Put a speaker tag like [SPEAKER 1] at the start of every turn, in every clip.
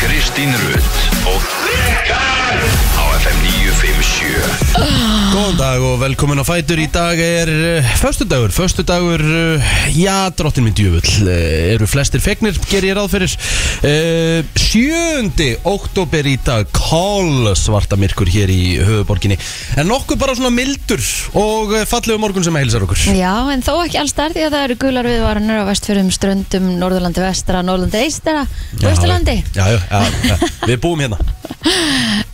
[SPEAKER 1] Kristín Rutt og Rikar á FM 957
[SPEAKER 2] Góðan dag og velkomin á Fætur Í dag er uh, föstudagur Föstudagur, uh, já, drottin minn djöfull uh, Eru flestir fegnir, ger ég ráð fyrir uh, 7. oktober í dag Kál svarta myrkur hér í höfuborginni En nokkuð bara svona mildur Og uh, fallegu morgun sem heilsar okkur
[SPEAKER 3] Já, en þó ekki alls þar því að það eru gular viðvaranir á vestfjörðum ströndum, norðurlandi vestra, norðurlandi eistara og austurlandi.
[SPEAKER 2] Já, já, já, já, við búum hérna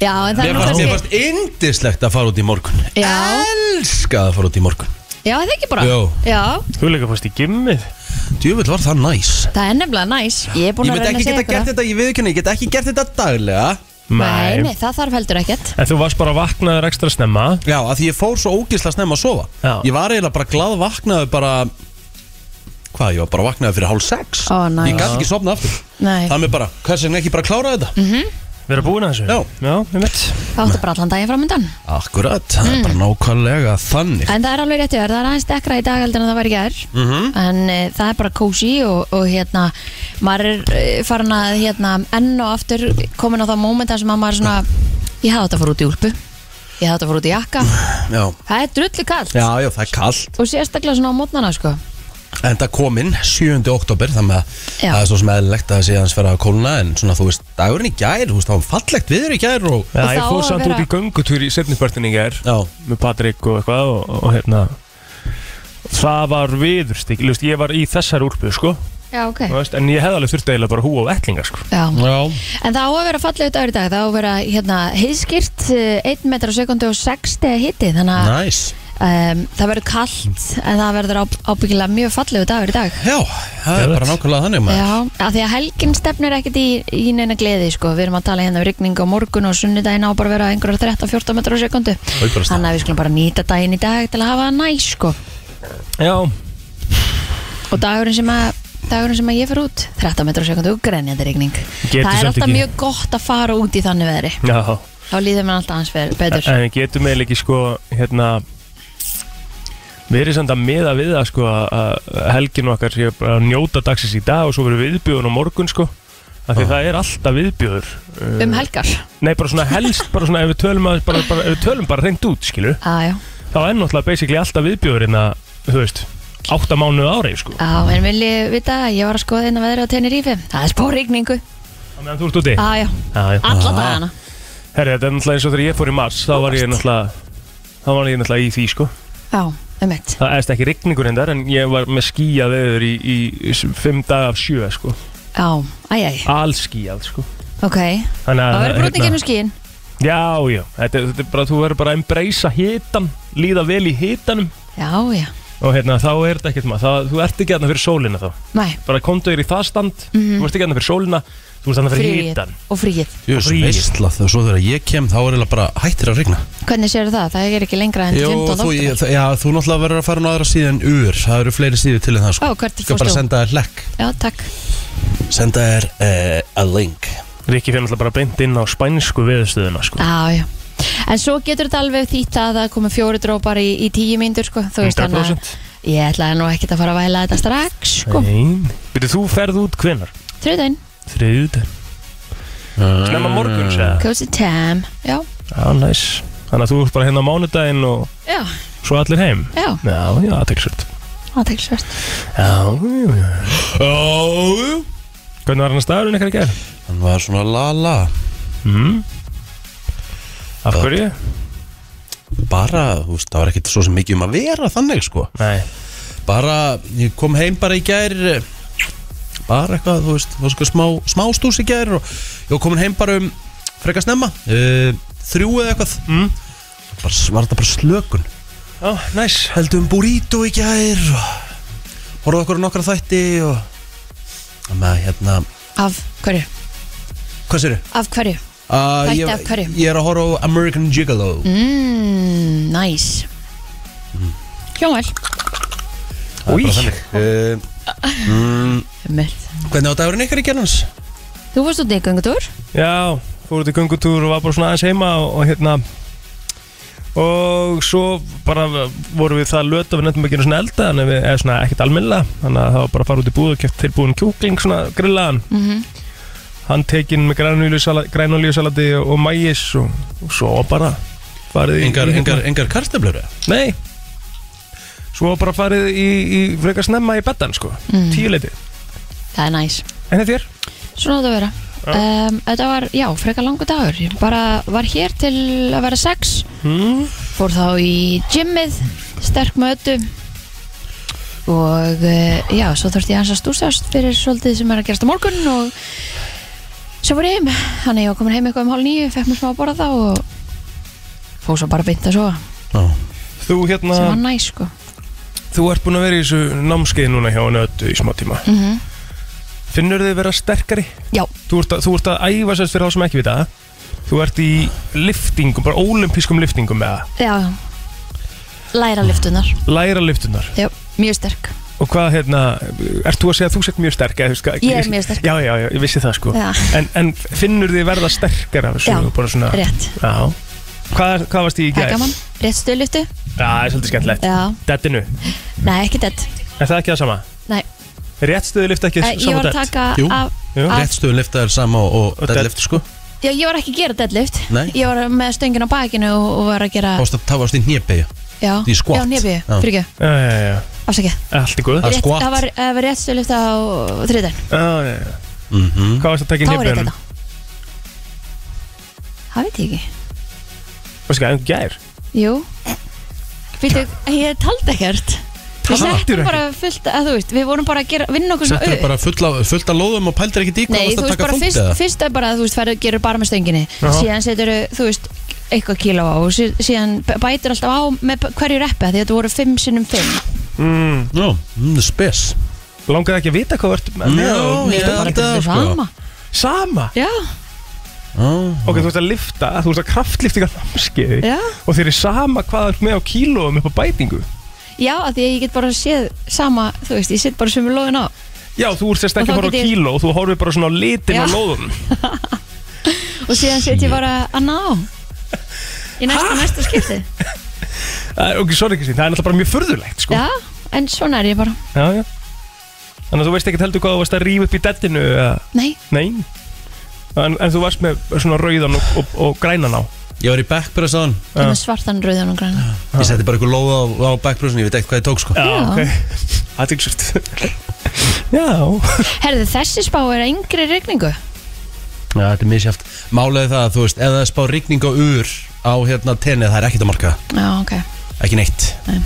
[SPEAKER 3] Já, en það er
[SPEAKER 2] Mér fannst, mér
[SPEAKER 3] náttúrulega
[SPEAKER 2] fannst indislegt að fara út í morgun
[SPEAKER 3] Já.
[SPEAKER 2] Elskað að fara út í morgun
[SPEAKER 3] Já, það er ekki bara.
[SPEAKER 2] Jó.
[SPEAKER 3] Já,
[SPEAKER 4] Þú líka fórst í gimmið
[SPEAKER 2] Djöfull var það næs
[SPEAKER 3] það er nefnilega næs. Ég er
[SPEAKER 2] Ég
[SPEAKER 3] búin að
[SPEAKER 2] myndi
[SPEAKER 3] reyna
[SPEAKER 2] ekki
[SPEAKER 3] að segja
[SPEAKER 2] geta gert þetta, ég viðkynna Ég get ekki gert þetta daglega
[SPEAKER 3] Nei, nei, það þarf heldur ekkert.
[SPEAKER 4] En þú varst bara vaknaður ekstra snemma
[SPEAKER 2] Já, að því ég fór svo ógisla snemma að sofa
[SPEAKER 4] Já.
[SPEAKER 2] Ég var eiginlega bara glad vaknaði bara Hvað, ég var bara vaknaði fyrir hálf sex
[SPEAKER 3] Ó, næs.
[SPEAKER 2] Ég gæti ekki sofna aftur
[SPEAKER 3] Nei, Mhm.
[SPEAKER 2] Það með bara, hvers vegna ekki bara klára þetta
[SPEAKER 4] Við erum búin að þessu
[SPEAKER 2] Já.
[SPEAKER 4] Já, við mitt
[SPEAKER 3] það áttu bara allan daginn framöndan.
[SPEAKER 2] Akkurat, það
[SPEAKER 3] Mm.
[SPEAKER 2] er bara nákvæmlega þannig Mhm.
[SPEAKER 3] En það er alveg rétt í verð, það er aðeins dekra í dag heldur en það væri gær En e, það er bara kósi og, og hérna maður er e, farin að hérna, enn og aftur komin á það mómenta sem að maður er svona ég hafði þetta að fara út í úlpu ég hafði þetta að fara út í jakka
[SPEAKER 2] Já,
[SPEAKER 3] það er drullu kallt
[SPEAKER 2] já, já það er kallt
[SPEAKER 3] og sérstaklega svona á mótnana sko
[SPEAKER 2] En það kom inn 7. oktober þannig að
[SPEAKER 3] Já.
[SPEAKER 2] það er svo sem eðlilegt að það sé hans vera að kólna en svona þú veist, dagurinn í gær, þú veist, það var fallegt viður í gær
[SPEAKER 4] Já,
[SPEAKER 2] og
[SPEAKER 3] Og
[SPEAKER 4] ég
[SPEAKER 3] þá
[SPEAKER 4] fór
[SPEAKER 3] að
[SPEAKER 4] samt
[SPEAKER 3] vera-
[SPEAKER 4] út í göngutúr í setnispörtinni í gær
[SPEAKER 2] Já,
[SPEAKER 4] Með Patrik og eitthvað og, og hérna Það var viðurstík Lust, Ég var í þessar úlpu, sko
[SPEAKER 3] Já, ok
[SPEAKER 4] þú veist, En ég hefði alveg þurfti eiginlega bara hú á vettlinga, sko
[SPEAKER 3] Já.
[SPEAKER 2] já,
[SPEAKER 3] En það á að vera fallið dagur í dag, það á að vera hérna, heiðskýrt, 1 metra á sekundi og 60 hitti, þannig að
[SPEAKER 2] næs
[SPEAKER 3] um, það verður kallt en það verður á, ábyggilega mjög fallið dagur í dag.
[SPEAKER 2] Já, það er
[SPEAKER 4] Geðvegt.
[SPEAKER 2] bara nákvæmlega þannig maður
[SPEAKER 3] Já, af því að helgin stefnir ekkit í, í neina gleði, sko. Við erum að tala hérna um rigning á morgun og sunnudaginn á bara að vera einhverjar 13-14 metrar á sekundu.
[SPEAKER 2] Það er bara
[SPEAKER 3] Þannig að við skulum bara nýta daginn í dag til að hafa það næ, sko.
[SPEAKER 4] Já,
[SPEAKER 3] Og dagurinn sem að dagurinn sem að ég fer út, 13 metrar á sekundu og grenjandi rigning.
[SPEAKER 4] Getur
[SPEAKER 3] það er
[SPEAKER 4] samt
[SPEAKER 3] alltaf
[SPEAKER 4] ekki.
[SPEAKER 3] mjög gott að fara út í þannig veðri.
[SPEAKER 4] já
[SPEAKER 3] Þá líður mér alltaf aðeins fer- betur.
[SPEAKER 4] En við getum eiginlega ekki sko hérna Við erum samt að miða við það sko að helgin okkar sé bara að njóta dagsins í dag og svo verður viðbjóðun á morgun sko af því það er alltaf viðbjóður uh,
[SPEAKER 3] Um helgar.
[SPEAKER 4] Nei, bara svona helst, bara svona ef við tölum, að, bara, bara, ef við tölum bara reynd út, skilur
[SPEAKER 3] Já, já.
[SPEAKER 4] þá er náttúrulega basically alltaf viðbjóður en að, þú veist, átta mánuð ári sko
[SPEAKER 3] Já, en vil ég vita að ég var að skoða inn að veðri á Tenerife. Það er spór rigningu.
[SPEAKER 4] á meðan þú ert úti
[SPEAKER 3] Ah,
[SPEAKER 4] Ah,
[SPEAKER 3] Já, já.
[SPEAKER 4] Já, já.
[SPEAKER 3] Alla dagana.
[SPEAKER 4] Herri, þetta er náttúrulega eins og þegar ég fór í mars þá var ég náttúrulega þá var ég náttúrulega í því sko
[SPEAKER 3] Já, um eitt.
[SPEAKER 4] það eðst ekki rigningur endar en ég var með skíjað veður í, í, í fimm dag af sjö sko
[SPEAKER 3] Já, æj, æj.
[SPEAKER 4] allskíjað sko
[SPEAKER 3] Ok.
[SPEAKER 4] Þannig
[SPEAKER 3] Það verður brotni
[SPEAKER 4] hérna-
[SPEAKER 3] gennum skíin
[SPEAKER 4] Já, já, þetta, er- þetta er bara, þú verður bara að embracea hitan, líða vel í hitanum
[SPEAKER 3] Já, já,
[SPEAKER 4] og hérna, þá er þetta ekkert maður, það, þú ert ekki aðna fyrir sólina þá
[SPEAKER 3] næ,
[SPEAKER 4] bara komdu þér í það stand,
[SPEAKER 3] Mhm.
[SPEAKER 4] þú ert ekki aðna fyrir sólina þú ert aðna fyrir
[SPEAKER 3] fríið
[SPEAKER 4] hitan
[SPEAKER 3] og fríið
[SPEAKER 2] Jú, svo
[SPEAKER 4] Fríið.
[SPEAKER 2] veistla þegar svo þegar ég kem þá er eða bara hættir að regna
[SPEAKER 3] Hvernig séu það? Það er ekki lengra en
[SPEAKER 2] Jú,
[SPEAKER 3] 15
[SPEAKER 2] þú, ég,
[SPEAKER 3] oktober
[SPEAKER 2] þa- já, þú náttúrulega verður að fara á aðra síðan ur Það eru fleiri síður til en það sko
[SPEAKER 3] Ó, hvert
[SPEAKER 2] Skal
[SPEAKER 3] fórst
[SPEAKER 2] bara
[SPEAKER 3] þú?
[SPEAKER 2] senda þér lekk
[SPEAKER 3] Já, takk
[SPEAKER 2] Senda þér uh, a link
[SPEAKER 4] Rikki fyrir náttúrulega bara beint inn á spænsku veðustöðuna sko.
[SPEAKER 3] Já, já En svo getur þetta alveg þýtt að það komi fjóri drópar í, í tíu myndur, sko Þú veist þannig að
[SPEAKER 4] 100%
[SPEAKER 3] Ég ætlaði nú ekkert að fara að væla þetta strax, sko
[SPEAKER 4] Nei, byrju þú ferð út hvenar?
[SPEAKER 3] Þriðin,
[SPEAKER 4] Þriðut Snemma
[SPEAKER 2] Ah.
[SPEAKER 4] morguns eða?
[SPEAKER 3] cozy time Já,
[SPEAKER 4] Já, næs Þannig að þú ert bara hérna á mánudaginn og
[SPEAKER 3] já,
[SPEAKER 4] svo allir heim
[SPEAKER 3] já
[SPEAKER 4] Já, já, aðteklisvöld
[SPEAKER 3] Það tekur svart
[SPEAKER 4] Já, já, já
[SPEAKER 2] Ó, jú.
[SPEAKER 4] Hvernig var hann að staðurinn eitthvað að gera?
[SPEAKER 2] Hann var svona la-la Hmm?
[SPEAKER 4] Mm. Af
[SPEAKER 2] Það-
[SPEAKER 4] hverju?
[SPEAKER 2] Bara, þú veist, það var ekkert svo sem mikið um að vera þannig sko
[SPEAKER 4] Nei
[SPEAKER 2] Bara, ég kom heim bara í gær eh, Bara eitthvað, þú veist, var svona smá, smá stús í gær Og ég var komin heim bara um frekar snemma uh, Þrjú eða eitthvað
[SPEAKER 4] mm.
[SPEAKER 2] bara, Var þetta bara slökun
[SPEAKER 4] Ó, næs
[SPEAKER 2] heldum burrito í gær og horfðu okkur á nokkra þætti og Það með að hérna
[SPEAKER 3] Af hverju?
[SPEAKER 2] hvað sér
[SPEAKER 3] Af hverju?
[SPEAKER 2] uh,
[SPEAKER 3] Þætti af
[SPEAKER 2] ég,
[SPEAKER 3] hverju?
[SPEAKER 2] ég er að horfa á American Gigolo
[SPEAKER 3] Mmm, næs
[SPEAKER 2] Mm.
[SPEAKER 3] Hljómæl
[SPEAKER 2] Það er
[SPEAKER 4] Új.
[SPEAKER 2] bara þannig. uh, mm. hvernig á dagurinn ykkar í gerðans?
[SPEAKER 3] Þú varst út í göngutúr?
[SPEAKER 4] Já, fór út í göngutúr og var bara svona aðeins heima og, og hérna og svo bara vorum við það löt að við nefndum ekki einu svona elda en við erum svona ekkert almennilega þannig að það var bara að fara út í búð og kæft tilbúin kjúkling svona grillaðan
[SPEAKER 3] Mhm
[SPEAKER 4] hann tekinn með grænolíusalati og mæis og, og svo bara farið í
[SPEAKER 2] Eh, Engar,
[SPEAKER 4] í-
[SPEAKER 2] engar, engar kartöflur eða?
[SPEAKER 4] Nei Svo bara farið í, í frekar snemma í beddan sko mm. Tíuleiti
[SPEAKER 3] það er næs
[SPEAKER 4] En þetta er
[SPEAKER 3] Svona átt að vera um, Þetta var, já, frekar langur dagur Ég bara var hér til að vera sex
[SPEAKER 4] mm.
[SPEAKER 3] Fór þá í gymmið Sterk mötu Og eh, já, svo þurfti ég hans að stúsast Fyrir svolítið sem er að gerast á morgun Og svo fór ég heim Þannig ég var komin heim eitthvað um hálf nýju Fekk mér smá að borða þá og Fór svo bara beint að sofa
[SPEAKER 2] Já
[SPEAKER 4] Þú hérna
[SPEAKER 3] Sem var næs, sko
[SPEAKER 4] Þú ert búin að vera í þessu námskeið núna hjá henni öllu í smá tíma
[SPEAKER 3] mm -hmm.
[SPEAKER 4] Finnur þið vera sterkari?
[SPEAKER 3] Já,
[SPEAKER 4] Þú ert að, þú ert að æfa sérst fyrir þá sem ekki vita það Þú ert í liftingum, bara ólimpískum liftingum með það
[SPEAKER 3] já Læra lyftunar,
[SPEAKER 4] Læra liftunar
[SPEAKER 3] já, mjög sterk
[SPEAKER 4] Og hvað hérna, ert þú að segja að þú sett mjög sterk? eða þú veist hvað-
[SPEAKER 3] Ég er mjög sterk.
[SPEAKER 4] Já, já, já, ég vissi það sko
[SPEAKER 3] Já.
[SPEAKER 4] en, en finnur þið verða sterkar af þessu?
[SPEAKER 3] Já,
[SPEAKER 4] bara svona,
[SPEAKER 3] Rétt,
[SPEAKER 4] Já Hvað, hvað varst í í
[SPEAKER 3] það
[SPEAKER 4] gær?
[SPEAKER 3] er gaman Rétt stöðlyftu,
[SPEAKER 4] Já, það er svolítið skemmtilegt
[SPEAKER 3] já
[SPEAKER 4] Dettinu,
[SPEAKER 3] Nei, ekki þetta
[SPEAKER 4] er það ekki það sama?
[SPEAKER 3] Nei.
[SPEAKER 4] Réttstöðu lyfta ekki
[SPEAKER 3] Ég
[SPEAKER 4] sama
[SPEAKER 3] var að taka
[SPEAKER 2] Jú.
[SPEAKER 3] af
[SPEAKER 4] Jú.
[SPEAKER 3] að-
[SPEAKER 2] Réttstöðun lifta er sama og, og
[SPEAKER 4] Og
[SPEAKER 2] deadlift sko
[SPEAKER 3] Já, ég var ekki að gera deadlift
[SPEAKER 2] Nei.
[SPEAKER 3] Ég var með stöngin á bakinu og, og var að gera
[SPEAKER 2] Fást að það varst í hnébegja
[SPEAKER 3] Já,
[SPEAKER 2] í squat.
[SPEAKER 3] já nefnir,
[SPEAKER 2] Já.
[SPEAKER 3] fyrir ekki,
[SPEAKER 4] Já, já, já, Eh,
[SPEAKER 3] afsakið
[SPEAKER 4] allt í góð
[SPEAKER 2] Að
[SPEAKER 3] Rétt-
[SPEAKER 2] squat.
[SPEAKER 3] Það var, það var rétt stöðlyft á þriðdæn
[SPEAKER 4] Já, já, já
[SPEAKER 2] mm
[SPEAKER 4] Hvað varst að taka í
[SPEAKER 3] Hvað var rétt
[SPEAKER 4] nefnum?
[SPEAKER 3] þetta? Það veit ég ekki
[SPEAKER 4] Varst ekki aðeins gær?
[SPEAKER 3] Jú Býttu, ég taldi ekkert Við
[SPEAKER 4] Taldirðu
[SPEAKER 3] settum
[SPEAKER 4] ekki?
[SPEAKER 3] bara fullt, að þú veist, við vorum bara að gera, vinna okkur
[SPEAKER 2] Settur
[SPEAKER 3] upp.
[SPEAKER 2] bara fullt af, fullt af lóðum og pældir ekki dík
[SPEAKER 3] Nei, þú veist bara fyrst, fyrst er bara að þú veist færðu gerur bara með stönginni
[SPEAKER 4] Jaha.
[SPEAKER 3] síðan setur þú veist eitthvað kíló á og sí- síðan b- bætir alltaf á með b- hverju reppi af því að þetta voru 5 sinnum 5
[SPEAKER 4] Mm,
[SPEAKER 2] Já, mm, spes
[SPEAKER 4] langaði ekki að vita hvað vart með
[SPEAKER 2] Já,
[SPEAKER 4] og-
[SPEAKER 2] ég held að, sko.
[SPEAKER 3] sama
[SPEAKER 4] Sama
[SPEAKER 3] Já,
[SPEAKER 2] Já,
[SPEAKER 4] Ok, þú ert að lifta, þú ert að kraftliftinga námskeiði
[SPEAKER 3] já,
[SPEAKER 4] Og þeir eru sama hvað þú ert með á kílóum upp á bætingu
[SPEAKER 3] já, að því að ég get bara séð sama, þú veist, ég sitt bara sem við lóðin á
[SPEAKER 4] Já, þú ert sérst
[SPEAKER 3] Og þá
[SPEAKER 4] ekki að fara á
[SPEAKER 3] get ég-
[SPEAKER 4] kíló Þú horfir bara svona á litin
[SPEAKER 3] Já.
[SPEAKER 4] á lóðum
[SPEAKER 3] og síðan set ég bara að ná í næsta, næsta skipti
[SPEAKER 4] Það er- Eh, Ok, sorry Kristín, það er náttúrulega bara mjög furðulegt sko.
[SPEAKER 3] Já, en svona er ég bara
[SPEAKER 4] já, já Þannig að þú veist ekki heldur hvað þú varst að rífa upp í dettinu eða
[SPEAKER 3] Nei,
[SPEAKER 4] Nei En, en þú varst með svona rauðan og, og, og grænan á
[SPEAKER 2] ég var í backpress á hann
[SPEAKER 3] það er svartan, rauðan og græn
[SPEAKER 2] Ég setti bara eitthvað lóð á, á backpressin, ég veit ekkert hvað ég tók sko
[SPEAKER 3] Já.
[SPEAKER 4] ok Aðtilsvöld Já
[SPEAKER 3] Herði, þessi spá er að yngri regningu
[SPEAKER 2] Já, þetta er misjáft Málega það að þú veist, ef það er spá rigning og ur á hérna tennið, það er ekkert að marka
[SPEAKER 3] Já, ok
[SPEAKER 2] Ekki neitt
[SPEAKER 3] Nei.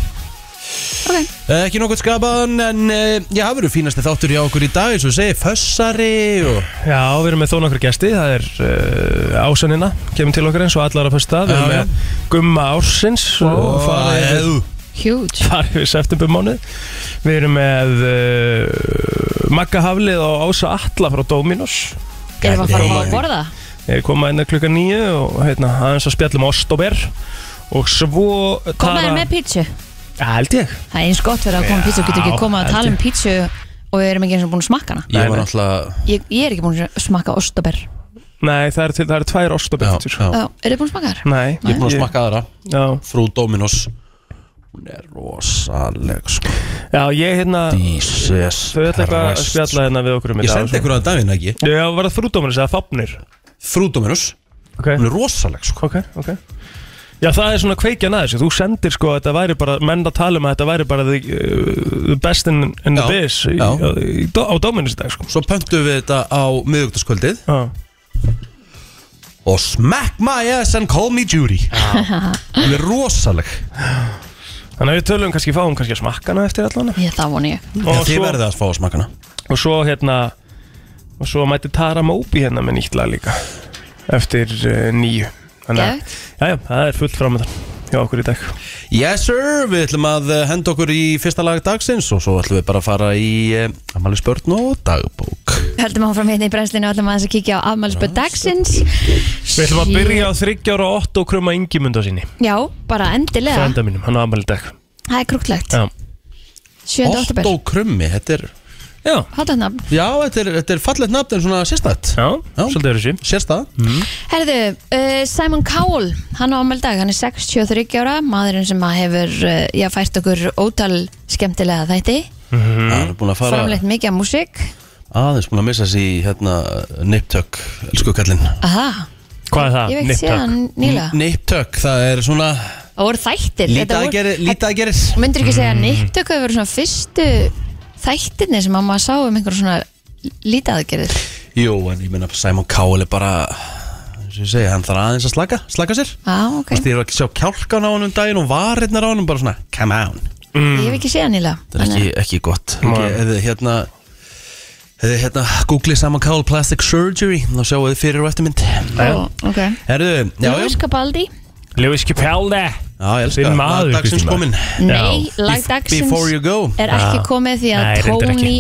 [SPEAKER 3] Ok.
[SPEAKER 2] Eh, Ekki nokkuð skapaðan, en eh, já, það verður fínasti þáttur hjá okkur í dag, eins og við segi, fössari og
[SPEAKER 4] Já, við erum með þó nokkur gesti Það er uh, ásönina Kemur til okkar eins og allar að fyrsta Við erum
[SPEAKER 2] Já, já.
[SPEAKER 4] með Gumma Ársins Og farið við-
[SPEAKER 2] eðu
[SPEAKER 3] Huge
[SPEAKER 4] farið við septembermánuð Við erum með uh, Magga Haflið og Ása Atla frá Dominos
[SPEAKER 3] Erum við að fara að
[SPEAKER 2] Nei.
[SPEAKER 3] borða?
[SPEAKER 4] Þeir koma einna klukka nýju og heitna, aðeins að spjallum ostober og svo
[SPEAKER 3] Komaður með pítsu?
[SPEAKER 4] Ja, held ég
[SPEAKER 3] Það er eins gott fyrir að koma
[SPEAKER 4] Já,
[SPEAKER 3] pítsu og getur ekki koma að
[SPEAKER 4] held
[SPEAKER 3] tala um
[SPEAKER 4] ég.
[SPEAKER 3] pítsu og við erum ekki eins og búin að smakka hana
[SPEAKER 2] Ég
[SPEAKER 4] Nei,
[SPEAKER 2] var
[SPEAKER 4] nei.
[SPEAKER 2] náttúrulega
[SPEAKER 3] ég, ég er ekki búin að smakka ostaber
[SPEAKER 4] Nei, það eru til- það eru tvær
[SPEAKER 2] Já,
[SPEAKER 4] ostober
[SPEAKER 2] já.
[SPEAKER 3] Er þið búin að smakka þar?
[SPEAKER 4] Nei,
[SPEAKER 2] Ég er búin að smakka aðra
[SPEAKER 4] Já,
[SPEAKER 2] Frú Dominos Hún er rosaleg sko
[SPEAKER 4] já ég hérna
[SPEAKER 2] Jesus
[SPEAKER 4] Þau ætla eitthvað að
[SPEAKER 2] Christ.
[SPEAKER 4] spjalla hérna við okkur um
[SPEAKER 2] Ég sendi ykkur að daginn ekki
[SPEAKER 4] Já, var það þrúdóminus eða fafnir
[SPEAKER 2] Frú Dominos
[SPEAKER 4] Ok,
[SPEAKER 2] Hún er rosaleg sko
[SPEAKER 4] ok, ok Já, það er svona kveikjan aðeins Þú sendir sko að þetta væri bara menn að tala um að þetta væri bara the, uh, the best in, in the
[SPEAKER 2] Já,
[SPEAKER 4] biz í,
[SPEAKER 2] já.
[SPEAKER 4] í, á dóminus í dag sko
[SPEAKER 2] Svo pöntum við þetta á miðugtaskvöldið
[SPEAKER 4] Já,
[SPEAKER 2] Og smack my ass and call me Judy Hún er rosaleg
[SPEAKER 4] Þannig að við tölum kannski, fáum kannski að smakka hana eftir allan
[SPEAKER 3] Ég, það vona ég
[SPEAKER 2] Já, Þið verðið að fá að smakka hana
[SPEAKER 4] og svo hérna og svo mætti Tara Móbi hérna með nýtt lag líka eftir uh, nýju
[SPEAKER 3] Geðveikt.
[SPEAKER 4] já, já, það er fullt framöndan hjá okkur í dag
[SPEAKER 2] Yes sir, við ætlum að eh, henda okkur í fyrsta lag dagsins Og svo ætlum við bara að fara í eh, Amali spörn og dagbók
[SPEAKER 3] Höldum áfram hérna í brennslinu og ætlum aðeins að kíkja á afmælspöð dagsins
[SPEAKER 4] við ætlum að byrja á 30 ára og 8 og kröma yngimunda sinni
[SPEAKER 3] Já, bara endilega
[SPEAKER 4] frænda mínum, hann á afmæli í dag
[SPEAKER 3] Það er krúklegt
[SPEAKER 4] já,
[SPEAKER 3] 7. oktober
[SPEAKER 2] Otto Krummi, þetta er
[SPEAKER 4] já,
[SPEAKER 3] Hátatnafn
[SPEAKER 2] Já, þetta er, þetta er fallet nafn en svona sérstætt
[SPEAKER 4] já,
[SPEAKER 2] Já.
[SPEAKER 4] svolítið Mm. eru sí
[SPEAKER 2] Sérstætt
[SPEAKER 3] Herðu, uh, Simon Cowell, hann á ámeldag, hann er 63 ára, maðurinn sem að hefur, uh, já, fært okkur ótal skemmtilega þætti,
[SPEAKER 2] Það er búin að fara
[SPEAKER 3] framleitt mikið af músík,
[SPEAKER 2] Aðeins búin að missa sér í hérna Niptök, elsku kallinn
[SPEAKER 3] Aha,
[SPEAKER 4] Hvað er það?
[SPEAKER 3] ég veit
[SPEAKER 4] Nip tuck?
[SPEAKER 3] síðan nýlega
[SPEAKER 2] Niptök, það er svona
[SPEAKER 3] Það voru þættir
[SPEAKER 2] Lítið að gerir- lítið Mm. að gerir
[SPEAKER 3] Myndur ekki segja að nýttök hefur verið svona fyrstu þættirni sem mamma sá um einhver svona lítaðgerðir
[SPEAKER 2] Jú, en ég meina Simon Cowell er bara eins og ég segi, hann þarf aðeins að slaka, slaka sér
[SPEAKER 3] Já, ah, ok,
[SPEAKER 2] Því ég var ekki að sjá kjálkan á hann um daginn og varirnar á hann bara svona, come on
[SPEAKER 3] ég
[SPEAKER 4] Mm.
[SPEAKER 3] hef ekki séð hann nýlega
[SPEAKER 2] Það er ekki, ekki gott
[SPEAKER 4] Nei.
[SPEAKER 2] ekki, Eða hérna Eða hérna, googlið Simon Cowell Plastic Surgery Þá sjáu þið fyrir og eftirmynd
[SPEAKER 3] Ó, ok
[SPEAKER 2] Herðu, já, já,
[SPEAKER 3] Lewis Capaldi
[SPEAKER 4] Lewis Capaldi
[SPEAKER 2] já, ég elska
[SPEAKER 4] Þinn maður,
[SPEAKER 2] Dagsins
[SPEAKER 4] Kristín
[SPEAKER 2] komin
[SPEAKER 3] Nei,
[SPEAKER 4] Já.
[SPEAKER 3] lag dagsins
[SPEAKER 2] Before you go
[SPEAKER 3] er ekki
[SPEAKER 4] Já.
[SPEAKER 3] komið því að
[SPEAKER 4] Ah. Nei, reyndar
[SPEAKER 3] Tony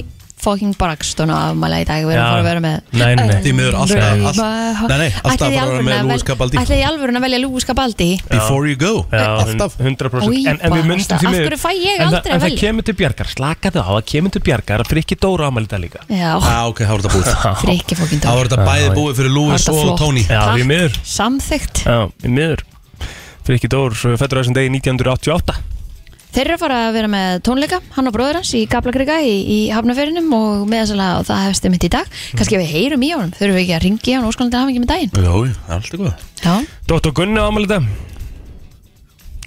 [SPEAKER 3] fucking Braxton á afmæla í dag Við erum
[SPEAKER 4] Já.
[SPEAKER 3] fara að vera með
[SPEAKER 4] Nei, nei, nei.
[SPEAKER 2] Því miður alltaf-
[SPEAKER 3] Break
[SPEAKER 2] alltaf-
[SPEAKER 3] my heart.
[SPEAKER 2] Nei, nei, alltaf
[SPEAKER 3] Ætlið í
[SPEAKER 2] að fara að vera
[SPEAKER 3] alvöruna
[SPEAKER 2] með
[SPEAKER 3] að
[SPEAKER 2] Lewis
[SPEAKER 3] vel-
[SPEAKER 2] Capaldi.
[SPEAKER 3] Ætlið í alvörun að velja Lewis Capaldi
[SPEAKER 2] Before you go Eh,
[SPEAKER 4] Já,
[SPEAKER 2] Alltaf
[SPEAKER 4] 100%
[SPEAKER 3] Új,
[SPEAKER 4] en, en við
[SPEAKER 3] bara
[SPEAKER 4] myndum
[SPEAKER 3] alltaf.
[SPEAKER 4] því
[SPEAKER 3] Af
[SPEAKER 4] miður-
[SPEAKER 3] hverju fæ ég
[SPEAKER 4] en það-
[SPEAKER 3] aldrei að
[SPEAKER 4] En það
[SPEAKER 3] velja?
[SPEAKER 4] kemur til bjargar, slakaðu á, það kemur til bjargar Frikki Dóra ámæli þetta líka
[SPEAKER 3] Já,
[SPEAKER 2] Já, Ah, ok, þá er þetta búið
[SPEAKER 3] frikki fókin
[SPEAKER 2] Þá er þetta bæði búið fyrir Lewis
[SPEAKER 3] Var þetta
[SPEAKER 2] og
[SPEAKER 3] flott?
[SPEAKER 2] Tony
[SPEAKER 4] Já,
[SPEAKER 3] Takk.
[SPEAKER 4] við miður
[SPEAKER 3] Samþygt
[SPEAKER 4] Já, við miður Frikki Dór, svo fættur á þessum degi 1988
[SPEAKER 3] Þeir eru að fara að vera með tónleika, hann og bróður hans í Gablakrika í, í Hafnaferinum og meðansala og það hefst um hitt í dag
[SPEAKER 2] Mhm.
[SPEAKER 3] kannski við heyrum í honum, þurfum við ekki að ringi hann og skoðum til hafingi með daginn
[SPEAKER 2] Já, já, það er alltaf góð
[SPEAKER 3] Já,
[SPEAKER 4] Dóttur Gunni ámæli þetta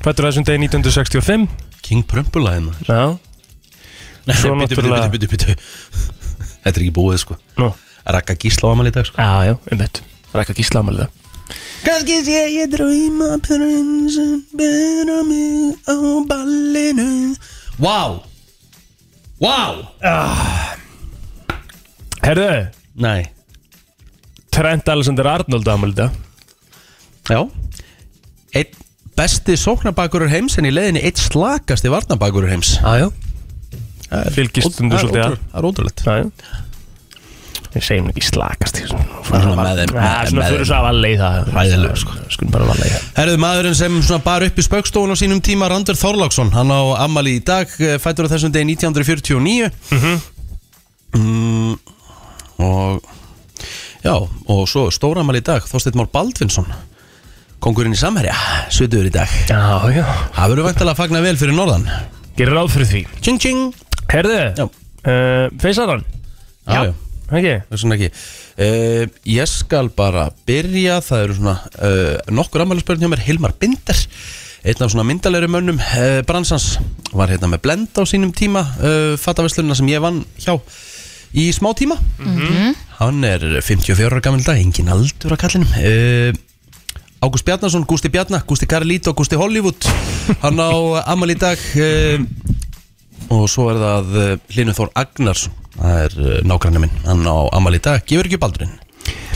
[SPEAKER 4] Fættur á þessum degi 1965
[SPEAKER 2] King Prumpula hérna
[SPEAKER 4] Já, Svo
[SPEAKER 2] Bítu, bítu,
[SPEAKER 4] náttúrulega-
[SPEAKER 2] bítu, bítu Þetta er ekki búið, sko
[SPEAKER 4] nú
[SPEAKER 2] Raka Gísla á amal í dag, sko
[SPEAKER 4] Já, já, um þetta Rækka Gísla ámæli þetta
[SPEAKER 2] Kanski sé ég dröyma prinsin Bera mig á ballinu Vá Vá
[SPEAKER 4] Ah. Herðu,
[SPEAKER 2] Nei
[SPEAKER 4] Trent Alexander Arnold ámæli þetta
[SPEAKER 2] Já Einn besti sóknabakurur heims En í leiðinni einn slakasti varnabakurur heims
[SPEAKER 4] Já, já
[SPEAKER 2] Ó-
[SPEAKER 4] Fylgist um
[SPEAKER 2] það er
[SPEAKER 4] þú svolítið að
[SPEAKER 2] ótrú- Það er ótrúlegt
[SPEAKER 4] Já, já Við segjum ekki slakast í svona
[SPEAKER 2] Svona með þeim-
[SPEAKER 4] Já, svona
[SPEAKER 2] með
[SPEAKER 4] fyrir
[SPEAKER 2] þeim.
[SPEAKER 4] svo að valla í það
[SPEAKER 2] Hræðilegur, sko.
[SPEAKER 4] Skulum bara valla í það
[SPEAKER 2] Herðu maðurinn sem svona bar upp í spaukstofun á sínum tíma Randur Þorláksson, hann á ammali í dag eh, fæddur á þessum degi 1949 mm
[SPEAKER 4] Mhm.
[SPEAKER 2] og já, og svo stóra ammali í dag Þorsteinn Már Baldvinsson kongurinn í Samherja, svitur í dag
[SPEAKER 4] Já, já
[SPEAKER 2] það verður vantilega að fagna vel fyrir norðan
[SPEAKER 4] Gerir ráð fyrir því
[SPEAKER 2] tjing tjing Já.
[SPEAKER 4] Herðu uh, Feisaran
[SPEAKER 2] Já, já.
[SPEAKER 4] Ekki
[SPEAKER 2] það er svona ekki uh, ég skal bara byrja það eru svona uh, nokkur ammælisbörn hjá mér Hilmar Binder einn af svona myndalegri mönnum uh, bransans var hérna með blend á sínum tíma uh, fattaveslunna sem ég vann hjá í smá tíma hann er 54 ára gammal dag engin aldur að kallinum uh, Ágúst Bjarnason, Gústi Bjarna, Gústi Carlito, Gústi Hollywood hann á ammæli í dag uh, og svo er það Linur Þór Agnarsson það er eh, nágranni minn, hann á amal í dag gefur ekki baldurinn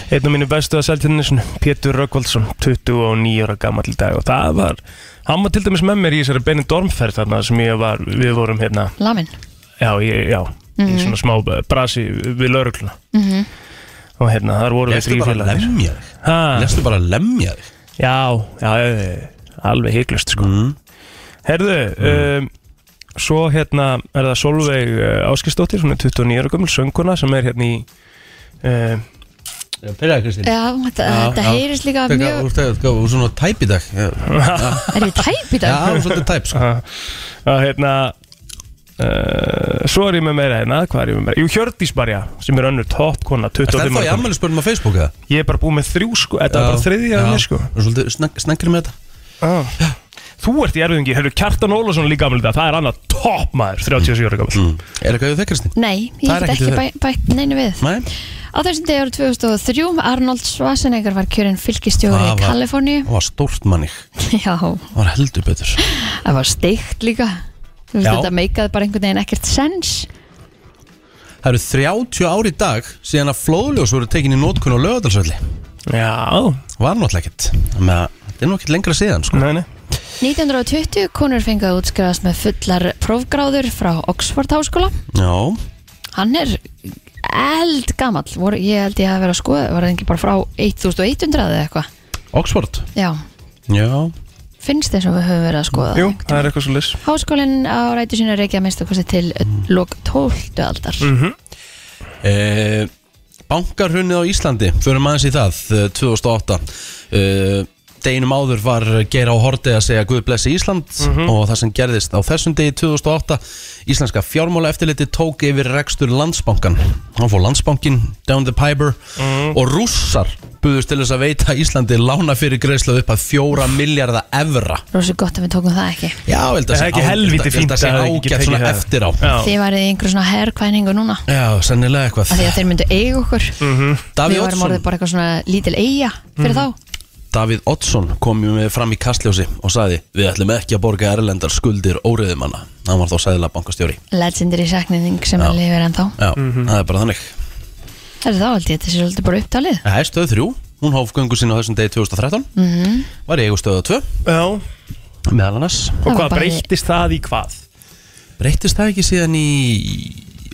[SPEAKER 4] Einn af mínu bestu að selja henni Pétur Rökkvaldsson 29 ára gammal í dag Og það var Hann var til dæmis með mér í þessari Benidormferð Þarna sem ég var Við vorum hérna
[SPEAKER 3] lamin
[SPEAKER 4] Já, ég, já
[SPEAKER 2] Mm.
[SPEAKER 4] Í
[SPEAKER 3] Mhm.
[SPEAKER 4] svona smá brasi við laurugluna Og hérna, þar vorum við
[SPEAKER 2] lestu bara að
[SPEAKER 4] þrýfélagarnir
[SPEAKER 2] lemja þig
[SPEAKER 4] Ha?
[SPEAKER 2] lestu bara að lemja þig
[SPEAKER 4] Já, já, já, já, alveg hygglust sko
[SPEAKER 2] Mm.
[SPEAKER 4] Herðu, um, svo hérna er það Solveig uh, Áskistóttir, hún er 29 ára gömul sönguna sem er hérna í uh,
[SPEAKER 2] fyrir það Kristín
[SPEAKER 3] Já, þetta, þetta heyrist líka mjög
[SPEAKER 2] Þú er svona tæp í dag Já,
[SPEAKER 3] Er ég tæp í dag?
[SPEAKER 2] Já, þú er svolítið tæp sko.
[SPEAKER 4] að hérna uh, svo er ég með meira hérna, hvað er ég með meira Jú, Hjördís Barja, sem er önnur toppkona
[SPEAKER 2] Er
[SPEAKER 4] 25
[SPEAKER 2] það þá
[SPEAKER 4] ára
[SPEAKER 2] í
[SPEAKER 4] gömul.
[SPEAKER 2] ammælisbörnum á Facebook eða?
[SPEAKER 4] Ég er bara búið með þrjú sko, þetta er bara þriðja af mér sko
[SPEAKER 2] Þú er svolítið snegg- sneggri með þetta
[SPEAKER 4] ah. Þú ert í erfiðingi, hefur Kjartan Ólafsson líka gamlega, það er annað toppmaður 37 ára gammal
[SPEAKER 2] Mm. Er eitthvað við þig Kristín?
[SPEAKER 3] Nei, ég
[SPEAKER 2] Það er
[SPEAKER 3] get
[SPEAKER 2] ekkert
[SPEAKER 3] ekki
[SPEAKER 2] við
[SPEAKER 3] bæ, bætt neinu við
[SPEAKER 2] Nei
[SPEAKER 3] Á þessum degi árið 2003 Arnold Schwarzenegger var kjörinn fylkistjóri
[SPEAKER 2] Það
[SPEAKER 3] í
[SPEAKER 2] var-
[SPEAKER 3] Kaliforníu
[SPEAKER 2] Það var stórt mannig
[SPEAKER 3] Já,
[SPEAKER 2] Það var heldur betur
[SPEAKER 3] það var steikt líka Þú veist,
[SPEAKER 2] Já.
[SPEAKER 3] þetta meikaði bara einhvern veginn ekkert sens
[SPEAKER 2] Það eru 30 ár í dag síðan að flóðljós voru tekin í nótkunn á lögadalsvelli
[SPEAKER 4] Já,
[SPEAKER 2] Var náttúrulega ekkert Þannig að þetta er nú ekkert lengra síðan sko.
[SPEAKER 4] nei, nei
[SPEAKER 3] 1920 konur fengið að útskrifast með fullar prófgráður frá Oxford háskóla
[SPEAKER 2] Já,
[SPEAKER 3] hann er eld gamall Vor, ég held ég að vera að skoða var það ekki bara frá 1100 eða eitthvað
[SPEAKER 2] Oxford
[SPEAKER 3] já,
[SPEAKER 2] Já,
[SPEAKER 3] finnst þess að við höfum verið að skoða
[SPEAKER 4] Jú, það er eitthvað svo liss
[SPEAKER 3] háskólinn á rætu sína reykja að minnstu kosti til lok 12. aldar
[SPEAKER 2] Mhm. e, eh, Bankarhunnið á Íslandi Förum aðeins í það, eh, 2008 e, deginum áður var Geir á Horti að segja Guð blessi Ísland
[SPEAKER 4] Mhm.
[SPEAKER 2] og það sem gerðist á þessum degi 2008 Íslenska fjármála eftirliti tók yfir rekstur landsbankan hann fór landsbankin, down the piper
[SPEAKER 4] Mhm.
[SPEAKER 2] og rússar buðust til þess að veita Íslandi lána fyrir greiðslu upp að 4 miljardar evra
[SPEAKER 3] Rósi gott að við tókum það ekki
[SPEAKER 2] Já, ég held að
[SPEAKER 4] Er það ekki
[SPEAKER 2] á-
[SPEAKER 4] helviti
[SPEAKER 2] ég held að
[SPEAKER 4] fínt
[SPEAKER 2] sé
[SPEAKER 4] að það hafi ekki
[SPEAKER 2] ágætt
[SPEAKER 4] tekið
[SPEAKER 2] svona
[SPEAKER 4] það?
[SPEAKER 2] eftir á
[SPEAKER 4] Já,
[SPEAKER 3] Þið værið í einhverjum svona herrkvæningu núna
[SPEAKER 2] Já,
[SPEAKER 3] af
[SPEAKER 2] sennilega
[SPEAKER 3] því að
[SPEAKER 2] eitthvað
[SPEAKER 3] þeir myndu eiga okkur
[SPEAKER 4] Mhm.
[SPEAKER 2] Davíð
[SPEAKER 3] Við værum
[SPEAKER 2] Oddsson Mm.
[SPEAKER 3] orðið bara eitthvað svona lítil eiga fyrir þá
[SPEAKER 2] Davíð Oddsson kom ju með fram í kastljósi og sagði við ætlum ekki að borga erlendar skuldir óriðumanna hann var þá sæðilega bankastjóri
[SPEAKER 3] Legendary sakniðing sem að lifir ennþá
[SPEAKER 2] Já,
[SPEAKER 4] Mhm.
[SPEAKER 2] það er bara þannig
[SPEAKER 3] Það er þá aldrei, þetta sé svolítið bara upptalið
[SPEAKER 2] Það er stöð 3, hún hóf göngu sinni á þessum degi 2013
[SPEAKER 3] Mhm.
[SPEAKER 2] var í eigu stöða 2
[SPEAKER 4] já
[SPEAKER 2] meðal annars
[SPEAKER 4] Og
[SPEAKER 3] Það var
[SPEAKER 4] hvað
[SPEAKER 3] bara-
[SPEAKER 4] breyttist það í hvað?
[SPEAKER 2] breyttist það ekki síðan í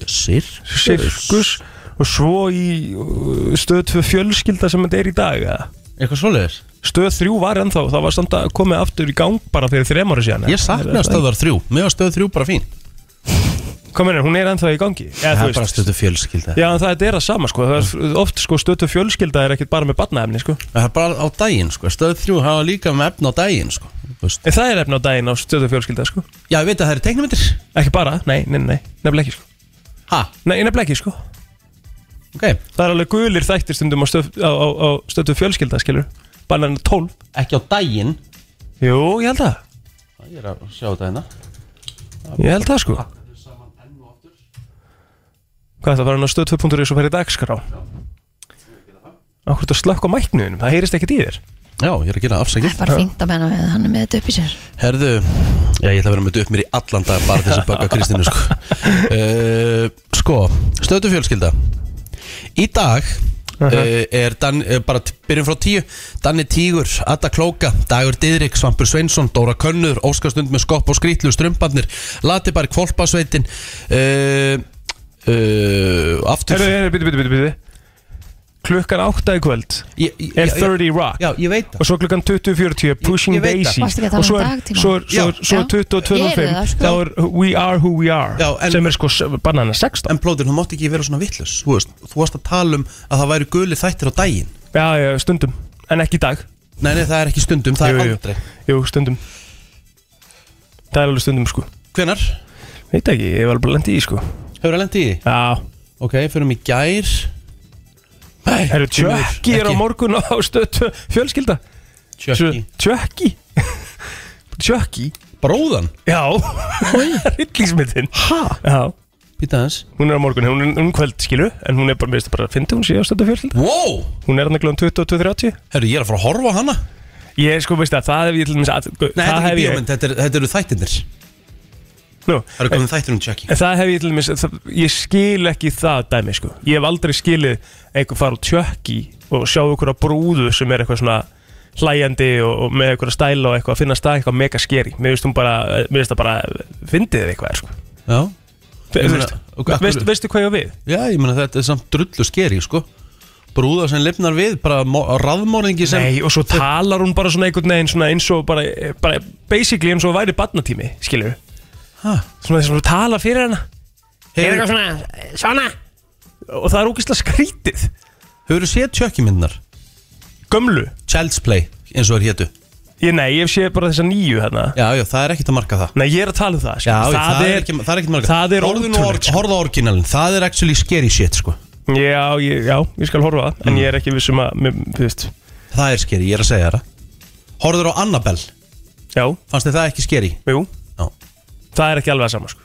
[SPEAKER 2] Sirkus
[SPEAKER 4] Sirkus og svo í uh, stöð 2 fjölskylda sem þetta er í dag eða?
[SPEAKER 2] eitthvað svoleiðis
[SPEAKER 4] Stöð 3 var ennþá, það var samt að komið aftur í gang bara fyrir þrem ára síðan eða?
[SPEAKER 2] ég sakna
[SPEAKER 4] Er það-
[SPEAKER 2] stöðar 3, mér var stöð 3 bara fín
[SPEAKER 4] Hvað meinar, hún er ennþá í gangi? Eða,
[SPEAKER 2] það
[SPEAKER 4] þú
[SPEAKER 2] er bara
[SPEAKER 4] veist.
[SPEAKER 2] stöðu fjölskylda
[SPEAKER 4] Já, en það þetta er að sama sko, það er oft sko stötu fjölskylda er ekkert bara með barnaefni sko
[SPEAKER 2] það er bara á daginn sko. stöð 3 hafa líka með efna á daginn sko. Þú veist.
[SPEAKER 4] En það er efni á daginn á stötu fjölskylda sko
[SPEAKER 2] já, ég veit að það eru teiknumyndir
[SPEAKER 4] Ekki bara, nei, nei, nei, nefnilega ekki sko
[SPEAKER 2] ha,
[SPEAKER 4] Nei, nefnilega ekki sko
[SPEAKER 2] ok,
[SPEAKER 4] Það er alveg gulir þættir stundum á, stöf, á, á, á stötu fjölskylda skilur Bara enn 12
[SPEAKER 2] ekki á daginn
[SPEAKER 4] Jú, ég held að,
[SPEAKER 2] ég er að sjá þetta hérna
[SPEAKER 4] ég held að sko Hvað þetta var hann á stöð 2.is og færði dagskrá? Akkur þetta slökk á mæknuðinum, það heyrist ekkert í þér
[SPEAKER 2] já, ég er að gera
[SPEAKER 3] Það
[SPEAKER 2] afsækjum
[SPEAKER 3] er bara fínt að menna með hann er með þetta upp í sér
[SPEAKER 2] Herðu, já ég ætla að vera með upp mér í allan dag bara til þess að bögga Kristínu sko. Uh, sko, stöðu fjölskylda Í dag uh er Dan, uh, bara t- byrjum frá tíu Danni Tígur, Adda Klóka, Dagur Didrik, Svampur Sveinsson, Dóra Könnur Óskastund með skopp og skrýtlu, strömbarnir Latibær, Kvolpasveitin uh, uh, Aftur
[SPEAKER 4] Herru, herru, byrju, byrju, byrju, byrju Klukkan átta í kvöld
[SPEAKER 2] ég, ég,
[SPEAKER 4] er
[SPEAKER 2] já,
[SPEAKER 4] 30 Rock
[SPEAKER 2] já, ég veit það
[SPEAKER 4] og svo klukkan 20.40 Pushing
[SPEAKER 2] ég veit það.
[SPEAKER 4] Daisy
[SPEAKER 3] Varstu ekki að tala
[SPEAKER 4] og svo
[SPEAKER 3] um
[SPEAKER 4] er,
[SPEAKER 3] dagtímann?
[SPEAKER 4] svo er, svo er,
[SPEAKER 2] Já,
[SPEAKER 4] svo er
[SPEAKER 3] já. Ég heyrði sko.
[SPEAKER 4] 22.25
[SPEAKER 3] það, sko.
[SPEAKER 4] þá er We Are Who We Are
[SPEAKER 2] Já, en-
[SPEAKER 4] sem er sko s- banana 16
[SPEAKER 2] En plóðir, þú mátt ekki vera svona vittlus Þú veist, þú varst að tala um að það væri guli þættir á daginn
[SPEAKER 4] já, já, stundum, en ekki í dag
[SPEAKER 2] Nei, nei, það er ekki stundum, það
[SPEAKER 4] Jú,
[SPEAKER 2] er
[SPEAKER 4] jú.
[SPEAKER 2] aldrei
[SPEAKER 4] jú, stundum það er alveg stundum sko
[SPEAKER 2] Hvenar?
[SPEAKER 4] veit ekki, ég var bara lendi í því, sko
[SPEAKER 2] Hefur það lendið í? því?
[SPEAKER 4] já,
[SPEAKER 2] Ok, förum í gær Nei,
[SPEAKER 4] það eru
[SPEAKER 2] því miður,
[SPEAKER 4] tjökki er á morgun á stöðu fjölskylda
[SPEAKER 2] Tjökki
[SPEAKER 4] tjökki tjökki,
[SPEAKER 2] Bróðan?
[SPEAKER 4] já rillingsmyndin
[SPEAKER 2] Ha?
[SPEAKER 4] já,
[SPEAKER 2] Býta hans
[SPEAKER 4] hún er á morgun, hún er um kvöld skilu en hún er bara, veist, bara fyndi hún sé á stöðu fjölskylda
[SPEAKER 2] Wow,
[SPEAKER 4] Hún er hann að glóðum 22.30
[SPEAKER 2] herru, ég er að fara að horfa á hana Nei,
[SPEAKER 4] Ég sko veist að það hef ég til dæmis að
[SPEAKER 2] þetta
[SPEAKER 4] það
[SPEAKER 2] er
[SPEAKER 4] hef
[SPEAKER 2] ekki
[SPEAKER 4] ég-
[SPEAKER 2] bíómynd, þetta, er- þetta eru þættirnir Það
[SPEAKER 4] Nú,
[SPEAKER 2] eru komin þættir um Tjökki
[SPEAKER 4] en Það hef ég til dæmis það, Ég skil ekki það dæmi sko Ég hef aldrei skilið einhver fara á tjökki og sjá einhverja brúðu sem er eitthvað svona hlæjandi og, og með einhverja stæla og eitthvað að finna stað eitthvað mega skeri Mér veist hún bara, mér veist það bara fyndið eitthvað er, sko.
[SPEAKER 2] Já,
[SPEAKER 4] Fe-
[SPEAKER 2] Ég
[SPEAKER 4] þú
[SPEAKER 2] meina,
[SPEAKER 4] veist,
[SPEAKER 2] og hvað-
[SPEAKER 4] veist, Veistu hvað ég á við?
[SPEAKER 2] já, ég meina þetta er samt drullu skeri, sko Brúða sem lifnar við, bara raðmóringi sem
[SPEAKER 4] Nei, og svo talar hún bara svona einhvern veginn svona eins og bara, bara basically eins og væri barnatími, skilur
[SPEAKER 2] Ha?
[SPEAKER 4] Svona þess að hún tala fyrir hana
[SPEAKER 2] Hefur
[SPEAKER 4] eitthvað svona, svona Og það er ógeðslega skrítið
[SPEAKER 2] þú séð Tjökki myndnar?
[SPEAKER 4] Gömlu
[SPEAKER 2] Child's Play, eins og er hétu
[SPEAKER 4] Ég nei, ég sé bara þessa nýju hérna
[SPEAKER 2] Já, já, það er ekkert að marka það
[SPEAKER 4] Nei, ég er að tala um það
[SPEAKER 2] Já,
[SPEAKER 4] sko.
[SPEAKER 2] það,
[SPEAKER 4] það,
[SPEAKER 2] er, ekki, það er ekkert marga
[SPEAKER 4] það er
[SPEAKER 2] Horfðu nú á-
[SPEAKER 4] ótrúlegt, sko.
[SPEAKER 2] Horfðu á orginalin, það er actually scary shit sko.
[SPEAKER 4] Já, ég, já, ég skal horfa á það En ég er ekki vissum að, mér, þú veist
[SPEAKER 2] Það er scary, Mm. ég er að segja þér það Horfður á Annabelle,
[SPEAKER 4] Já,
[SPEAKER 2] fannst þið það ekki scary?
[SPEAKER 4] jú,
[SPEAKER 2] Já,
[SPEAKER 4] það er ekki alveg að sama sko.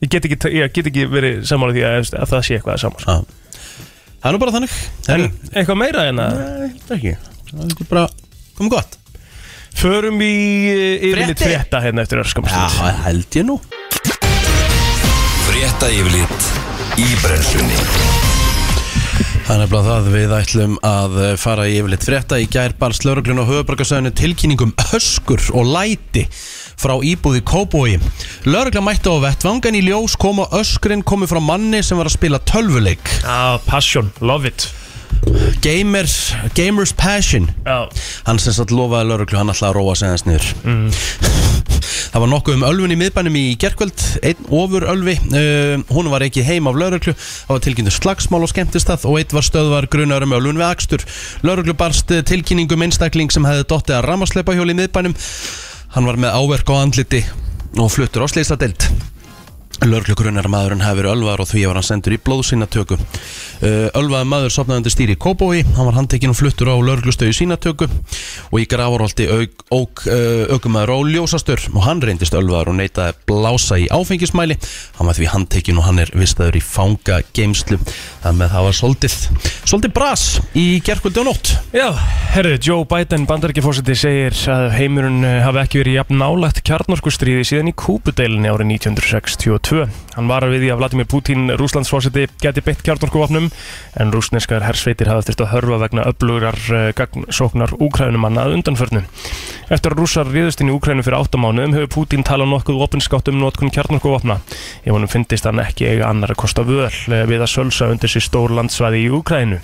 [SPEAKER 4] Ég get ekki, ég get ekki verið sammála því að, þú veist, að það sé eitthvað að sama sko.
[SPEAKER 2] já Það er nú bara þannig
[SPEAKER 4] En
[SPEAKER 2] Herru,
[SPEAKER 4] eitthvað meira hérna? en að
[SPEAKER 2] Nei, þetta ekki Það er ekki bara, komum gott
[SPEAKER 4] Förum í eh, yfirleitt
[SPEAKER 2] Fréttir?
[SPEAKER 4] frétta hérna eftir örskamast
[SPEAKER 2] Já, það held ég nú
[SPEAKER 1] Frétta yfirlit í brennslunni
[SPEAKER 2] Það er nefnilega það við ætlum að eh, fara í yfirleitt frétta í gær barst lauruglun og höfubarkasöðinu tilkynningum um öskur og læti frá íbúði Kóbói. Laurugla mætti á vettvangan í ljós kom og öskrin komi frá manni sem var að spila tölvuleik.
[SPEAKER 4] Já, Ah, passion, love it
[SPEAKER 2] Gamers, gamers passion.
[SPEAKER 4] Já,
[SPEAKER 2] Hann sem satt lofaði lauruglu, hann ætlaði að róa sig hans niður. Það var nokkuð um ölfun í miðbænum í gerkvöld Einn ofur ölfi uh, Hún var ekki heim af lauruglu Það var tilkynntu slagsmál og skemmtistað Og einn var stöðvar grunar um ölfun við akstur Lauruglu barst eh, tilkynning um einstakling sem hefði dottið að ramasleipa hjóli í miðbænum Hann var með áverk á andliti og fluttur á sleisadelt Lörglugrunar maðurinn hafi verið ölvaður og því var hann sendur í blóðsýnatöku. Uh, Ölvaður maður sopnaði undir stýri í Kóbói, hann var handtekinn og fluttur á lörglustöðu sínatöku og í gravarholti auk, auk, uh, aukumæður á ljósastur og hann reyndist ölvaður og neytaði að blása í áfengismæli. Hann var því handtekinn og hann er vistaður í fangageimslu. Þannig að það var soldið, soldið bras í gerkvöldi og nótt.
[SPEAKER 4] Já, herðu, Joe Biden, bandarækjafósiti, segir að heimurinn eh, hafi ekki verið jafn nálægt kjarnorkustríði síðan í Kúpudeilinni árið 1962. Hann varar við því að Vladimir Putin, Rúslandsfósiti, geti beitt kjarnorkuvopnum en rúsneskar hersveitir hafa þurft að hörfa vegna öflugurar eh, gagnsóknar úkrænumanna að undanförnu. Eftir að rússar réðust inn í Úkrænu fyrir 8 mánuðum hefur Putin talað nokkuð opinskátt um notkun kjarnorkuvopna. Ef honum fyndist hann ekki eiga annar að kosta völ eh, við að sölsa undir sér stór landsvæði í Úkrænu.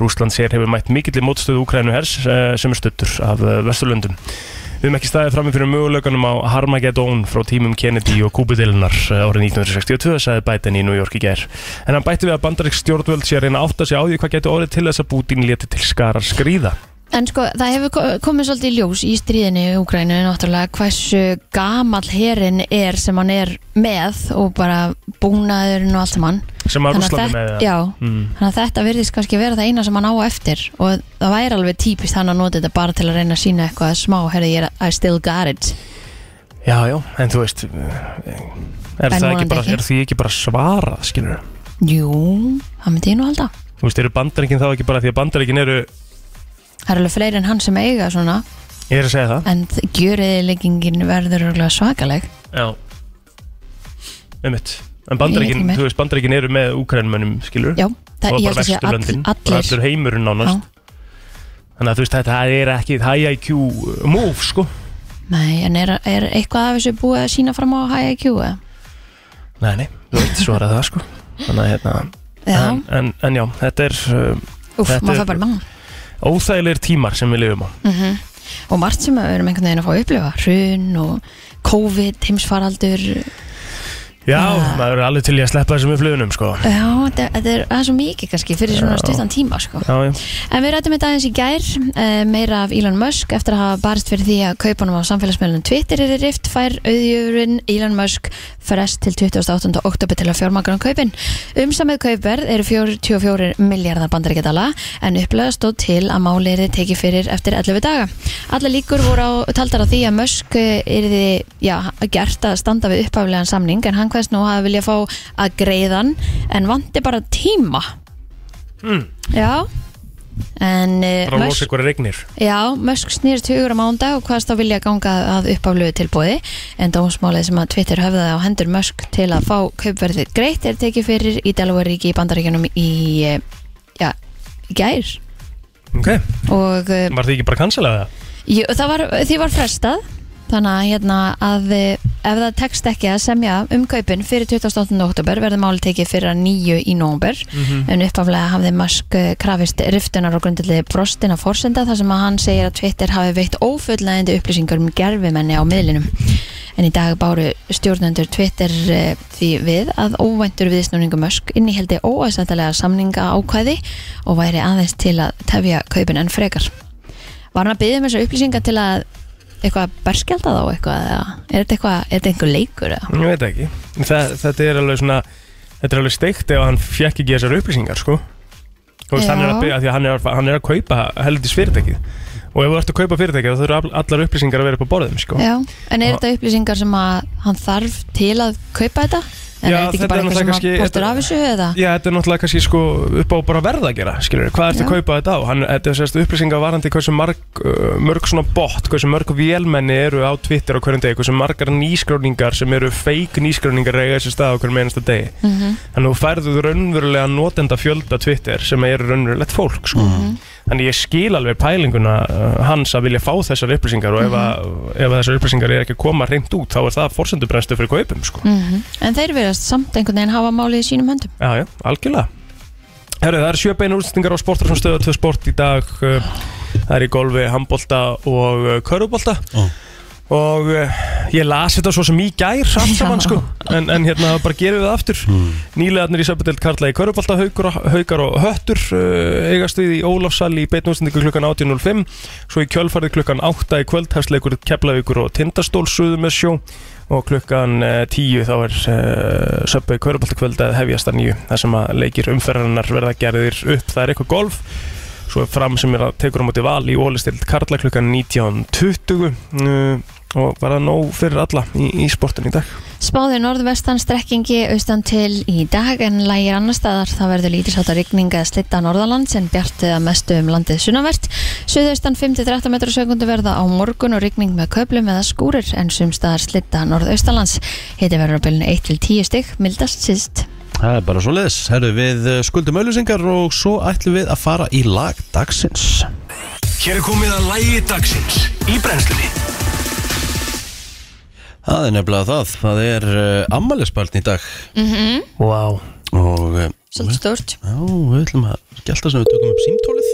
[SPEAKER 4] Rúsland sér hefur mætt mikill í mótstöðu Úkrænu hers eh, sem er stöttur af eh, Vesturlöndum. Við hefum ekki staðið frammi fyrir möguleikunum á Harmageddon frá tímum Kennedy og Kúbudilnar árið 1962, sagði Biden í New York í gær. En hann bætti við að bandarík stjórnvöld sé að reyna að átta sig á því hvað getur orðið til þess að Putin leti til skarar skrýða.
[SPEAKER 3] En sko, það hefur ko- komið svolítið í ljós í stríðinu í Úgrænu náttúrulega hversu gamall herin er sem hann er með og bara búnaðurinn og allt saman
[SPEAKER 4] Sem að Rúsland er
[SPEAKER 3] þetta,
[SPEAKER 4] með eða?
[SPEAKER 3] já,
[SPEAKER 4] Mm.
[SPEAKER 3] þannig að þetta virðist kannski vera það eina sem hann á eftir og það væri alveg típist hann að nota þetta bara til að reyna að sína eitthvað smá, herri, ég er I still got it
[SPEAKER 4] Já, já, en þú veist Er,
[SPEAKER 3] En
[SPEAKER 4] það ekki
[SPEAKER 3] vonandi
[SPEAKER 4] bara,
[SPEAKER 3] ekki.
[SPEAKER 4] er því ekki bara svarað, skilur
[SPEAKER 3] Jú, það myndi ég nú halda
[SPEAKER 4] Þú veist, eru bandaríkin þá ekki bara því að bandaríkin eru
[SPEAKER 3] Það er alveg fleiri en hann sem eiga svona
[SPEAKER 4] Ég er að segja það
[SPEAKER 3] en gjöriðileggingin verður örugglega svakaleg
[SPEAKER 4] Já Einmitt En
[SPEAKER 3] Ég
[SPEAKER 4] bandaríkin,
[SPEAKER 3] veit ekki
[SPEAKER 4] þú veist, bandaríkin eru með úkrænmönnum, skilur
[SPEAKER 3] Já, það,
[SPEAKER 4] Og
[SPEAKER 3] ég held
[SPEAKER 4] bara
[SPEAKER 3] að sé all,
[SPEAKER 4] vesturlöndin Bara
[SPEAKER 3] allir
[SPEAKER 4] allur heimurinn
[SPEAKER 3] Já,
[SPEAKER 4] nánast Þannig að þú veist, þetta er ekki high IQ move, sko
[SPEAKER 3] Nei, en er, er eitthvað af þessu búið að sína fram á high IQ? eða?
[SPEAKER 4] Nei, nei, þú veit, svo er það, sko Þannig að, hérna
[SPEAKER 3] Já,
[SPEAKER 4] en, en, en já, þetta er uh,
[SPEAKER 3] úf,
[SPEAKER 4] þetta
[SPEAKER 3] maður
[SPEAKER 4] er-
[SPEAKER 3] fær bara mann
[SPEAKER 4] óþægilegir tímar sem við lifum á
[SPEAKER 3] Mhm. Og margt sem við erum einhvern veginn að fá að upplifa Hrun og COVID, heimsfaraldur
[SPEAKER 4] Já,
[SPEAKER 3] Ah.
[SPEAKER 4] maður er alveg til í að sleppa þessum upplifunum, sko
[SPEAKER 3] Já, þetta þetta er aðeins svo mikið kannski fyrir svona stuttan tíma sko.
[SPEAKER 4] Já, já
[SPEAKER 3] En við rættum þetta aðeins í gær uh, meira af Elon Musk eftir að hafa barist fyrir því að kaupanum á samfélagsmiðlunum Twitter er í rift fær auðjöfurinn Elon Musk frest til 28. oktober til að fjármagra um kaupin. Umsamið kaupverð eru 44 miljardar bandaríkjadala en upplega stóð til að máli er þið tekið fyrir eftir 11 daga. Alla líkur voru á, taldar á því að Musk er þið já, gert að standa við upphaflegan samning en hann hverst nú að vilja fá að greiðan en vanti bara tíma. Mm. Já. En uh,
[SPEAKER 4] Hmm, bara að losa
[SPEAKER 3] Musk,
[SPEAKER 4] ykkur regnir
[SPEAKER 3] já, Musk snýrst hugur á mánda og hvaðast þá vilja ganga að uppaflögu tilbúði en dómsmálið sem að Twitter höfðaði á hendur Musk til að fá kaupverðið greitt er tekið fyrir í Delaware ríki í bandaríkjunum í eh, já, í gær
[SPEAKER 4] ok,
[SPEAKER 3] og eh,
[SPEAKER 4] var þið ekki bara að cancela það?
[SPEAKER 3] jú, það var, því var frestað þannig að, hérna, að eh, ef það tekst ekki að semja um kaupin fyrir 28. oktober verður máli tekið fyrir að nýju í nómber en uppaflega hafði Musk eh, krafist riftunar á grundildi brostina forsenda þar sem að hann segir að Twitter hafi veitt ófullnæðindi upplýsingar um gerfimenni á miðlinum. En í dag báru stjórnendur Twitter eh, því við að óvæntur viðsnúningu Musk inniheldi óaðsendalega samninga ákvæði og væri aðeins til að tefja kaupin enn frekar. Var hann að byggja um þessar upplýsinga til að eitthvað berskjálta þá eitthvað eða er þetta eitthvað, er þetta einhver leikur eða?
[SPEAKER 4] ég veit ekki, það, þetta er alveg svona þetta er alveg steikt ef hann fjekk ekki þessar upplýsingar sko þú veist,
[SPEAKER 3] Já.
[SPEAKER 4] hann er að byrja því að hann er, að- hann er að kaupa helvitis fyrirtækið og ef þú ert að kaupa fyrirtækið þá þurfa all- allar upplýsingar að vera upp á borðum sko.
[SPEAKER 3] Já, en er
[SPEAKER 4] Og-
[SPEAKER 3] þetta upplýsingar sem að hann þarf til að kaupa þetta? En
[SPEAKER 4] Já,
[SPEAKER 3] er þetta
[SPEAKER 4] þetta
[SPEAKER 3] ekki bara
[SPEAKER 4] er
[SPEAKER 3] eitthvað sem
[SPEAKER 4] náttúrulega
[SPEAKER 3] að
[SPEAKER 4] kannski-
[SPEAKER 3] bóttur af þessu eða?
[SPEAKER 4] Já, þetta er náttúrulega kannski sko upp á bara verða að gera, skilur hvað ertu
[SPEAKER 3] Já.
[SPEAKER 4] að kaupa þetta á? Hann, þetta er sérst upplýsingar varandi hversu marg, uh, mörg svona bot, hversu mörg vélmenni eru á Twitter á hverjum degi, hversu margar nýskráningar sem eru fake nýskráningar eiga þessu stað á hverjum einasta degi. Mm -hmm. Þannig þú færðu raunverulega notenda fjölda Twitter sem eru raunverulegt fólk, sko. Þannig ég skil alveg pælinguna uh, hans að vilja fá þessar upplýsingar og ef, að, ef að þessar upplýsingar er ekki að koma reynd út þá er það forsendubrenstu fyrir kaupum, sko.
[SPEAKER 3] Mhm. En þeir verðast samt einhvern veginn hafa málið í sínum höndum.
[SPEAKER 4] Já, já, algjörlega Herru, það eru sjö beina útsendingar á sportar sem stöða tvö sport í dag eh, uh, Það er í golfi, handbolta eh, og uh, körfubolta
[SPEAKER 2] Ó.
[SPEAKER 4] Og uh, Ég las þetta svo sem í gær samt saman
[SPEAKER 3] Já.
[SPEAKER 4] sko en, en hérna bara gerum við það aftur mm. Nýlegarnir í Söpudeld Karla í Körubalta haukur, Haukar og Höttur uh, eigast við í Ólafsall í beitnústendingu klukkan 18.05 Svo í kjölfarið klukkan 8 í kvöld hefstleikur Keflavíkur og Tindastól suðu með sjó og klukkan eh, 10 þá er uh, Söpudeld Körubalta kvöld að hefjast að nýju þar sem að leikir umferðarinnar verða gerðir upp það er eitthvað golf svo er fram sem er að tekur á móti val í ólistild Karla klukkan 19.20 uh, og bara nóg fyrir alla í, í sportin í dag
[SPEAKER 3] Spáði norðvestan strekkingi austan til í dag en lægir annar staðar það verður lítið sátt að rigninga að slitta norðalands en bjartið að mestu um landið sunnavert. Suðaustan 5-13 metrar á sekundu verða á morgun og rigning með köplum eða skúrir en sum staðar slitta norðaustalands. Hiti verður á bylnu 1-10 stygg, mildast síðst.
[SPEAKER 2] Það er bara svo leiðis. Herru, við eh, skuldum auðlýsingar og svo ætlum við að fara í lag dagsins.
[SPEAKER 5] Hér er komið að lægi dagsins í brennslunni
[SPEAKER 2] Það er nefnilega það. Það er uh, ammælisbarn í dag
[SPEAKER 4] Wow.
[SPEAKER 2] og
[SPEAKER 4] eh,
[SPEAKER 2] uh,
[SPEAKER 3] Mhm. Svolítið stórt.
[SPEAKER 2] já, við ætlum að gælta sem við tökum upp símtólið.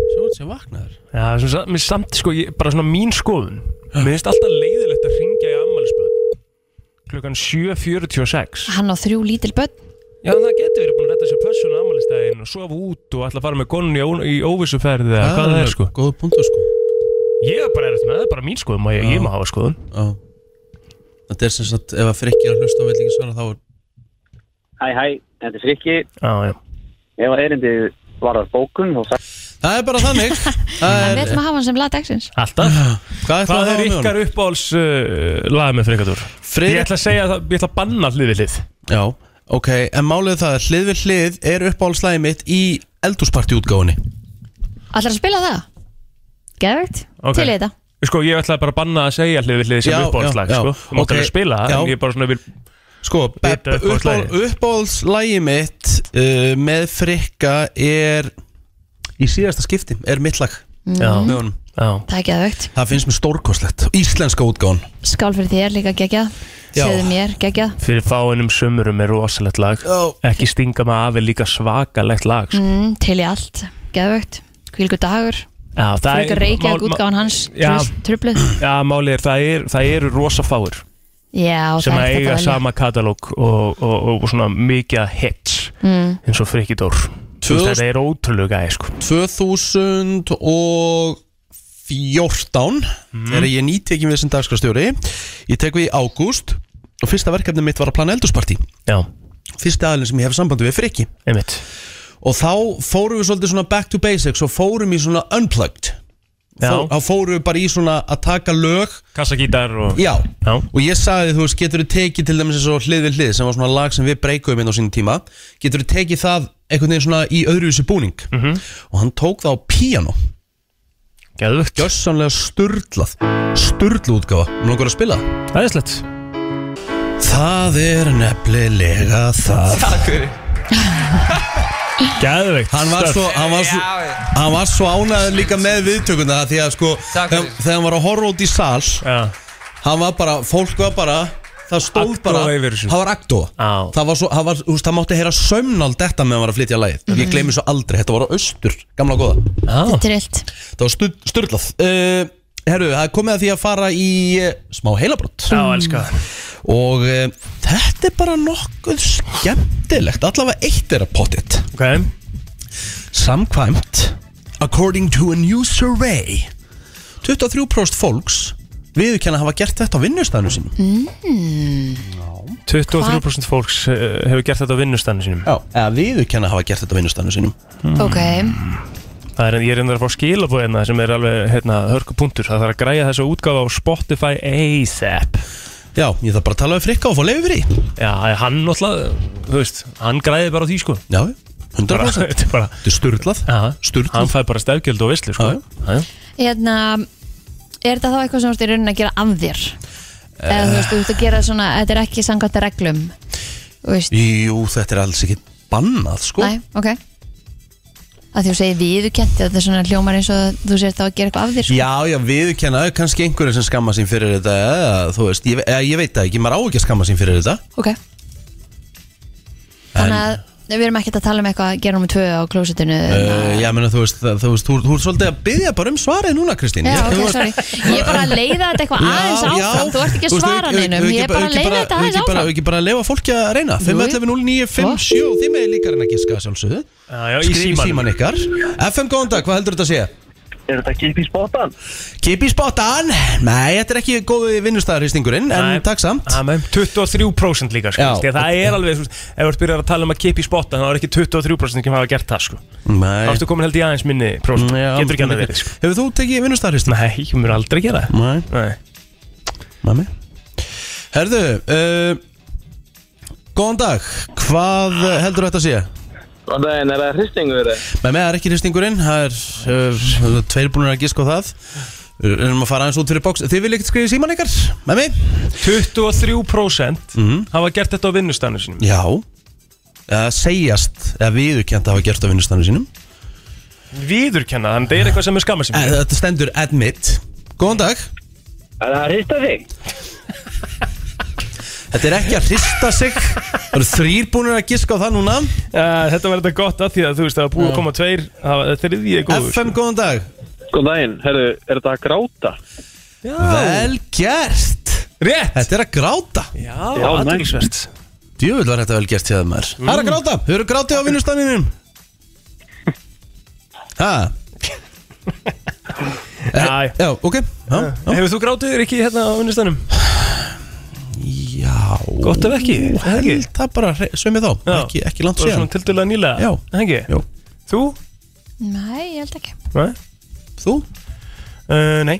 [SPEAKER 2] Svo er þetta vaknaður.
[SPEAKER 4] Já, sem, sa- mér samt sko, ég, bara svona mín skoðun Mér finnst alltaf leiðilegt að ringja í ammælisböð Klukkan 7.46
[SPEAKER 3] Hann á þrjú lítil börn.
[SPEAKER 4] Já, það getur verið búin að redda sér pössun á ammælistæðin og sofa út og ætla að fara með konun í, ó- í óvissuferði
[SPEAKER 6] Ah.
[SPEAKER 4] eða hvað það er sko
[SPEAKER 2] Góð punktu sko.
[SPEAKER 4] Ég er bara erist með, það er bara mín skoðun og ég, ég má hafa skoðun
[SPEAKER 2] Já. Þetta er sem sagt, ef að frikki er að hlusta á villingi svara þá er...
[SPEAKER 7] Hæ, hæ, þetta er Frikki.
[SPEAKER 4] Já, já
[SPEAKER 7] Ef að erindið varðar bókun, þá sagði
[SPEAKER 2] Það er bara þannig. Það
[SPEAKER 3] Við
[SPEAKER 2] er...
[SPEAKER 3] ætlum að hafa hann sem lag dagsins.
[SPEAKER 4] Alltaf
[SPEAKER 2] Hvað ætlum
[SPEAKER 4] Hvað
[SPEAKER 2] að
[SPEAKER 4] er
[SPEAKER 2] hafa með
[SPEAKER 4] ykkar
[SPEAKER 2] honum?
[SPEAKER 4] uppáhalds uh, lag með frekatúr? Ég
[SPEAKER 2] Friðrik...
[SPEAKER 4] ætla að segja, það- ég ætla að banna hlið við hlið
[SPEAKER 2] Já, ok. En málið er það er hlið við hlið er uppáhaldslæði mitt í eldúsparti útgáfunni.
[SPEAKER 3] Ætlar að spila það? Geðvegt.
[SPEAKER 4] Ok.
[SPEAKER 3] Til í þetta.
[SPEAKER 4] Sko, ég ætlaði bara að banna að segja hlið við hlið sem
[SPEAKER 2] Já, já,
[SPEAKER 4] uppáhaldslag,
[SPEAKER 2] já.
[SPEAKER 4] sko. Þú mátt
[SPEAKER 2] Ok,
[SPEAKER 4] alveg spila það,
[SPEAKER 2] já.
[SPEAKER 4] en ég er bara svona vil...
[SPEAKER 2] Sko, Beb,
[SPEAKER 4] Vita uppáhaldslægið.
[SPEAKER 2] uppáhald- uppáhaldslægi mitt uh, með frikka er í síðasta skipti, er mitt lag með honum.
[SPEAKER 4] Já.
[SPEAKER 3] Það er geðvegt.
[SPEAKER 2] Það finnst mér stórkostlegt. Íslenska útgáfun.
[SPEAKER 3] Skál fyrir þér líka geggjað.
[SPEAKER 2] Já.
[SPEAKER 3] Segðu mér geggjað.
[SPEAKER 4] Fyrir fáinum sömurum er rosalegt lag.
[SPEAKER 2] Já.
[SPEAKER 4] Ekki stinga maður af er líka svakalegt lag, sko.
[SPEAKER 3] Mm, til í allt, geðvögt Hvilgu dagur,
[SPEAKER 4] Já, það
[SPEAKER 3] frekar reykjað útgáðan hans
[SPEAKER 4] Já.
[SPEAKER 3] trus- trufluð
[SPEAKER 4] Já, málið er, það er, það eru rosa fáir
[SPEAKER 3] Já,
[SPEAKER 4] sem
[SPEAKER 3] það er
[SPEAKER 4] að
[SPEAKER 3] þetta
[SPEAKER 4] eiga
[SPEAKER 3] vel
[SPEAKER 4] sama katalóg og, og, og, og svona mikið að hits mm. eins og Frikki Dór. Þú veist,
[SPEAKER 2] 2000
[SPEAKER 4] Þetta er ótrúlega gæði, sko.
[SPEAKER 2] 2014
[SPEAKER 4] Mhm.
[SPEAKER 2] þegar ég nýtekinn við sem dagskrastjóri ég tek við í ágúst og fyrsta verkefni mitt var að plana eldursparti
[SPEAKER 4] Já,
[SPEAKER 2] fyrsti aðlinn sem ég hef sambandi við er frikki
[SPEAKER 4] einmitt.
[SPEAKER 2] og þá fórum við svolítið svona back to basics og fórum í svona unplugged
[SPEAKER 4] Já.
[SPEAKER 2] Fó- þá fórum við bara í svona að taka lög
[SPEAKER 4] Kassagítar og...
[SPEAKER 2] já
[SPEAKER 4] Já.
[SPEAKER 2] og ég sagði þú veist getur þú tekið til dæmis eins og hlið við hlið sem var svona lag sem við breykuðum inn á sínum tíma getur þú tekið það einhvern veginn svona í öðruvísi búning
[SPEAKER 4] Mhm.
[SPEAKER 2] -hmm. og hann tók það á píano
[SPEAKER 4] Gæðvögt.
[SPEAKER 2] gjössanlega sturlað sturlu útgafa, mér langar að spila það.
[SPEAKER 4] Æðislegt.
[SPEAKER 2] það er nefnilega það
[SPEAKER 4] Gæðvögt.
[SPEAKER 2] hann var svo, hann var svo, hann var svo ánæður líka með viðtökuna því að sko þegar, þegar hann var að horfa út í sal
[SPEAKER 4] Já.
[SPEAKER 2] hann var bara, fólk var bara það stóð
[SPEAKER 4] Agndofa
[SPEAKER 2] bara,
[SPEAKER 4] yfir þessu.
[SPEAKER 2] hann var akto
[SPEAKER 4] Á.
[SPEAKER 2] Sko, það var svo, hann var, þú veist, það mátti heyra sömnald þetta meðan hann var að flytja lagið
[SPEAKER 4] Mhm.
[SPEAKER 2] ég gleymi svo aldrei, þetta var á austur, gamla góða
[SPEAKER 4] Já.
[SPEAKER 3] Þetta er illt
[SPEAKER 2] það var stu- sturlað uh, herru, það er komið að því að fara í uh, smá heilabrott
[SPEAKER 4] Já, elska það.
[SPEAKER 2] Og e, þetta er bara nokkuð skemmtilegt Allavega eitt er að pottit
[SPEAKER 4] Ok.
[SPEAKER 2] Samkvæmt According to a new survey 23% fólks viðurkenna að hafa gert þetta á vinnustæðinu sínum
[SPEAKER 3] Mm.
[SPEAKER 4] 23% fólks eh, hefur gert þetta á vinnustannu sínum Mm.
[SPEAKER 2] Já, eða viðurkenna að hafa gert þetta á vinnustæðinu sínum
[SPEAKER 3] Ok,
[SPEAKER 4] Það er, ég er endur að fá skilabóðina sem er alveg, hérna, hörkupunktur Það þarf að græja þessa útgáfa á Spotify ASAP
[SPEAKER 2] Já, ég þarf bara að tala við frikka og fá leiði fyrir því
[SPEAKER 4] Já, hann náttúrulega, þú veist, hann græði bara á því, sko
[SPEAKER 2] Já,
[SPEAKER 4] Bara,
[SPEAKER 2] 100%
[SPEAKER 4] þetta er bara
[SPEAKER 2] Þetta er sturglað
[SPEAKER 4] Aha,
[SPEAKER 2] Sturlað.
[SPEAKER 4] Hann fæ bara stefgjöld og visli, sko
[SPEAKER 2] Já,
[SPEAKER 4] Já, já.
[SPEAKER 3] hérna Er þetta þá eitthvað sem þú ert í rauninni að gera af þér?
[SPEAKER 2] Eh.
[SPEAKER 3] Eða þú veist, þú ert að gera svona Þetta er ekki samkvæmt reglum Þú veist,
[SPEAKER 2] Jú, þetta er alls ekki bannað, sko
[SPEAKER 3] næ, ok Að því þú segir viðurkennt Þetta er svona hljómar eins og þú sér þá að gera eitthvað af þér sko.
[SPEAKER 2] Já, já, viðurkenna kannski einhverju sem skamma sín fyrir þetta eða, Þú veist, ég, eða, ég veit það ekki, maður á ekki að skamma sín fyrir þetta
[SPEAKER 3] Ok Þannig að við erum ekkert að tala um eitthvað að gera nummer tvö á klósitinu
[SPEAKER 2] Uh, já, menna, þú veist, það- þú veist, þú þú ert svolítið að byggja bara um svarið núna, Kristín
[SPEAKER 3] Já,
[SPEAKER 2] Ég-
[SPEAKER 3] ok,
[SPEAKER 2] þú veist-
[SPEAKER 3] sorry Ég er bara að leiða þetta eitthvað
[SPEAKER 2] Já,
[SPEAKER 3] aðeins
[SPEAKER 2] já.
[SPEAKER 3] áfram Þú ert ekki að
[SPEAKER 2] veist,
[SPEAKER 3] svara
[SPEAKER 2] auk- auk-
[SPEAKER 3] neinum Ég
[SPEAKER 2] auk-
[SPEAKER 3] er bara að
[SPEAKER 2] auk-
[SPEAKER 3] leiða
[SPEAKER 2] bara-
[SPEAKER 3] þetta
[SPEAKER 2] auk-
[SPEAKER 3] aðeins
[SPEAKER 2] bara-
[SPEAKER 3] áfram
[SPEAKER 2] Ekki bara að leiða fólki að reyna
[SPEAKER 3] Jú, jú.
[SPEAKER 2] 511-0957 Þið með líka reyna að giska að sjálfsögðu
[SPEAKER 4] Já, já, í
[SPEAKER 2] Skrif í
[SPEAKER 4] símanum.
[SPEAKER 2] síman ykkar FM, góðan dag, hvað heldur þetta að segja?
[SPEAKER 7] Er þetta kip í spottan?
[SPEAKER 2] Kipi spottan Nei, þetta er ekki góði vinnustæðarhýstingurinn En
[SPEAKER 4] Nei.
[SPEAKER 2] takk samt
[SPEAKER 4] Amen, 23% líka sko,
[SPEAKER 2] Já.
[SPEAKER 4] veist, ég, það er alveg, svo, ef þú ert byrjar að tala um að kippa í spotta þannig að það er ekki 23% sem hafa gert það sko.
[SPEAKER 2] Nei.
[SPEAKER 4] þá ertu komin held í aðeins minni prósent,
[SPEAKER 2] Já,
[SPEAKER 4] getur ekki annað verið sko.
[SPEAKER 2] Hefur þú tekið vinnustæðarhýsting?
[SPEAKER 4] nei, ég mun aldrei gera það
[SPEAKER 2] Nei,
[SPEAKER 4] Nei.
[SPEAKER 2] mami Herðu uh, Góðan dag, hvað heldur þetta að segja?
[SPEAKER 7] Góðan daginn, er það hristingur?
[SPEAKER 2] Með með það er ekki hristingurinn, það er uh, tveir búinir að gíska á það Við erum að fara aðeins út fyrir bóks Þið viljið ekkert skrifa í síman ykkar, með mig?
[SPEAKER 4] 23% hafa gert þetta á vinnustanum sínum
[SPEAKER 2] Já Eða segjast, eða viðurkjönt að hafa gert á vinnustanum sínum
[SPEAKER 4] viðurkenna, þannig að það er eitthvað sem er skammar
[SPEAKER 2] Eh,
[SPEAKER 4] sín
[SPEAKER 2] Þetta stendur admit Góðan dag
[SPEAKER 7] Er það hrista þig?
[SPEAKER 2] Þetta er ekki að hrista sig Það eru þrýr búinir að gíska á það núna
[SPEAKER 4] þetta var þetta gott að því að þú veist það var búið að koma tveir það var þriðið góður
[SPEAKER 2] FM, góðan dag
[SPEAKER 7] Góðan daginn, herru, er þetta að gráta?
[SPEAKER 2] Vel gert
[SPEAKER 4] rétt
[SPEAKER 2] Þetta er að gráta
[SPEAKER 4] já,
[SPEAKER 7] næs.
[SPEAKER 4] athyglisvert. Mm.
[SPEAKER 2] Djöfull var þetta vel gert hjá þeim maður Það er að gráta, þau eru grátið á vinnustanninum Ha? Eh,
[SPEAKER 4] Já, já.
[SPEAKER 2] Já, ok Já, já.
[SPEAKER 4] Eh, hefur þú grátið þér ekki hérna á vinnustanum?
[SPEAKER 2] já.
[SPEAKER 4] gott ef ekki, það ekki
[SPEAKER 2] Held það bara sömið þá,
[SPEAKER 4] Já.
[SPEAKER 2] ekki, ekki langt
[SPEAKER 4] Það var
[SPEAKER 2] síðan
[SPEAKER 4] svona tildulega nýlega
[SPEAKER 2] Já.
[SPEAKER 4] Það ekki?
[SPEAKER 2] Jú.
[SPEAKER 4] Þú?
[SPEAKER 3] Nei, ég held ekki
[SPEAKER 4] Nei,
[SPEAKER 2] Þú?
[SPEAKER 4] uh, nei.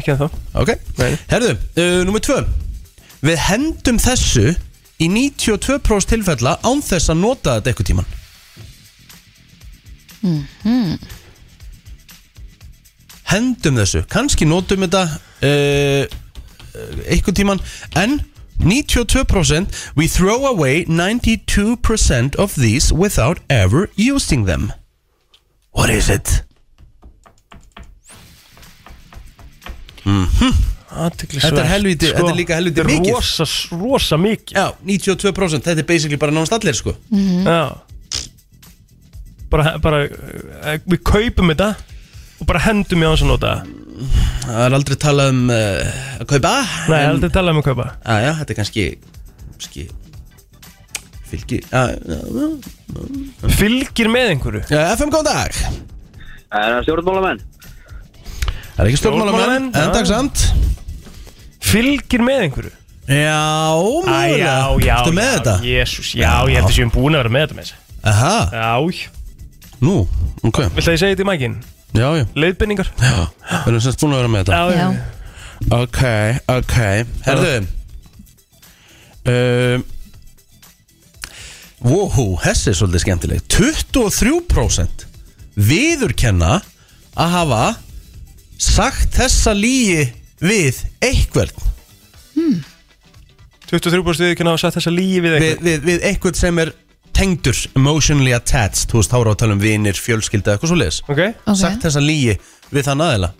[SPEAKER 4] ekki að þá
[SPEAKER 2] Ok
[SPEAKER 4] Nei.
[SPEAKER 2] Herðu, uh, nummer tvö Við hendum þessu í 92% tilfella án þess að nota þetta eitthvað tíman Hendum þessu, kannski notum þetta uh, eitthvað tíman en 92% we throw away 92% of these without ever using them What is it?
[SPEAKER 4] Athyglisvert.
[SPEAKER 2] Þetta er helvíti- þetta er líka helvíti
[SPEAKER 4] Sko, Þetta
[SPEAKER 2] mikið.
[SPEAKER 4] er rosa, rosa mikið
[SPEAKER 2] Já, 92% þetta er basically bara nánast allir sko
[SPEAKER 4] Mhm. Já Bara, bara eh, Við kaupum þetta Og bara hendum í hans að nota það.
[SPEAKER 2] Það er aldrei talað um uh, að kaupa
[SPEAKER 4] Nei, en... aldrei tala um að kaupa
[SPEAKER 2] Aja, þetta er kannski, kannski Fylgi Ah, að,
[SPEAKER 4] Fylgir með einhverju
[SPEAKER 2] ja, FM góðan dag Það
[SPEAKER 7] Er það stjórnmálamenn?
[SPEAKER 2] er ekki stjórnmálamenn,
[SPEAKER 4] Stjórnmálamenn, já.
[SPEAKER 2] en takk samt
[SPEAKER 4] Fylgir með einhverju
[SPEAKER 2] Já,
[SPEAKER 4] Æ,
[SPEAKER 2] mögulega
[SPEAKER 4] já, já
[SPEAKER 2] Ertu með
[SPEAKER 4] já,
[SPEAKER 2] þetta?
[SPEAKER 4] Jésús, já, ég held að séum búin að vera með þetta með þessu
[SPEAKER 2] Aha,
[SPEAKER 4] Já,
[SPEAKER 2] nú, ok
[SPEAKER 4] vilt að ég segja þetta í mækin?
[SPEAKER 2] Já, já,
[SPEAKER 4] Leiðbendingar
[SPEAKER 2] já Við erum semst búin að vera með þetta
[SPEAKER 3] Já,
[SPEAKER 2] Ok, ok Herðu um, Wow, þessi er svolítið skemmtileg 23% viðurkenna að hafa sagt þessa lígi við einhvern
[SPEAKER 4] 23% við kynna að setja þessa lífi við
[SPEAKER 2] við,
[SPEAKER 4] einhverju
[SPEAKER 2] við, við einhvern sem er tengdur emotionally attached þú veist, þá er á að tala um vinir, fjölskylda, eitthvað svo leiðis
[SPEAKER 4] Ok
[SPEAKER 3] ok
[SPEAKER 2] sagt þessa lígi við þann aðeila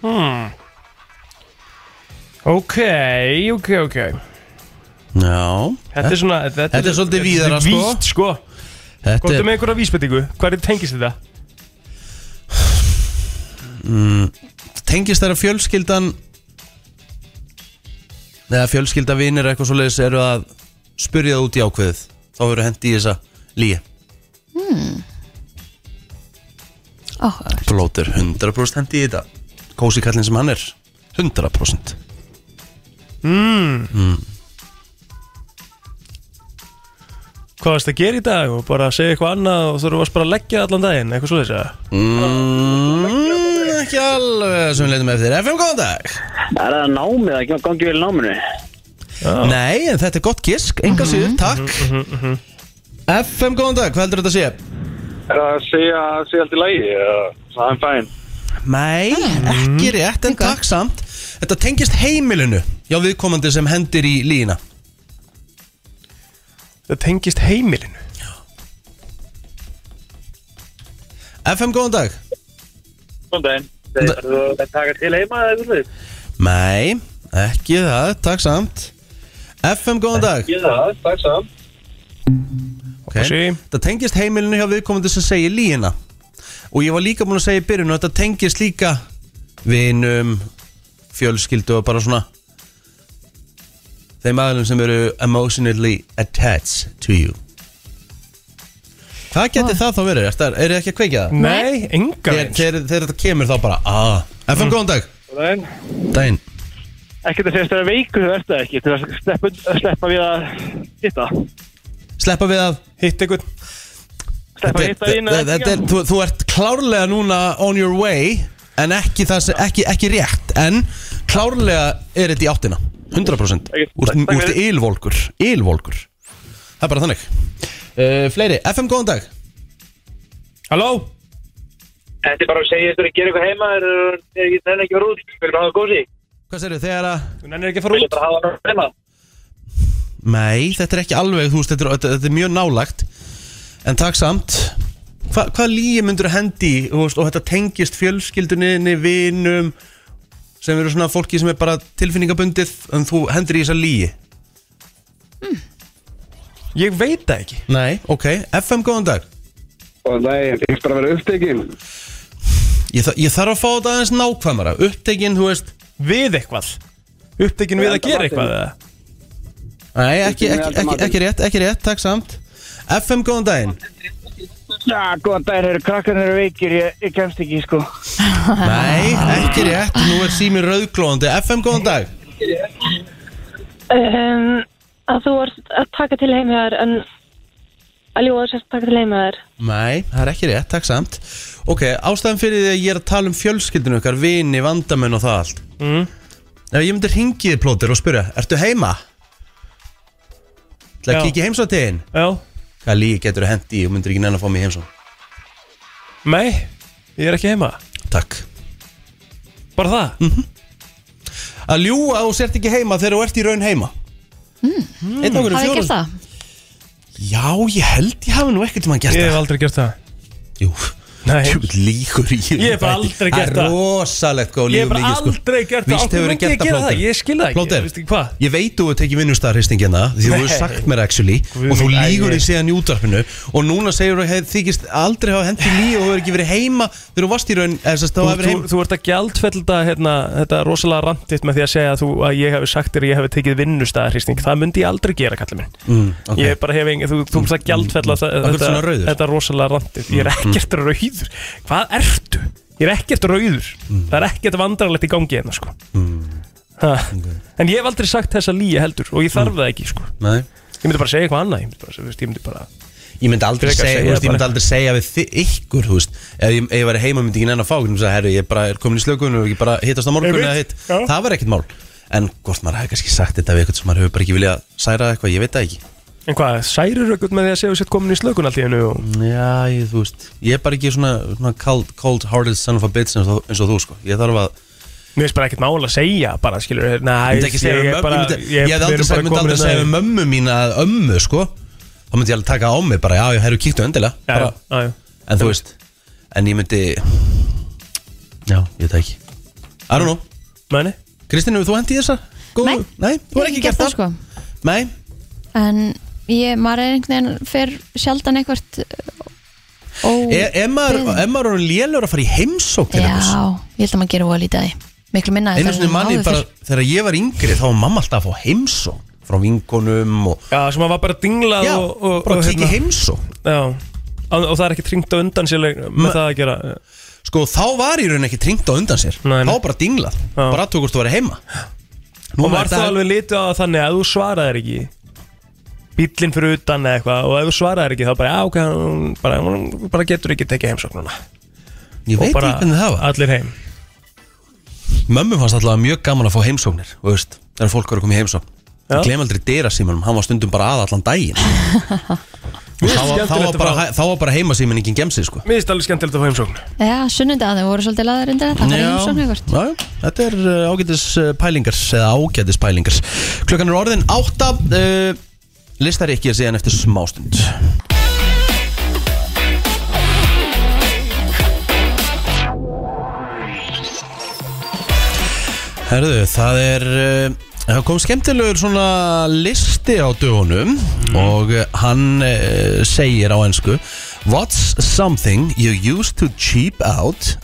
[SPEAKER 4] Hmm. Ok, ok, ok
[SPEAKER 2] Já,
[SPEAKER 4] Þetta er svona
[SPEAKER 2] Eh? Þetta er svolítið víðara,
[SPEAKER 4] sko
[SPEAKER 2] sko.
[SPEAKER 4] Vítt, sko
[SPEAKER 2] þetta
[SPEAKER 4] Góttu
[SPEAKER 2] er
[SPEAKER 4] með einhverja vísbendingu Hvað er tengist þetta?
[SPEAKER 2] Mm. tengist þeirra fjölskyldan eða fjölskyldavinir eitthvað svoleiðis eru að spyrja það út í ákveðið þá verður hendi í þessa líi
[SPEAKER 3] Áhugavert.
[SPEAKER 2] Plóter 100% hendi í þetta Kósi kallinn sem hann er 100%
[SPEAKER 4] Mm. Hvað varst að gera í dag og bara að segja eitthvað annað og þú varst bara að leggja allan daginn eitthvað svoleiðis eða?
[SPEAKER 2] mm, Ekki alveg sem við leitum eftir FM góðan dag
[SPEAKER 7] Er það námið að gangi vel í náminu?
[SPEAKER 2] Nei, en þetta er gott gisk, enga síður, takk FM góðan dag, hvað heldur þetta að sé?
[SPEAKER 8] Er það að segja, segja allt í lagi? Það er fæn.
[SPEAKER 2] Nei, ekki rétt, en takk samt Þetta tengist heimilinu Já, viðkomandi sem hendir í lína
[SPEAKER 4] Það tengist heimilinu
[SPEAKER 2] FM, góðan dag
[SPEAKER 8] Góðan daginn. Er það að taka til heima eða eitthvað? svoleiðis?
[SPEAKER 2] Nei, ekki það, takk samt FM, góðan dag Eh.
[SPEAKER 8] Ég það, takk samt.
[SPEAKER 2] okay.
[SPEAKER 4] sí.
[SPEAKER 2] Það tengist heimilinu hjá viðkomandi sem segir líina Og ég var líka búin að segja í byrjun og þetta tengist líka Vinum, fjölskyldu og bara svona Þeim aðlum sem eru emotionally attached to you Hvað geti það þá verið? Er, er ekki að kveikja það?
[SPEAKER 4] Nei, enga
[SPEAKER 2] Þegar,
[SPEAKER 4] eins
[SPEAKER 2] þegar, þegar þetta kemur þá bara ah. FM, góðan dag
[SPEAKER 8] En
[SPEAKER 2] Dæin
[SPEAKER 8] ekkert að segja stöða veiku þú ert það ekki til að sleppa, sleppa við að hitta
[SPEAKER 2] Sleppa við að
[SPEAKER 4] Hitt einhvern
[SPEAKER 8] Sleppa að hitta inn
[SPEAKER 2] Þetta- þetta er- þú, þú ert klárlega núna on your way En ekki, það, sem- ekki, ekki rétt En klárlega er þetta í áttina 100%
[SPEAKER 8] Ok,
[SPEAKER 2] Úr
[SPEAKER 8] takk
[SPEAKER 2] þetta
[SPEAKER 8] fyrir.
[SPEAKER 2] ylvolgur Ylvolgur Það er bara þannig uh, Fleiri, FM góðan dag
[SPEAKER 4] Halló
[SPEAKER 8] Þetta er bara að segja stöða að gera eitthvað heima er ekki þenni ekki verið út Vil bara hafa gósi
[SPEAKER 2] Hvað segirðu þegar að
[SPEAKER 4] Þú nennir ekki að fara
[SPEAKER 8] Vil
[SPEAKER 4] út
[SPEAKER 8] bara hafa náttúrulega heima
[SPEAKER 2] Nei, þetta er ekki alveg, þú veist, þetta er, þetta, þetta er mjög nálagt En takk samt Hva, Hvað líi myndur hendi þú veist, og þetta tengist fjölskylduninni, vinum sem eru svona fólki sem er bara tilfinningabundið en þú hendur í þessa líi
[SPEAKER 4] Hmm. Ég veit það ekki
[SPEAKER 2] Nei, ok, FM góðan dag
[SPEAKER 9] Og nei, ég finnst bara að vera upptekinn.
[SPEAKER 2] Ég, þa- ég þarf að fá þetta aðeins nákvæmara Upptekinn, þú veist
[SPEAKER 4] Við eitthvað Upptekinn við að gera eitthvað eða?
[SPEAKER 2] Nei, ekki, ekki, ekki, ekki rétt, ekki rétt, takk samt FM góðan daginn
[SPEAKER 7] Já, góðan dagir, eru krakkarnir eru veikir, ég, ég kemst ekki, sko.
[SPEAKER 2] Nei, ekki rétt, nú er sími rauðglóðandi FM góðan dag
[SPEAKER 10] Um, að þú varst að taka til heimhæðar en að ljóða sérst að taka til heimhæðar
[SPEAKER 2] Nei, það er ekki rétt, takk samt Ok, ástæðan fyrir því að ég er að tala um fjölskyldinu ykkar, vini, vandamenn og það allt mm. Ef ég myndi hringið plótir og spyrja, ertu heima? Það
[SPEAKER 4] Já.
[SPEAKER 2] kikið heimsóttiðin
[SPEAKER 4] Já
[SPEAKER 2] Hvað líi getur þú hendi og myndir ekki nenn að fá mig heimsón
[SPEAKER 4] Nei, ég er ekki heima
[SPEAKER 2] Takk Mhm.
[SPEAKER 4] Bara það mm.
[SPEAKER 2] Að ljúga og sért ekki heima þegar þú ert í raun heima mm. Einn
[SPEAKER 3] Hafið þið
[SPEAKER 2] okkur um
[SPEAKER 3] gert
[SPEAKER 2] fjórum
[SPEAKER 3] það?
[SPEAKER 2] Já, ég held ég hafi nú ekkert sem hann gert
[SPEAKER 4] Ég hef
[SPEAKER 2] það
[SPEAKER 4] aldrei gert það
[SPEAKER 2] Jú,
[SPEAKER 4] Nei
[SPEAKER 2] Jú, líkur í
[SPEAKER 4] Ég hef bara aldrei gert
[SPEAKER 2] Það
[SPEAKER 4] það.
[SPEAKER 2] er rosalegt góð
[SPEAKER 4] Ég hef
[SPEAKER 2] líkur
[SPEAKER 4] bara aldrei gert það
[SPEAKER 2] sko. Víst
[SPEAKER 4] Af hverju
[SPEAKER 2] hefur
[SPEAKER 4] myndi
[SPEAKER 2] gert
[SPEAKER 4] ég
[SPEAKER 2] það
[SPEAKER 4] gera það
[SPEAKER 2] Plóter.
[SPEAKER 4] Ég skil það ekki
[SPEAKER 2] Plóter,
[SPEAKER 4] Ég veist ekki hvað
[SPEAKER 2] Ég veit þú hefur tekið vinnustarhistingina Því þú hefur
[SPEAKER 4] Nei.
[SPEAKER 2] sagt mér actually
[SPEAKER 4] Guð
[SPEAKER 2] Og þú
[SPEAKER 4] minn,
[SPEAKER 2] lígur
[SPEAKER 4] æ,
[SPEAKER 2] í síðan í útvarpinu Og núna segir þú að þykist aldrei hafa hendið líf Og þú hefur ekki verið heima Þegar þú varst í raun eh, eða þess að
[SPEAKER 4] Þú,
[SPEAKER 2] þú hefur
[SPEAKER 4] þú,
[SPEAKER 2] heima
[SPEAKER 4] þú ert að gjaldfellda hérna, þetta rosalega randitt með því að segja að, þú, að ég hef sagt þér að ég hef tekið vinnustæðarhýsting það myndi ég aldrei gera kallið minn
[SPEAKER 2] Mm, ok. Mm,
[SPEAKER 4] ég bara hef engin, þú, þú ert að gjaldfella
[SPEAKER 2] Af hverju
[SPEAKER 4] þetta,
[SPEAKER 2] ertu svona rauður? Mm,
[SPEAKER 4] þetta rosalega randitt ég er ekkert rauður, hvað ertu? ég er ekkert rauður,
[SPEAKER 2] Mm.
[SPEAKER 4] það er ekkert vandrarlegt í gangi hérna sko Ha. en ég hef aldrei sagt þessa líja heldur og ég
[SPEAKER 2] Mm.
[SPEAKER 4] þarf það ekki sko
[SPEAKER 2] Nei.
[SPEAKER 4] ég myndi bara segja eitthvað annað, ég myndi bara, þú veist, ég myndi bara
[SPEAKER 2] Ég myndi aldrei
[SPEAKER 4] Frekar
[SPEAKER 2] segja,
[SPEAKER 4] segja
[SPEAKER 2] þú veist, ég myndi
[SPEAKER 4] bara-
[SPEAKER 2] aldrei segja við þi- ykkur þú veist, ef ég, ef ég væri heima myndi ég ekki nenn að fá ykkur og segja, herru, ég bara er komin í slökunum og ekki bara hittast á morgun
[SPEAKER 4] Einmitt,
[SPEAKER 2] eða hitt,
[SPEAKER 4] já.
[SPEAKER 2] það var ekkert mál en hvort maður hefði kannski sagt þetta við eitthvað sem maður hefur bara ekki viljað særa eitthvað, ég veit það ekki
[SPEAKER 4] en hvað, særir auðvitað með því að segja sér komin í slökun allt í hennu og
[SPEAKER 2] Já, ég, þú veist, ég er bara ekki svona, svona cold, cold hearted son of a bitch eins og, eins og þú, sko, ég þarf að
[SPEAKER 4] Mér finnst bara ekkert mál að segja bara, hérna, skilur, næ,
[SPEAKER 2] ég myndi ekki segja við mömmu, ég myndi- ég hefði aldrei segja, myndi aldrei segja um við mömmu mína að ömmu, sko þá myndi ég alveg taka á mig bara, já, herru, kíktu endilega bara,
[SPEAKER 4] mömmu.
[SPEAKER 2] en þú veist, en ég myndi já, ég veit það ekki I don't know
[SPEAKER 4] Mæni?
[SPEAKER 2] Kristinn, hefur þú hendið í þessa? Góðu?
[SPEAKER 3] Nei,
[SPEAKER 2] Nei, þú er ekki gert það?
[SPEAKER 3] sko.
[SPEAKER 2] Nei,
[SPEAKER 3] En ég, maður er einhvern veginn fer sjaldan eitthvert ó,
[SPEAKER 2] e, ef maður
[SPEAKER 3] beðin.
[SPEAKER 2] ef maður er lélegur að fara í heimsók til
[SPEAKER 3] Já,
[SPEAKER 2] einhvers
[SPEAKER 3] ég held að maður gerir voða lítið að því Miklu minna
[SPEAKER 2] Einu sinni manni
[SPEAKER 3] maður
[SPEAKER 2] bara, þegar ég var yngri þá var mamma alltaf að fá heimsók frá vinkonum og
[SPEAKER 4] Já, sem að var bara dinglað
[SPEAKER 2] Já,
[SPEAKER 4] og, og,
[SPEAKER 2] bara
[SPEAKER 4] og, hérna-
[SPEAKER 2] kíkja í heimsók
[SPEAKER 4] Já, og, og það er ekki tringt á undan sér leik- með það að gera eh.
[SPEAKER 2] Sko, þá var ég raun ekki tringt á undan sér
[SPEAKER 4] Nei, nei.
[SPEAKER 2] Þá var bara dinglað, bara aðtökust að vera heima Nú
[SPEAKER 4] Og var það alveg litið á það þannig að ef þú svaraðir ekki bíllinn fyrir utan eða eitthvað og ef þú svaraðir ekki þá bara, já, ok, hún bara, hún bara getur ekki tekið heimsóknuna
[SPEAKER 2] Ég veit
[SPEAKER 4] Og bara
[SPEAKER 2] ekki hvernig það var
[SPEAKER 4] allir heim
[SPEAKER 2] Mömmu fannst alltaf mjög gaman að fá heimsóknir þú veist, Þegar fólk var að koma í heimsókn Ég
[SPEAKER 4] Já.
[SPEAKER 2] glem aldrei dyra Hann var stundum bara að allan daginn
[SPEAKER 4] Mér
[SPEAKER 2] Þá var-
[SPEAKER 4] finnst
[SPEAKER 2] þá var
[SPEAKER 4] skemmtilegt að
[SPEAKER 2] bara
[SPEAKER 4] fá-
[SPEAKER 2] hæ- þá var bara heimasýminningin gemsið sko
[SPEAKER 4] mér finnst alveg skemmtilegt að fá heimsókn
[SPEAKER 3] Já, sunnundaðin voru svolítið laður undir það Það var heimsókn eitthvert
[SPEAKER 2] já, já, þetta er uh, ágætis uh, pælingars eða ágætis pælingars Klukkan er orðin átta uh, Listar ekki að segja eftir smástund Herðu, það er uh, Það kom skemmtilegur svona listi á dögunum og eh, hann uh, segir á ennsku What's something you used to cheap out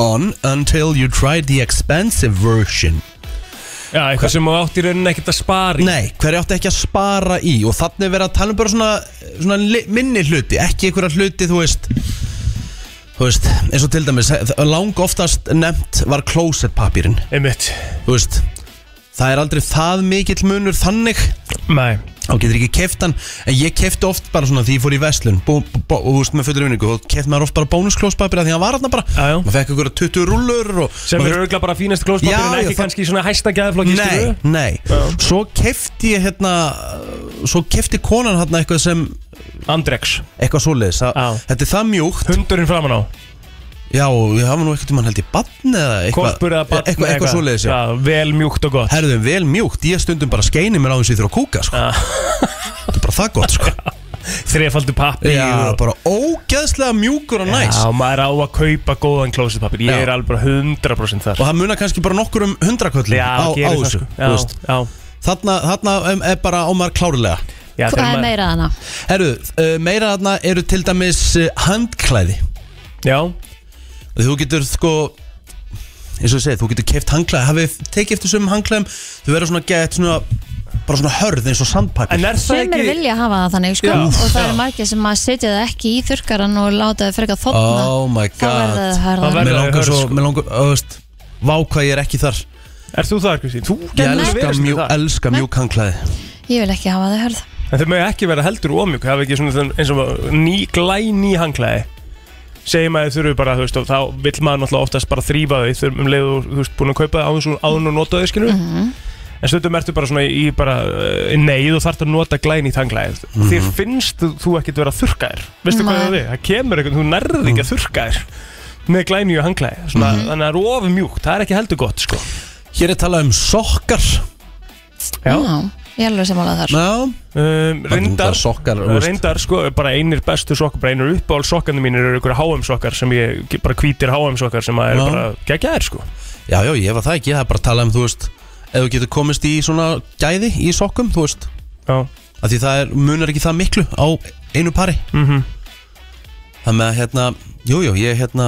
[SPEAKER 2] on until you tried the expensive version?
[SPEAKER 4] Já, eitthvað sem þú átt í rauninni ekkert að spara í
[SPEAKER 2] Nei, hverju áttu ekki að spara í og þannig verið að tala um bara svona, svona li- minni hluti, ekki einhverja hluti þú veist Þú veist, eins og til dæmis, lang oftast nefnt var closetpapirinn,
[SPEAKER 4] Einmitt
[SPEAKER 2] þú veist Það er aldrei það mikill munur þannig
[SPEAKER 4] Nei
[SPEAKER 2] og getur ekki keft hann en ég kefti oft bara svona því ég fór í Veslun bú, bú, bú, og þú veist með fullur vinningu og keft maður oft bara bónusklóspapir því hann var hann bara
[SPEAKER 4] Já, já.
[SPEAKER 2] maður fekk ykkur 20 rullur og
[SPEAKER 4] Sem
[SPEAKER 2] maður
[SPEAKER 4] eru auðvitað bara fínast klóspapir
[SPEAKER 2] Já,
[SPEAKER 4] en
[SPEAKER 2] já,
[SPEAKER 4] ekki
[SPEAKER 2] það-
[SPEAKER 4] kannski í svona hæsta gæðflokki
[SPEAKER 2] Nei,
[SPEAKER 4] skilurðu?
[SPEAKER 2] nei, svo kefti ég hérna, svo kefti konan hérna eitthvað sem,
[SPEAKER 4] Andrex
[SPEAKER 2] eitthvað svoleiðis að-
[SPEAKER 4] Já.
[SPEAKER 2] Þetta er það mjúkt,
[SPEAKER 4] Hundurinn framan á
[SPEAKER 2] já, ég hafa nú eitthvað tímann held ég bann eða eitthvað
[SPEAKER 4] Korpur eða barn
[SPEAKER 2] Eitthvað, eitthvað svoleiðis, já
[SPEAKER 4] Já, vel mjúkt og gott
[SPEAKER 2] Herðum vel mjúkt, ég stundum bara skeini mér á þessu ég þurfa að kúka, sko
[SPEAKER 4] Ah.
[SPEAKER 2] Þetta er bara það gott, sko
[SPEAKER 4] Þrefaldur pappi
[SPEAKER 2] Já, bara ógeðslega mjúkur og næs
[SPEAKER 4] Já, maður á að kaupa góðan klósetpapir Ég
[SPEAKER 2] Já.
[SPEAKER 4] er alveg bara 100% þar
[SPEAKER 2] og það munar kannski bara nokkur um hundraköllum
[SPEAKER 4] Já,
[SPEAKER 2] á, á
[SPEAKER 4] gerir það
[SPEAKER 2] þessu
[SPEAKER 4] sko
[SPEAKER 2] þú veist.
[SPEAKER 4] Já,
[SPEAKER 2] þarna, þarna um, er bara ámar klárlega
[SPEAKER 4] já, já
[SPEAKER 3] Hvað
[SPEAKER 4] þegar
[SPEAKER 3] er
[SPEAKER 4] maður-
[SPEAKER 3] meira þannig?
[SPEAKER 2] Herru, uh, meira þarna eru til dæmis uh, handklæði
[SPEAKER 4] Já,
[SPEAKER 2] þú getur sko eins og ég segi, þú getur keft handklæði hafið þið tekið eftir sömum handklæðum þau verður svona gett svona bara svona hörð eins og sandpapir
[SPEAKER 4] en er það
[SPEAKER 3] Sumir
[SPEAKER 4] ekki
[SPEAKER 3] vilja hafa það þannig sko
[SPEAKER 4] Já.
[SPEAKER 3] og það
[SPEAKER 4] Já.
[SPEAKER 3] eru margir sem að setja það ekki í þurkaran og láta það frekar þotna
[SPEAKER 2] oh my
[SPEAKER 3] þá verður það
[SPEAKER 2] god
[SPEAKER 4] Það
[SPEAKER 3] hörðan
[SPEAKER 4] verður-
[SPEAKER 2] mér langar
[SPEAKER 4] hörð,
[SPEAKER 2] svo,
[SPEAKER 4] sko.
[SPEAKER 2] mér langar, þú veist vá hvað ég er ekki þar
[SPEAKER 4] Er þú þar, Kristín? Þú
[SPEAKER 2] ég
[SPEAKER 4] gæmur
[SPEAKER 2] elska
[SPEAKER 4] verið
[SPEAKER 2] mjúk,
[SPEAKER 4] mjög el...
[SPEAKER 2] elska mjúk handklæði
[SPEAKER 3] ég vil ekki hafa það hörð
[SPEAKER 4] En þau mögðu ekki vera heldur ómjúk Það er ekki svona þeim- eins og ný, glæ ný hanglaði Segjum að þau þurfu bara, þú veist, og þá vill maður náttúrulega oftast bara þrýfa þau Þau um leiðu, þú veist, búin að kaupa þau áðun og áður en þú nota þau, skilur En stundum ertu bara svona í bara eh, neyð og þarft að nota glæni í tanglæðið
[SPEAKER 2] Mhm.
[SPEAKER 4] Þér finnst þú- þú ekkert vera þurrkaðir Veistu hvað
[SPEAKER 3] Nei.
[SPEAKER 4] það er? Það kemur einhvern, þú nærði ekki að
[SPEAKER 2] Mhm.
[SPEAKER 4] þurrka þér með glæni í hanglæði Svona, Þannig að það er ofur mjúkt, það er ekki heldur gott sko.
[SPEAKER 2] hér er talað um sokkar
[SPEAKER 4] Já.
[SPEAKER 3] Já, ég er alveg samanlega þar
[SPEAKER 2] já,
[SPEAKER 4] um,
[SPEAKER 2] bara
[SPEAKER 4] Reyndar,
[SPEAKER 2] sokkar þú veist.
[SPEAKER 4] reyndar sko, bara einir bestu sokkar bara einir uppáhald sokkarnir mínir eru einhverja HM sokkar sem ég, bara hvítir HM sokkar sem að er
[SPEAKER 2] Já.
[SPEAKER 4] bara geggjaðir sko
[SPEAKER 2] Já, já, ég var það ekki, það er bara að tala um, þú veist Ef þú getur komist í svona gæði í sokkum, þú veist
[SPEAKER 4] Já,
[SPEAKER 2] af Því það er, munar ekki það miklu á einu pari
[SPEAKER 4] mm
[SPEAKER 2] Þannig að, hérna, jú, jú, ég, hérna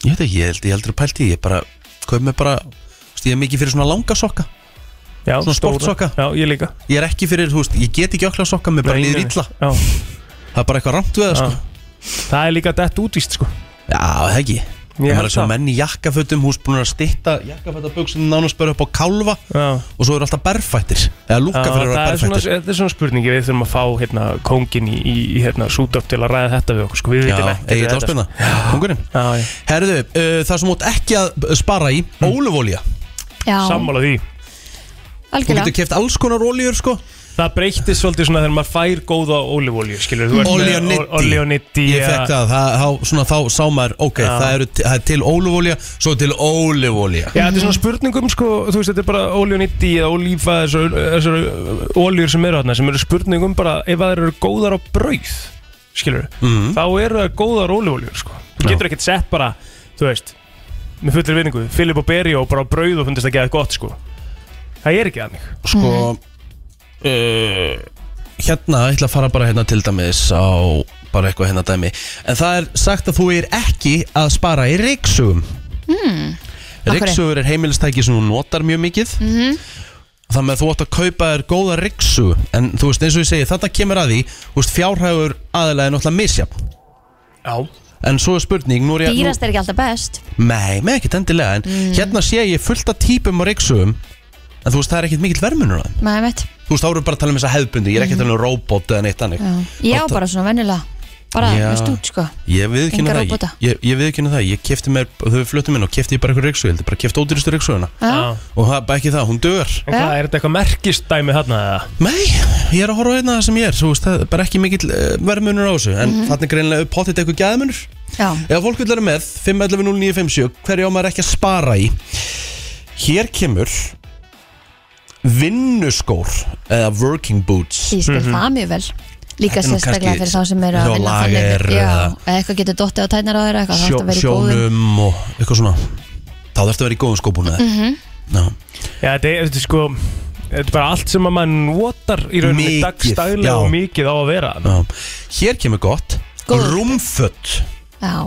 [SPEAKER 2] Ég veit ekki, ég held, ég heldur að pælt í Ég bara, kaup mér bara þú veist, Ég er mikið fyrir svona langa sokka
[SPEAKER 4] já
[SPEAKER 2] Svona
[SPEAKER 4] stóra.
[SPEAKER 2] sportsokka.
[SPEAKER 4] Já, ég líka
[SPEAKER 2] Ég er ekki fyrir, þú veist, ég get ekki ökla sokka Mér bara
[SPEAKER 4] Nei,
[SPEAKER 2] líður
[SPEAKER 4] nei.
[SPEAKER 2] illa,
[SPEAKER 4] Já,
[SPEAKER 2] það er bara eitthvað rámt við það,
[SPEAKER 4] já.
[SPEAKER 2] sko
[SPEAKER 4] Það er líka dett útvist sko
[SPEAKER 2] Já, það ekki
[SPEAKER 4] Ég
[SPEAKER 2] Það
[SPEAKER 4] held
[SPEAKER 2] er svo
[SPEAKER 4] það.
[SPEAKER 2] menn í jakkafötum, hús búin að stitta jakkafötabuksin nánast bara upp á kálfa
[SPEAKER 4] Já,
[SPEAKER 2] og svo eru alltaf berfættir eða lúka
[SPEAKER 4] Já,
[SPEAKER 2] fyrir að vera
[SPEAKER 4] það er svona,
[SPEAKER 2] berfættir
[SPEAKER 4] þetta er svona spurningi við þurfum að fá hérna kóngin í, í í, hérna sútöp til að ræða þetta við okkur sko, við
[SPEAKER 2] Já,
[SPEAKER 4] vitum ekkert
[SPEAKER 2] eigið
[SPEAKER 4] um þetta,
[SPEAKER 2] áspilna Kongurinn
[SPEAKER 4] sko. Já, já,
[SPEAKER 2] Herðu, uh, það sem þú átt ekki að spara í mm. Ólufólja
[SPEAKER 3] Já,
[SPEAKER 4] sammála því
[SPEAKER 2] Þú
[SPEAKER 3] algjörlega
[SPEAKER 2] getur keft alls konar ólíur sko
[SPEAKER 4] Það breytist svolítið svona þegar maður fær góða ólífólíu, skilur þú? ert með
[SPEAKER 2] Olí og nitti.
[SPEAKER 4] ol- Olí og nitti,
[SPEAKER 2] Ég
[SPEAKER 4] ja.
[SPEAKER 2] fekk það, það þá, svona, þá sá maður Ok,
[SPEAKER 4] Já.
[SPEAKER 2] það, eru, það er til ólufólja Svo er til ólufólja
[SPEAKER 4] Já, þetta er svona spurningum, sko, þú veist, þetta er bara olí og nitti eða ólífa, þessar, þessar uh, olíur sem eru þarna, sem eru spurningum bara ef það eru góðar á brauð, skilur
[SPEAKER 6] Mm.
[SPEAKER 2] Mhm.
[SPEAKER 4] Þá eru það góðar ólífólíur, sko. Þú getur ekkert sett bara, þú veist, með fullri vinningu, Filip og Berri og bara á brauð og fundist það geða gott, sko. Það er ekki þannig.
[SPEAKER 2] Sko uh, Hérna, ég ætla að fara bara hérna til dæmis Á bara eitthvað hérna dæmi En það er sagt að þú er ekki að spara í reiksugum mm.
[SPEAKER 3] Hmm. hverju?
[SPEAKER 2] Reiksugur er heimilistæki sem þú notar mjög mikið Þannig að þú átt að kaupa þér góða riksu En þú veist eins og ég segi þetta kemur að því Þú veist fjárhægur aðalega er náttúrulega misjafn
[SPEAKER 4] Já.
[SPEAKER 2] En svo er spurning nú er ég,
[SPEAKER 3] Dýrast er ekki alltaf best
[SPEAKER 2] nú, Nei, með ekkert endilega En hérna sé ég fullt af típum á riksum En þú veist það er ekkert mikill vermunur á þeim
[SPEAKER 3] Nei, mitt
[SPEAKER 2] Þú veist þá eru bara að tala um þessa hefðbundi Ég er ekki að tala um robot eða neitt annir
[SPEAKER 3] Mhm. Já, bara svona venjulega Bara,
[SPEAKER 2] Já.
[SPEAKER 3] veist út, sko
[SPEAKER 2] Ég viðkynna
[SPEAKER 3] Enga
[SPEAKER 2] það
[SPEAKER 3] róbóta.
[SPEAKER 2] Ég, ég, ég viðkynna það Ég kefti mér Þau fluttum inn og kefti ég bara eitthvað riksu Ég heldur bara kefti ódýristu riksuguna
[SPEAKER 3] Já,
[SPEAKER 2] Og það er bara ekki það Hún dögur
[SPEAKER 4] En hvað, er þetta eitthvað merkistæmi þarna eða?
[SPEAKER 2] Nei, ég er að horfa á hérna það sem ég er Þú veist það er bara ekki mikill uh, vermunur á þessu En
[SPEAKER 3] Mhm.
[SPEAKER 2] mm -hmm. þannig greinlega pottit eitthvað gæðmunur
[SPEAKER 3] já
[SPEAKER 2] Ef fólk vil vera með 511-0957 Hverju á maður ekki að spara í Hér kemur Vinnuskór Eða working boots
[SPEAKER 3] Ég skil
[SPEAKER 4] Mhm.
[SPEAKER 3] það mjög vel Líka
[SPEAKER 2] Mhm. Þetta er nú
[SPEAKER 3] sérstaklega
[SPEAKER 2] kannski
[SPEAKER 3] fyrir þá sem eru að
[SPEAKER 2] hjá
[SPEAKER 3] vinna
[SPEAKER 2] lager
[SPEAKER 3] þannig Já,
[SPEAKER 2] eða-
[SPEAKER 3] eða eitthvað getur dottið á tætnar á þeirra eitthvað þá
[SPEAKER 2] sjó,
[SPEAKER 3] ertu að vera í góðum- Mhm.
[SPEAKER 2] Sjónum og eitthvað svona Þá þarfst að vera í góðum skópuna mm Ná.
[SPEAKER 4] Já, þetta er, þetta er sko Þetta er bara allt sem að maður notar í rauninni
[SPEAKER 2] Mikið, já.
[SPEAKER 4] dagstæðlega og mikið á að vera
[SPEAKER 2] Já. Hér kemur gott
[SPEAKER 3] Góð.
[SPEAKER 2] Rúmföt
[SPEAKER 3] Já,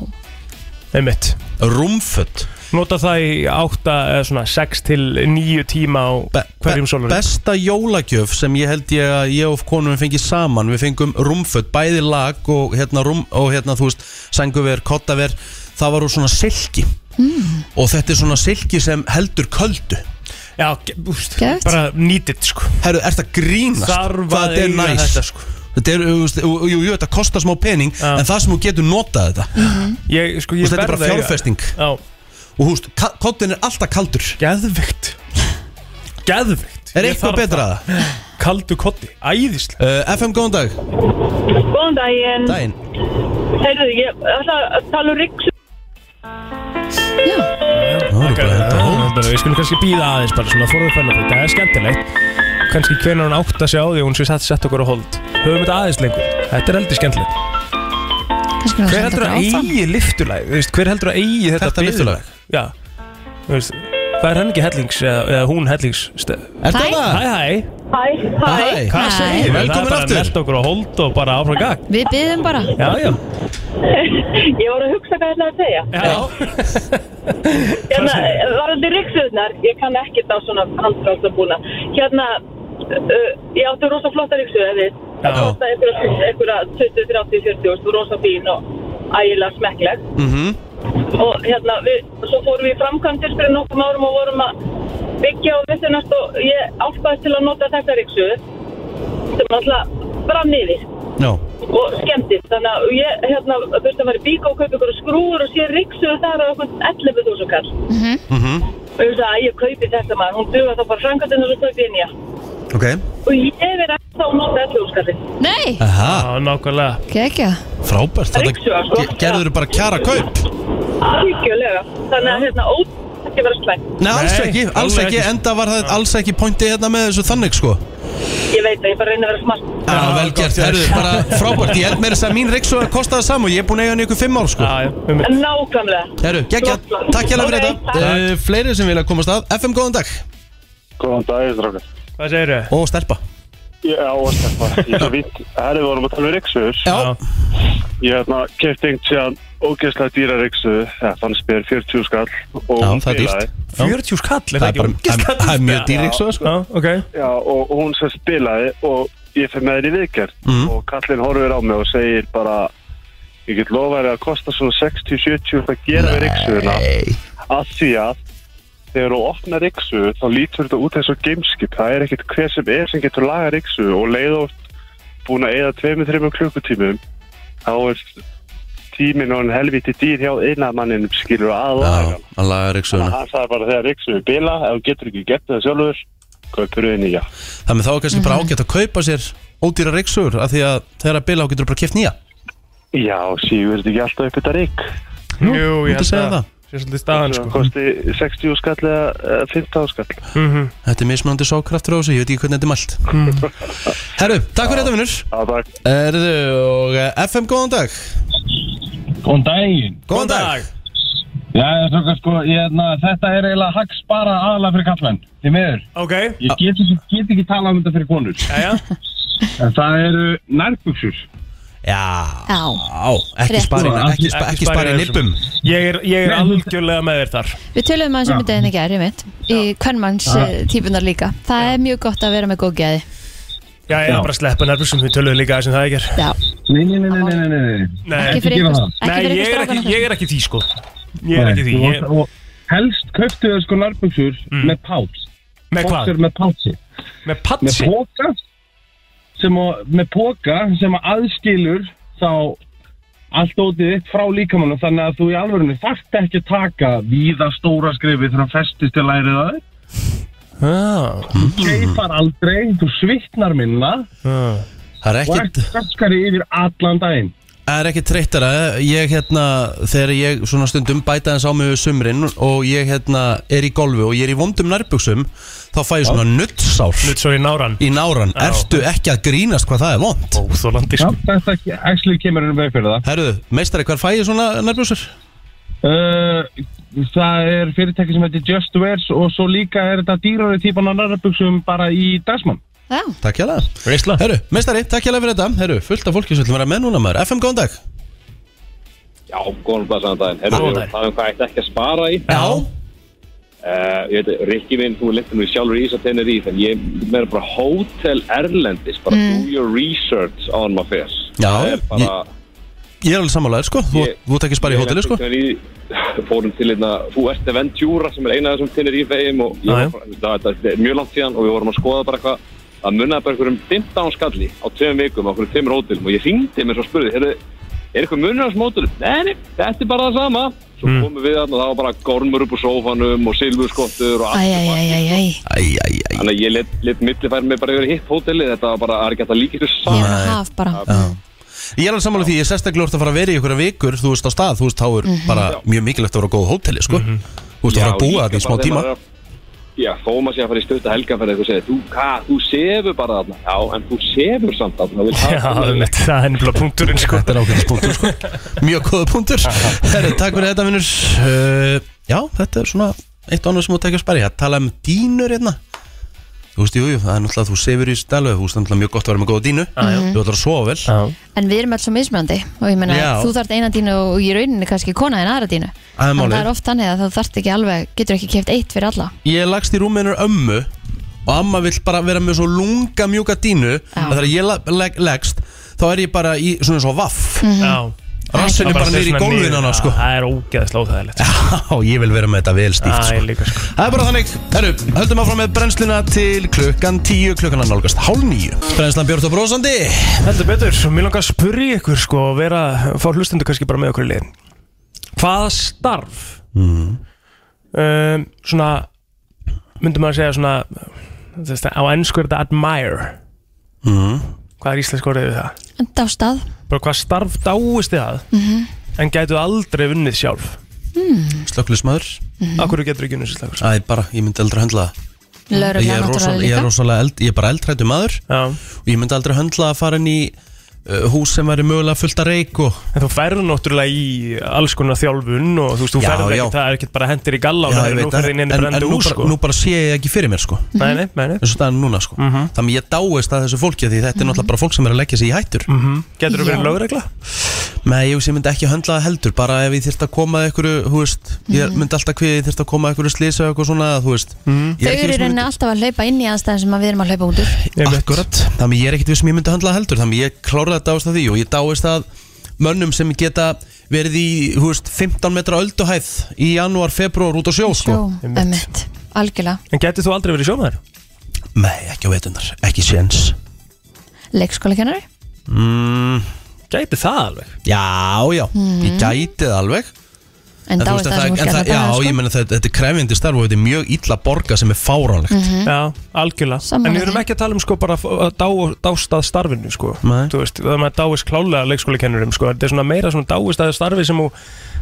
[SPEAKER 4] einmitt,
[SPEAKER 2] Rúmföt
[SPEAKER 4] nota það í 8 eða svona 6 til 9 tíma á
[SPEAKER 2] Be-
[SPEAKER 4] hverjum
[SPEAKER 2] be-
[SPEAKER 4] sólunum
[SPEAKER 2] Besta jólagjöf sem ég held ég að ég og konum fengi saman Við fengum rúmföt, bæði lag og hérna, rúm, og hérna þú veist Senguver, kottaver Það var úr svona silki
[SPEAKER 10] Mm-hmm.
[SPEAKER 2] mm. Og þetta er svona silki sem heldur köldu
[SPEAKER 4] Já, ge- úst,
[SPEAKER 3] Geðveikt.
[SPEAKER 4] bara nýtit sko
[SPEAKER 2] Herru, er þetta grínast?
[SPEAKER 4] Þarf
[SPEAKER 2] Hvað
[SPEAKER 4] að
[SPEAKER 2] þetta er
[SPEAKER 4] eiga
[SPEAKER 2] næs?
[SPEAKER 4] þetta, sko.
[SPEAKER 2] Þetta er, þú veist, jú, jú, þetta kostar smá pening
[SPEAKER 4] Já.
[SPEAKER 2] En það sem þú getur notað þetta
[SPEAKER 3] Mhm.
[SPEAKER 4] ég, sko, ég
[SPEAKER 2] Þú veist, þetta er
[SPEAKER 4] verð
[SPEAKER 2] bara
[SPEAKER 4] að eiga-
[SPEAKER 2] fjárfesting.
[SPEAKER 4] Já,
[SPEAKER 2] Og húst, kottin er alltaf kaldur
[SPEAKER 4] geðvikt Geðvikt
[SPEAKER 2] Er eitthvað betra að það?
[SPEAKER 4] Kaldu kotti, æðislega
[SPEAKER 2] Uh, FM, góðan dag
[SPEAKER 10] Góðan daginn.
[SPEAKER 2] Daginn
[SPEAKER 10] Heyrðu, ég ætla að tala um riksu.
[SPEAKER 3] já,
[SPEAKER 2] Nú erum við bara að henda á.
[SPEAKER 4] Bara, Við skulum kannski býða aðeins bara svona forðu fennu þetta Það er skemmtilegt Kannski hvenær hún átt að sjá því að hún sé sett sett okkur á hold Höfum þetta aðeins lengur Þetta er heldur skemmtilegt
[SPEAKER 3] kannski við
[SPEAKER 4] Hver
[SPEAKER 3] að
[SPEAKER 4] heldur
[SPEAKER 3] senda þetta
[SPEAKER 4] að
[SPEAKER 3] áfram
[SPEAKER 4] eigi lyftulag? Þú veist, Hver heldur að eigi þetta
[SPEAKER 2] Þetta
[SPEAKER 4] bið?
[SPEAKER 2] lyftulag?
[SPEAKER 4] Já Þú veist, Það er hann ekki hellings eða, eða hún hellings
[SPEAKER 2] Er
[SPEAKER 3] Hæ.
[SPEAKER 2] þetta
[SPEAKER 4] Hæ hæ
[SPEAKER 10] Hæ, hæ.
[SPEAKER 2] Hæ.
[SPEAKER 4] Hvað
[SPEAKER 3] Hæ.
[SPEAKER 4] segir við?
[SPEAKER 2] Velkomin
[SPEAKER 4] Það er
[SPEAKER 2] aftur.
[SPEAKER 4] bara nett okkur á hold og bara áfram gag
[SPEAKER 3] Við byðum bara
[SPEAKER 4] Já já
[SPEAKER 10] Ég voru að hugsa hvað ég ætlaði að segja.
[SPEAKER 4] Já
[SPEAKER 10] Hérna, varandi riksuðnar, ég kann ekkert á svona handfránsabúna. Hérna, uh, ég átti rosa flotta riksuð, eða við.
[SPEAKER 4] Já.
[SPEAKER 10] Það kosti einhverja, einhverja 20, 30, 40 og svo rosa fín og ægilega smekkleg.
[SPEAKER 2] Mhm.
[SPEAKER 10] Og hérna, við, svo fórum við í framkvæmdir fyrir nokkum árum og vorum að byggja og vissinast og ég ástæðist til að nota þetta riksuð sem alltaf brann yfir
[SPEAKER 2] Já
[SPEAKER 10] og skemmtist. Þannig að ég, hérna, þurfti að fara í bíka og kaupa ykkur skrúur og sé riksuð þar á okkur 11.000 kall.
[SPEAKER 3] Mhm.
[SPEAKER 2] Mhm.
[SPEAKER 10] Og ég sagði að ég kaupi þetta maður, hún duga þá bara frangatinn og svo kaupi ég nýja.
[SPEAKER 2] Ok
[SPEAKER 10] Og ég er eftir að nota þetta úrskallin.
[SPEAKER 3] Nei,
[SPEAKER 2] Aha
[SPEAKER 4] Já, nákvæmlega
[SPEAKER 3] kekja
[SPEAKER 2] Frábært,
[SPEAKER 10] Ryksuga,
[SPEAKER 2] þetta
[SPEAKER 10] sko.
[SPEAKER 2] ge- gerður bara kjara kaup
[SPEAKER 10] Algjörlega. Þannig að hérna ótt ekki vera slæmt.
[SPEAKER 2] Nei, alls
[SPEAKER 4] Nei,
[SPEAKER 2] ekki, alls
[SPEAKER 4] alveg
[SPEAKER 2] ekki,
[SPEAKER 4] ekki.
[SPEAKER 2] enda var það alls ekki pointi hérna með þessu þannig sko
[SPEAKER 10] Ég veit það, ég bara reyna að vera smart.
[SPEAKER 2] Já,
[SPEAKER 4] Já,
[SPEAKER 2] vel
[SPEAKER 4] gott
[SPEAKER 2] gert,
[SPEAKER 4] hjá þér.
[SPEAKER 2] herðu, bara frábært Ég held meira þess að mín reyksuga kostaði saman og ég er búin að eiga hann í ykkur fimm ár sko
[SPEAKER 4] Já já um mitt.
[SPEAKER 10] En nákvæmlega.
[SPEAKER 2] Herru, geggja,
[SPEAKER 10] Flott.
[SPEAKER 2] takk hjá
[SPEAKER 10] Sko,
[SPEAKER 2] fyrir
[SPEAKER 10] Ok,
[SPEAKER 2] þetta
[SPEAKER 10] takk.
[SPEAKER 2] uh, Fleiri sem vilja komast að, FM góðan dag
[SPEAKER 9] Góðan dagir, drakar.
[SPEAKER 4] Hvað segir þau?
[SPEAKER 2] Og stelpa
[SPEAKER 9] Já, og stefna. Ég er svo vitt. Herri, við vorum að tala um riksuður.
[SPEAKER 2] Já,
[SPEAKER 9] Ég hérna kefti einhvern síðan ógeðslega dýra riksuðu. Já, þannig spyr 40 skall. Og
[SPEAKER 2] Já,
[SPEAKER 9] hún
[SPEAKER 2] það er
[SPEAKER 9] bilaði.
[SPEAKER 2] dýrt.
[SPEAKER 4] 40 skall er
[SPEAKER 2] það
[SPEAKER 4] það
[SPEAKER 2] er
[SPEAKER 4] ekki
[SPEAKER 2] bara, það er- það er mjög dýr reyksuga sko
[SPEAKER 4] Já, ok
[SPEAKER 9] Já, og og hún sem spilaði og ég fyrir með henni í viðgerð.
[SPEAKER 2] Mhm.
[SPEAKER 9] Og kallinn horfir á mig og segir bara, ég get lofaði að kosta svona 60-70 að gera við riksuðuna.
[SPEAKER 2] Nei.
[SPEAKER 9] að því að þegar þú opnar riksu þá lítur þetta út eins og gameskip það er ekkert hver sem er sem getur laga riksu og leið oft búin að eða 2-3 klukkutímum þá er tíminn og en helviti dýr hjá einamanninum skilur að laga
[SPEAKER 2] Já, að laga reyksuguna
[SPEAKER 9] hann sagði bara þegar riksu er bila ef þú getur ekki gert það sjálfur kaupur þau nýja
[SPEAKER 2] Þannig þá er kannski
[SPEAKER 10] Mhm.
[SPEAKER 2] bara ágætt að kaupa sér ódýra reyksugur af því að þegar að bila á getur bara keft nýja
[SPEAKER 9] já, sígur þetta ekki alltaf upp þetta rik
[SPEAKER 4] Jú, ég
[SPEAKER 2] ert að Hm, segja það?
[SPEAKER 4] Sér svolítið staðan
[SPEAKER 9] það
[SPEAKER 4] sko
[SPEAKER 9] kosti 60 skall eða eh, 15 skall
[SPEAKER 2] Þetta er mismunandi sókraftur á þessu, ég veit ekki hvernig þetta er mælt Herru, takk fyrir þetta vinnur
[SPEAKER 9] að það
[SPEAKER 2] Erðu og eh, FM, góðan dag
[SPEAKER 7] Góðan daginn.
[SPEAKER 2] Góðan dag
[SPEAKER 7] Já, svona, sko, ég, na, þetta er eiginlega hagg spara aðalega fyrir kallmenn, því miður.
[SPEAKER 4] Ok,
[SPEAKER 7] Ég get, ekki- get ekki talað um þetta fyrir konur.
[SPEAKER 4] já já
[SPEAKER 7] En það eru nærbuksur.
[SPEAKER 2] Já,
[SPEAKER 3] Já,
[SPEAKER 2] á, ekki
[SPEAKER 3] Rétt.
[SPEAKER 2] spari ekki, spa-
[SPEAKER 4] Ekki
[SPEAKER 2] ekki spari
[SPEAKER 4] spara í
[SPEAKER 2] nippum
[SPEAKER 4] Ég er, ég er algjörlega með þér þar
[SPEAKER 3] við töluðum aðeins um þetta en ekki er, ég mitt Í kvennmanns típunar líka Það er mjög gott að vera með góð geði
[SPEAKER 4] Já, ég er bara að sleppa nærbuxum, við töluðum líka aðeins um það ekki er
[SPEAKER 3] Já,
[SPEAKER 7] Nei, nei, nei, nei, nei, nei, nei.
[SPEAKER 4] Nei,
[SPEAKER 3] ekki fyrir
[SPEAKER 7] gera það.
[SPEAKER 3] ykkur Ekki
[SPEAKER 4] Nei
[SPEAKER 3] fyrir
[SPEAKER 4] ég,
[SPEAKER 3] ykkur
[SPEAKER 4] er ekki,
[SPEAKER 3] strákan
[SPEAKER 4] ég er ekki því sko Ég er ekki því
[SPEAKER 7] Nei,
[SPEAKER 4] ég,
[SPEAKER 7] og- og Helst kauptu þau sko nærbuksur með páls.
[SPEAKER 4] Mm. Með hvað?
[SPEAKER 7] Boxer Með pálsi.
[SPEAKER 4] Með
[SPEAKER 7] með
[SPEAKER 4] patsi?
[SPEAKER 7] póka sem að, með póka sem að aðskilur þá allt ótið þitt frá líkamannum þannig að þú í alvörinu þarft ekki að taka víða stóra skrifi þegar hann festist til lærið að þér
[SPEAKER 4] Já,
[SPEAKER 7] keifar aldrei, þú svitnar minna
[SPEAKER 4] já.
[SPEAKER 2] Það er
[SPEAKER 7] og
[SPEAKER 2] ekkit,
[SPEAKER 7] ert sterkari yfir allan daginn
[SPEAKER 2] það er ekkit treyttara Ég hérna, þegar ég svona stundum bæta hans á mig við sumrin og ég hérna er í golfi og ég er í vondum nærbuxum þá fæ ég svona nuttsár
[SPEAKER 4] Nutt svo í náran
[SPEAKER 2] í náran
[SPEAKER 4] Já.
[SPEAKER 2] Ertu ekki að grínast hvað það er vond?
[SPEAKER 4] Óþólandi
[SPEAKER 7] Já,
[SPEAKER 4] sko
[SPEAKER 7] þetta actually kemur henni veg fyrir það
[SPEAKER 2] Herru, meistari, hvar fæ ég svona nærbuxur?
[SPEAKER 7] uh, það er fyrirtæki sem heitir Just Wears og svo líka er þetta dýrari típan af nærbuksum bara í dagsmann.
[SPEAKER 3] Já,
[SPEAKER 2] Takk hjá það
[SPEAKER 4] Reisla
[SPEAKER 2] Herru, mestari, takk hjá það fyrir þetta Herru, fullt af fólki sem ætlum að vera með núna maður FM, góðan dag
[SPEAKER 8] Já, góðan blæsaðan daginn. Herru,
[SPEAKER 4] Góðan
[SPEAKER 8] við
[SPEAKER 4] daginn.
[SPEAKER 8] erum það um hvað ætti ekki að spara í.
[SPEAKER 2] Já
[SPEAKER 8] Uh, ég veit, Rikki minn, þú lengur nú sjálfur í Ís og Teneríf, en ég meira bara hótel Erlendis, bara do your research on my face.
[SPEAKER 2] Já,
[SPEAKER 8] Það er bara...
[SPEAKER 2] Ég er alveg sammálaður, sko Þú
[SPEAKER 8] Ég-
[SPEAKER 2] þú ert ekki spara í
[SPEAKER 8] Ég
[SPEAKER 2] hóteli,
[SPEAKER 8] lenti
[SPEAKER 2] sko
[SPEAKER 8] einhvern veginn í- fórum til hérna, þú ert Ventura sem er eina af þessum tinnir í feim og ég
[SPEAKER 4] Já, já.
[SPEAKER 8] var bara, það, það, það er mjög langt síðan og við vorum að skoða bara eitthvað að munnaði bara einhverjum 15 skalli á tveim vikum á einhverjum tveimur hótelum og ég hringdi mér svo og spurði, er, er eitthvað munur á þessum hótelum? Nei, nei, þetta er bara það sama Svo komum við þarna og það var bara gormur upp úr sófanum og silfurskottur og allt
[SPEAKER 3] æj, æj, æj, æj, æj
[SPEAKER 2] Æ, æ, æ
[SPEAKER 8] Þannig að ég let, let millifæri mig bara yfir hitt hóteli, þetta var bara, það er ekki hægt að líka þessu
[SPEAKER 3] Ég er
[SPEAKER 8] saman.
[SPEAKER 3] að haf bara
[SPEAKER 2] Ég er alveg sammála því, ég er sérstaklega úr að fara að vera í einhverja vikur Þú veist á stað, þú veist, þá er
[SPEAKER 7] Mhm.
[SPEAKER 2] bara mjög mikilvægt að vera á góð hóteli, sko Þú veist, að fara að búa þetta í smá tíma
[SPEAKER 8] Já, þó maður sé að fara í stöðta helganferð eitthvað segja, þú, hvað, þú sefur bara þarna Já, en þú sefur samt þarna vil
[SPEAKER 4] Já, einmitt, það er nefnilega punkturinn sko
[SPEAKER 2] Þetta er ákveðins punktur, sko Mjög góða punktur Herri, takk fyrir þetta, vinnur uh, Já, þetta er svona eitt og annað sem þú tekja að spara í Að tala um dínur hérna Þú veist, jú, jú, það er náttúrulega að þú sefur í stælu Þú veist, náttúrulega mjög gott að vera með góða dínu Þú ætlar að sofa vel
[SPEAKER 4] Ah, Já,
[SPEAKER 3] En við erum alls svo mismunandi og ég meina
[SPEAKER 2] Já.
[SPEAKER 3] þú þarft eina dínu og í rauninni kannski kona en aðra dínu
[SPEAKER 2] Það er
[SPEAKER 3] En
[SPEAKER 2] málið.
[SPEAKER 3] það er oft þannig að þú þarft ekki alveg getur ekki keft eitt fyrir alla
[SPEAKER 2] Ég lagst í rúminnur ömmu Og amma vill bara vera með svo lunga mjúka dínu
[SPEAKER 3] Já.
[SPEAKER 2] Að þegar ég la- legg- leggst Þá er ég bara í svona svo vaff
[SPEAKER 3] Mhm.
[SPEAKER 4] já
[SPEAKER 2] Rassinn er bara
[SPEAKER 4] Það
[SPEAKER 2] niður í
[SPEAKER 4] svona
[SPEAKER 2] gólfinu hana,
[SPEAKER 4] niður,
[SPEAKER 2] sko
[SPEAKER 4] já, Það er ógeðslega óþægilegt sko.
[SPEAKER 2] Já, ég vil vera með þetta vel stíft,
[SPEAKER 4] Það
[SPEAKER 2] sko
[SPEAKER 4] er líka sko
[SPEAKER 2] Það er bara þannig, herru, höldum áfram með brennsluna til klukkan 10, klukkan að nálgast hálf nýju Brennslan Björn og Brósandi
[SPEAKER 4] Heldur betur, mér langar að spyrja ykkur sko og vera, fá hlustundu kannski bara með okkur í liðin Hvaða starf
[SPEAKER 2] Mm.
[SPEAKER 4] um, svona myndum maður að segja svona þess að á ennsku er þetta admire
[SPEAKER 2] Mhm.
[SPEAKER 4] Hvað er íslensk orðið við það?
[SPEAKER 3] En dást að
[SPEAKER 4] Bara hvað starf dáist þið að en gætu aldrei vunnið sjálf
[SPEAKER 3] Hmm.
[SPEAKER 2] Slökkulismöður
[SPEAKER 4] Akkur getur ekki unnið sér slagur
[SPEAKER 2] Æ, bara, ég myndi aldrei höndla það Ég
[SPEAKER 3] Lörugla
[SPEAKER 2] er rosalega, ég
[SPEAKER 3] náttúrulega
[SPEAKER 2] er
[SPEAKER 3] líka
[SPEAKER 2] rosalega eld, ég er bara eldrættu maður
[SPEAKER 4] Já,
[SPEAKER 2] Og ég myndi aldrei höndla að fara inn í uh, hús sem væri mögulega fullt að reik og
[SPEAKER 4] en þú færðu náttúrulega í alls konar þjálfun og þú veist, þú
[SPEAKER 2] Já,
[SPEAKER 4] færðu
[SPEAKER 2] já.
[SPEAKER 4] ekki, það er ekkert bara hendir í galla og
[SPEAKER 2] Já,
[SPEAKER 4] það
[SPEAKER 2] ég
[SPEAKER 4] er nú
[SPEAKER 2] veit það.
[SPEAKER 4] færðu inn
[SPEAKER 2] en,
[SPEAKER 4] henni
[SPEAKER 2] en
[SPEAKER 4] brendu
[SPEAKER 2] nú,
[SPEAKER 4] úr
[SPEAKER 2] bara,
[SPEAKER 4] sko
[SPEAKER 2] nú bara sé ég ekki fyrir mér sko
[SPEAKER 4] Nei, nei, nei, Mhm. nei
[SPEAKER 2] eins og staðan núna sko Þannig ég dáist að þessu fólki því þetta er náttúrulega bara fólk sem er að leggja sig í hættur
[SPEAKER 4] Getur þú Mhm.
[SPEAKER 3] Mhm.
[SPEAKER 4] verið
[SPEAKER 3] Já.
[SPEAKER 4] lögregla?
[SPEAKER 2] Nei, ég ég myndi ekki höndla það heldur bara ef ég þyrst að koma að einhverju, þú veist
[SPEAKER 3] Mhm.
[SPEAKER 2] ég myndi alltaf hví að ég þyrst að koma að einhverju slisa og eitthvað svona, þú veist Ég
[SPEAKER 4] Mhm.
[SPEAKER 3] Þau
[SPEAKER 2] er ekki
[SPEAKER 3] eru
[SPEAKER 2] viss um
[SPEAKER 3] reyna
[SPEAKER 2] ég
[SPEAKER 3] alltaf að hlaupa inn í aðstæðan sem að við erum að hlaupa út úr
[SPEAKER 2] myndi- Akkurat, þannig ég er ekkert við sem ég myndi höndla það heldur þannig ég kláraði að dáist að því og ég dáist að mönnum sem geta verið í, þú veist, 15 metra ölduhæð í janúar, februar út á sjó,
[SPEAKER 3] Jó,
[SPEAKER 2] sko
[SPEAKER 4] einmitt.
[SPEAKER 3] emmitt, algjörlega
[SPEAKER 4] En getur þú aldrei verið sjómaður?
[SPEAKER 2] Nei, ekki á veitundar, ekki séns
[SPEAKER 3] Leikskóla kennari
[SPEAKER 2] mm,
[SPEAKER 4] Gæti það alveg
[SPEAKER 2] Já, já, ég gæti það alveg
[SPEAKER 3] Mm. En
[SPEAKER 2] En þú
[SPEAKER 3] dáist
[SPEAKER 2] veist
[SPEAKER 3] að
[SPEAKER 2] að
[SPEAKER 3] sem
[SPEAKER 2] það,
[SPEAKER 3] fólk
[SPEAKER 2] en
[SPEAKER 3] er
[SPEAKER 2] það,
[SPEAKER 3] það bara
[SPEAKER 2] já, ég
[SPEAKER 3] sko.
[SPEAKER 2] meina þetta, þetta er krefindi starf og þetta er mjög illa borga sem er fáránlegt
[SPEAKER 4] Já, algjörlega
[SPEAKER 3] Mhm. Sammála
[SPEAKER 4] En við erum
[SPEAKER 3] því.
[SPEAKER 4] ekki að tala um sko bara að dá, dást að starfinu sko
[SPEAKER 2] Nei.
[SPEAKER 4] Þú veist, það er maður dáist klálega leikskólikennurum sko Þetta er svona meira svona dáist að starfi sem þú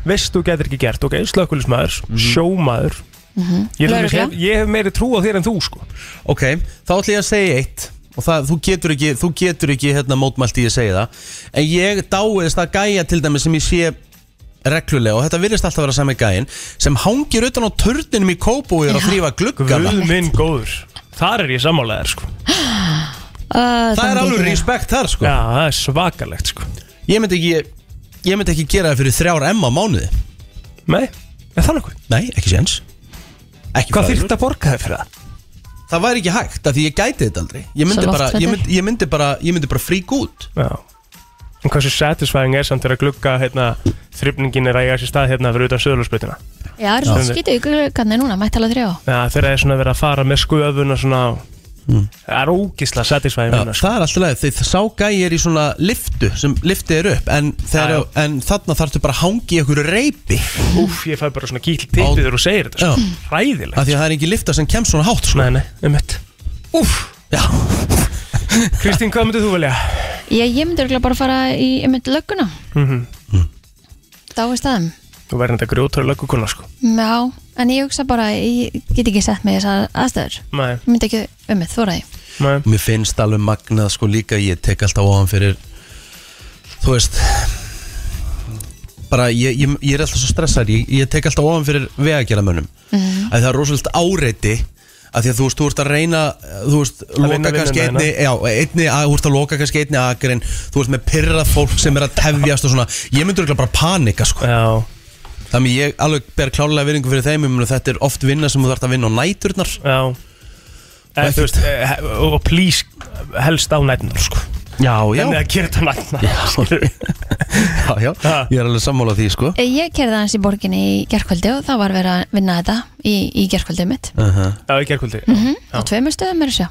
[SPEAKER 4] veist þú getur ekki gert Ok, slökkulismæður,
[SPEAKER 2] Mhm.
[SPEAKER 4] sjómaður ég,
[SPEAKER 3] Mhm.
[SPEAKER 4] til dæmis
[SPEAKER 3] Lögregla.
[SPEAKER 4] hef, ég hef meiri trú á þér en þú sko
[SPEAKER 2] Ok, þá ætlum ég að segja eitt og það, þú getur ekki, þú getur ekki hérna mótmælt í að segja það en ég dáist að gæja til dæmi sem ég sé reglulega og þetta virðist alltaf að vera sami gæin sem hangir utan á törninum í kópu og er að þrýfa gluggana
[SPEAKER 4] Guð minn góður Þar er ég sammálaðir sko
[SPEAKER 3] Ö,
[SPEAKER 2] Það er
[SPEAKER 3] myndi
[SPEAKER 2] alveg
[SPEAKER 3] ég gera.
[SPEAKER 2] respekt þar sko
[SPEAKER 4] Já, það er svakalegt sko
[SPEAKER 2] Ég myndi ekki, ég myndi ekki gera það fyrir þrjár M á mánuði
[SPEAKER 4] Nei, er það nokkuð?
[SPEAKER 2] Nei, ekki séns ekki
[SPEAKER 4] Hvað
[SPEAKER 2] fræðilegur.
[SPEAKER 4] þyrfti að borga þér fyrir það?
[SPEAKER 2] Það væri ekki hægt af því ég gæti þetta aldrei Ég myndi,
[SPEAKER 3] Svo
[SPEAKER 2] bara, ég
[SPEAKER 3] loftræddur.
[SPEAKER 2] myndi, ég myndi, bara, ég myndi bara frík út
[SPEAKER 4] Já En hversu satisfying er samt þegar glugga hérna, þrifningin er að eiga sér stað hérna fyrir utan söðlósbrutina
[SPEAKER 3] Já, það eru svo skýtu í gluggarnir núna, mætti alveg þrjá
[SPEAKER 4] Já, þegar það er svona verið að fara með skuðuna svona Það er ógisla satisfying
[SPEAKER 2] Mm. Já,
[SPEAKER 4] vinna, sko.
[SPEAKER 2] það er alltaf leið, því sá gæi er í svona liftu sem liftið er upp en, þegar,
[SPEAKER 4] Já, já.
[SPEAKER 2] en þarna þarftu bara að hangi í einhverju reypi
[SPEAKER 4] Úff, ég fæ bara svona kýll tippið þegar þú segir þetta sko.
[SPEAKER 2] af
[SPEAKER 4] Ræðilegt
[SPEAKER 2] því að það er ekki lifta sem kemst svona hátt sko.
[SPEAKER 4] Nei, nei, um mitt Úff,
[SPEAKER 2] Já,
[SPEAKER 4] Kristín, hvað myndið þú velja?
[SPEAKER 3] Ég, ég myndi örugglega bara fara í einmitt lögguna Dáist að þeim
[SPEAKER 4] Mhm. Þú verður þetta grjótur löggukuna sko
[SPEAKER 3] Já, en ég hugsa bara ég get ekki sett mig í þessar aðstæður
[SPEAKER 4] Nei,
[SPEAKER 3] ég myndi ekki um mig, þóra því
[SPEAKER 4] nei
[SPEAKER 2] mér finnst alveg magnað sko líka ég tek alltaf ofan fyrir þú veist bara, ég, ég, ég er alltaf svo stressað ég, ég tek alltaf ofan fyrir vegagerðamönnum
[SPEAKER 6] Mhm.
[SPEAKER 2] að það er rosalega áreiti að því að þú veist, þú ert að reyna þú veist, loka
[SPEAKER 4] vinna
[SPEAKER 2] kannski
[SPEAKER 4] vinnuna
[SPEAKER 2] einni, já, einni að, þú veist að loka kannski einni akrin þú veist með pyrrað fólk sem er að tefjast og svona, ég myndur ekki bara panika sko. þannig ég alveg ber klárlega viðingu fyrir þeim, ég mun að þetta er oft vinna sem þú þarf að vinna á næturnar
[SPEAKER 4] já. En, þú veist, eh, og og please helst á nætnar sko.
[SPEAKER 2] já, já.
[SPEAKER 4] en það gerir þetta nætnar
[SPEAKER 2] já, já, ég er alveg sammála því sko.
[SPEAKER 3] Eh, Ég kerði aðeins í borginni í gerkvöldi og þá var verið að vinna þetta í, í gerkvöldið mitt
[SPEAKER 2] uh -huh.
[SPEAKER 4] já, í gerkvöldi
[SPEAKER 3] mm á tveimur stöðum er þessu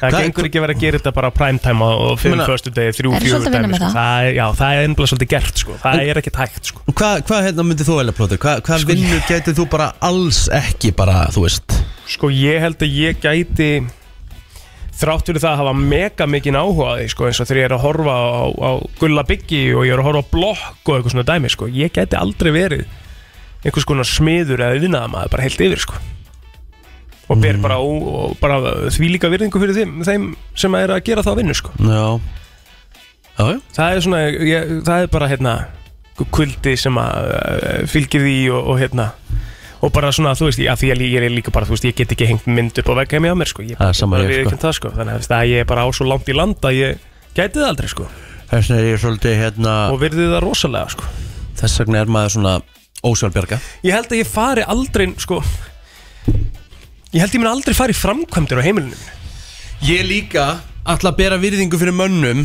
[SPEAKER 4] það gengur ekki að vera að gera þetta bara á primetime og- og fyrir
[SPEAKER 2] Meina-
[SPEAKER 4] förstu degi, þrjú,
[SPEAKER 3] Er
[SPEAKER 4] fjögur
[SPEAKER 3] svolítið að vinna
[SPEAKER 4] dæmi,
[SPEAKER 3] með
[SPEAKER 4] sko.
[SPEAKER 3] það?
[SPEAKER 4] það er, já, það er ennbla svolítið gert sko. það er ekkert hægt sko.
[SPEAKER 2] Og Hvað hva, hérna myndið þú velja plótið? Hvað hva vinnu getið þú bara alls ekki bara, þú veist
[SPEAKER 4] Sko ég held að ég gæti þrátt fyrir það að hafa mega mikinn áhuga á því sko eins og þegar ég er að horfa á, á gulla byggi og ég er að horfa á blokk og eitthvað svona dæmi sko ég gæti aldrei verið einhvers konar smiður eða yðnaðamaður bara heilt yfir sko og ber
[SPEAKER 2] Mhm.
[SPEAKER 4] bara, ó, og bara því líka virðingu fyrir þeim, þeim sem er að gera það að vinnu sko
[SPEAKER 2] Já Já,
[SPEAKER 4] það er svona, ég, það er bara hérna einhver kuldi sem að eh, fylgir því og, og hérna og bara svona, þú veist, að því að ég er líka bara þú veist, ég get ekki hengt mynd upp á vegg heim hjá mér sko. ég
[SPEAKER 2] Það er
[SPEAKER 4] bara,
[SPEAKER 2] sama
[SPEAKER 4] bara
[SPEAKER 2] hér,
[SPEAKER 4] við
[SPEAKER 2] sko.
[SPEAKER 4] ekki það sko. þannig að, þú veist, að ég er bara á svo langt í land að ég gæti það aldrei sko.
[SPEAKER 2] Þess vegna er ég svolítið hérna
[SPEAKER 4] og virði það rosalega sko.
[SPEAKER 2] Þess vegna er maður svona ósjálfbjarga
[SPEAKER 4] ég held að ég fari aldrei sko. ég held ég mun aldrei fari framkvæmdir á heimilinu mínu.
[SPEAKER 2] Ég líka ætla að bera virðingu fyrir mönnum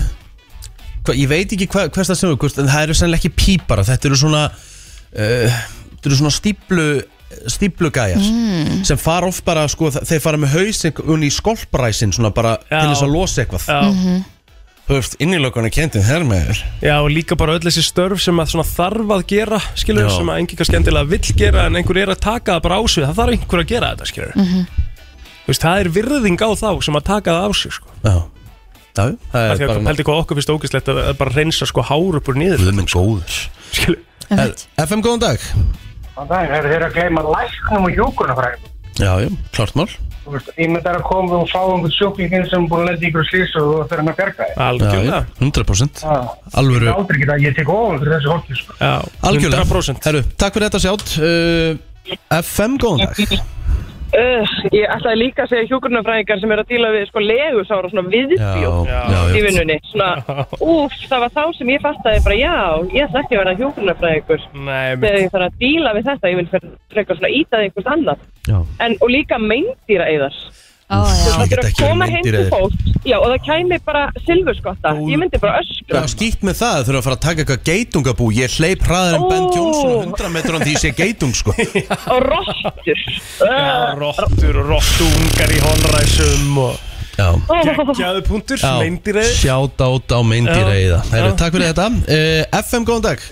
[SPEAKER 2] hva, Ég veit ekki hva, hvers það sem er hvort, En það eru sennilega ekki pípara Þetta eru svona uh, Þetta eru svona stíplu stíplugæjar
[SPEAKER 6] Mm.
[SPEAKER 2] sem fara oft bara sko, þa- þeir fara með hausinn unni í skolpræsin svona bara til þess að losa eitthvað
[SPEAKER 4] Já. Mhm.
[SPEAKER 2] Þú veist, innilökunni kentin þær með þér
[SPEAKER 4] Já, og líka bara öll þessi störf sem að svona þarf að gera, skilur,
[SPEAKER 2] Já.
[SPEAKER 4] sem að enginn kannski endilega vill gera en einhver er að taka það bara á sig, það þarf einhver að gera þetta, skilur. Þú veist, það er virðing á þá sem að taka það á sig, sko.
[SPEAKER 2] Já, já það
[SPEAKER 4] Það er bara... Pældi hvað okkur finnst ógislegt að að bara reynsa sko hár upp úr niður.
[SPEAKER 2] Guð minn góður.
[SPEAKER 4] Skilur.
[SPEAKER 2] FM, góðan dag
[SPEAKER 11] Þann daginn, eru þeir að gleyma læknum og hjúkunarfræðum?
[SPEAKER 2] Já, já, klart mál
[SPEAKER 11] Þú veist, ég myndi að koma og fá einhvern sjúklingin sem er búin að lenda í ykkur slýs og þú þarf hann að berga þér.
[SPEAKER 2] Já, já, 100% Alvöru
[SPEAKER 11] Ég átryggir það, ég tek ofan fyrir þessu fólki, sko.
[SPEAKER 4] Já,
[SPEAKER 2] Algjörlega. Herru, takk fyrir þetta sjátt uh, FM, góðan dag
[SPEAKER 12] Uh, ég ætlaði líka að segja hjúkurnafræðingar sem eru að díla við sko legusára og svona viðbjóð
[SPEAKER 2] Já, já, já.
[SPEAKER 12] í vinnunni. Svona, úf, það var þá sem ég fattaði bara, já, ég ætla ekki að vera hjúkurnafræðingur.
[SPEAKER 4] Nei,
[SPEAKER 12] Þegar ég þarf að díla við þetta, ég vil fyrir frekar svona ítaði einhvers annar.
[SPEAKER 2] Já.
[SPEAKER 12] En, og líka meindýra eðar.
[SPEAKER 3] Ó, já.
[SPEAKER 12] Það
[SPEAKER 2] Ég get
[SPEAKER 12] er að
[SPEAKER 2] ekki verið
[SPEAKER 12] koma heim til
[SPEAKER 2] meindýraeyðar.
[SPEAKER 12] fólk, já, og það kæmi bara silfurskotta. Ég myndi bara öskra.
[SPEAKER 2] Já, skýtt með það, þurfa að fara að taka eitthvað geitungabú Ég hleyp hraðar en Ben Johnson á 100 metrum því ég sé geitung, sko
[SPEAKER 12] Og rottur.
[SPEAKER 11] Ah!
[SPEAKER 4] Já, rottur og rottungar í honræsum og...
[SPEAKER 2] Já.
[SPEAKER 11] Ah!
[SPEAKER 4] Gekkjaðu punktur, meindýrið.
[SPEAKER 2] Sjátt át á meindýreiða
[SPEAKER 4] Já,
[SPEAKER 2] Herru,
[SPEAKER 4] já.
[SPEAKER 2] takk fyrir þetta uh, FM, góðan dag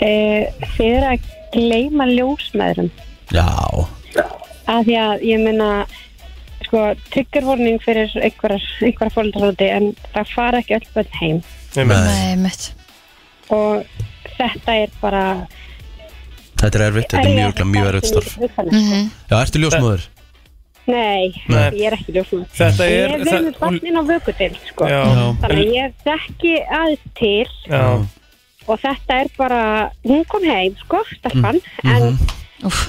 [SPEAKER 13] Eh, Þið er að gleyma ljósmaðurum
[SPEAKER 2] Já,
[SPEAKER 13] af því að ég meina sko, triggervorning fyrir einhverjar einhverjar fóreldrar úti en það fara ekki öll börn heim
[SPEAKER 2] Nei,
[SPEAKER 3] mitt
[SPEAKER 13] og þetta er bara
[SPEAKER 2] þetta er erfitt, þetta er mjög, mjög erfitt starf
[SPEAKER 13] -hmm.
[SPEAKER 2] Já, ertu ljósmóður?
[SPEAKER 13] Nei,
[SPEAKER 2] Nei.
[SPEAKER 13] ég er ekki ljósmaður
[SPEAKER 4] Þetta
[SPEAKER 13] En
[SPEAKER 4] er-
[SPEAKER 13] Ég er
[SPEAKER 4] það-
[SPEAKER 13] verið barnin á vökutild sko.
[SPEAKER 4] Já. Já.
[SPEAKER 13] þannig að ég þekki aðeins til
[SPEAKER 4] Já.
[SPEAKER 13] og þetta er bara hún kom heim sko, stelpan
[SPEAKER 4] Mm.
[SPEAKER 13] en
[SPEAKER 4] Mhm.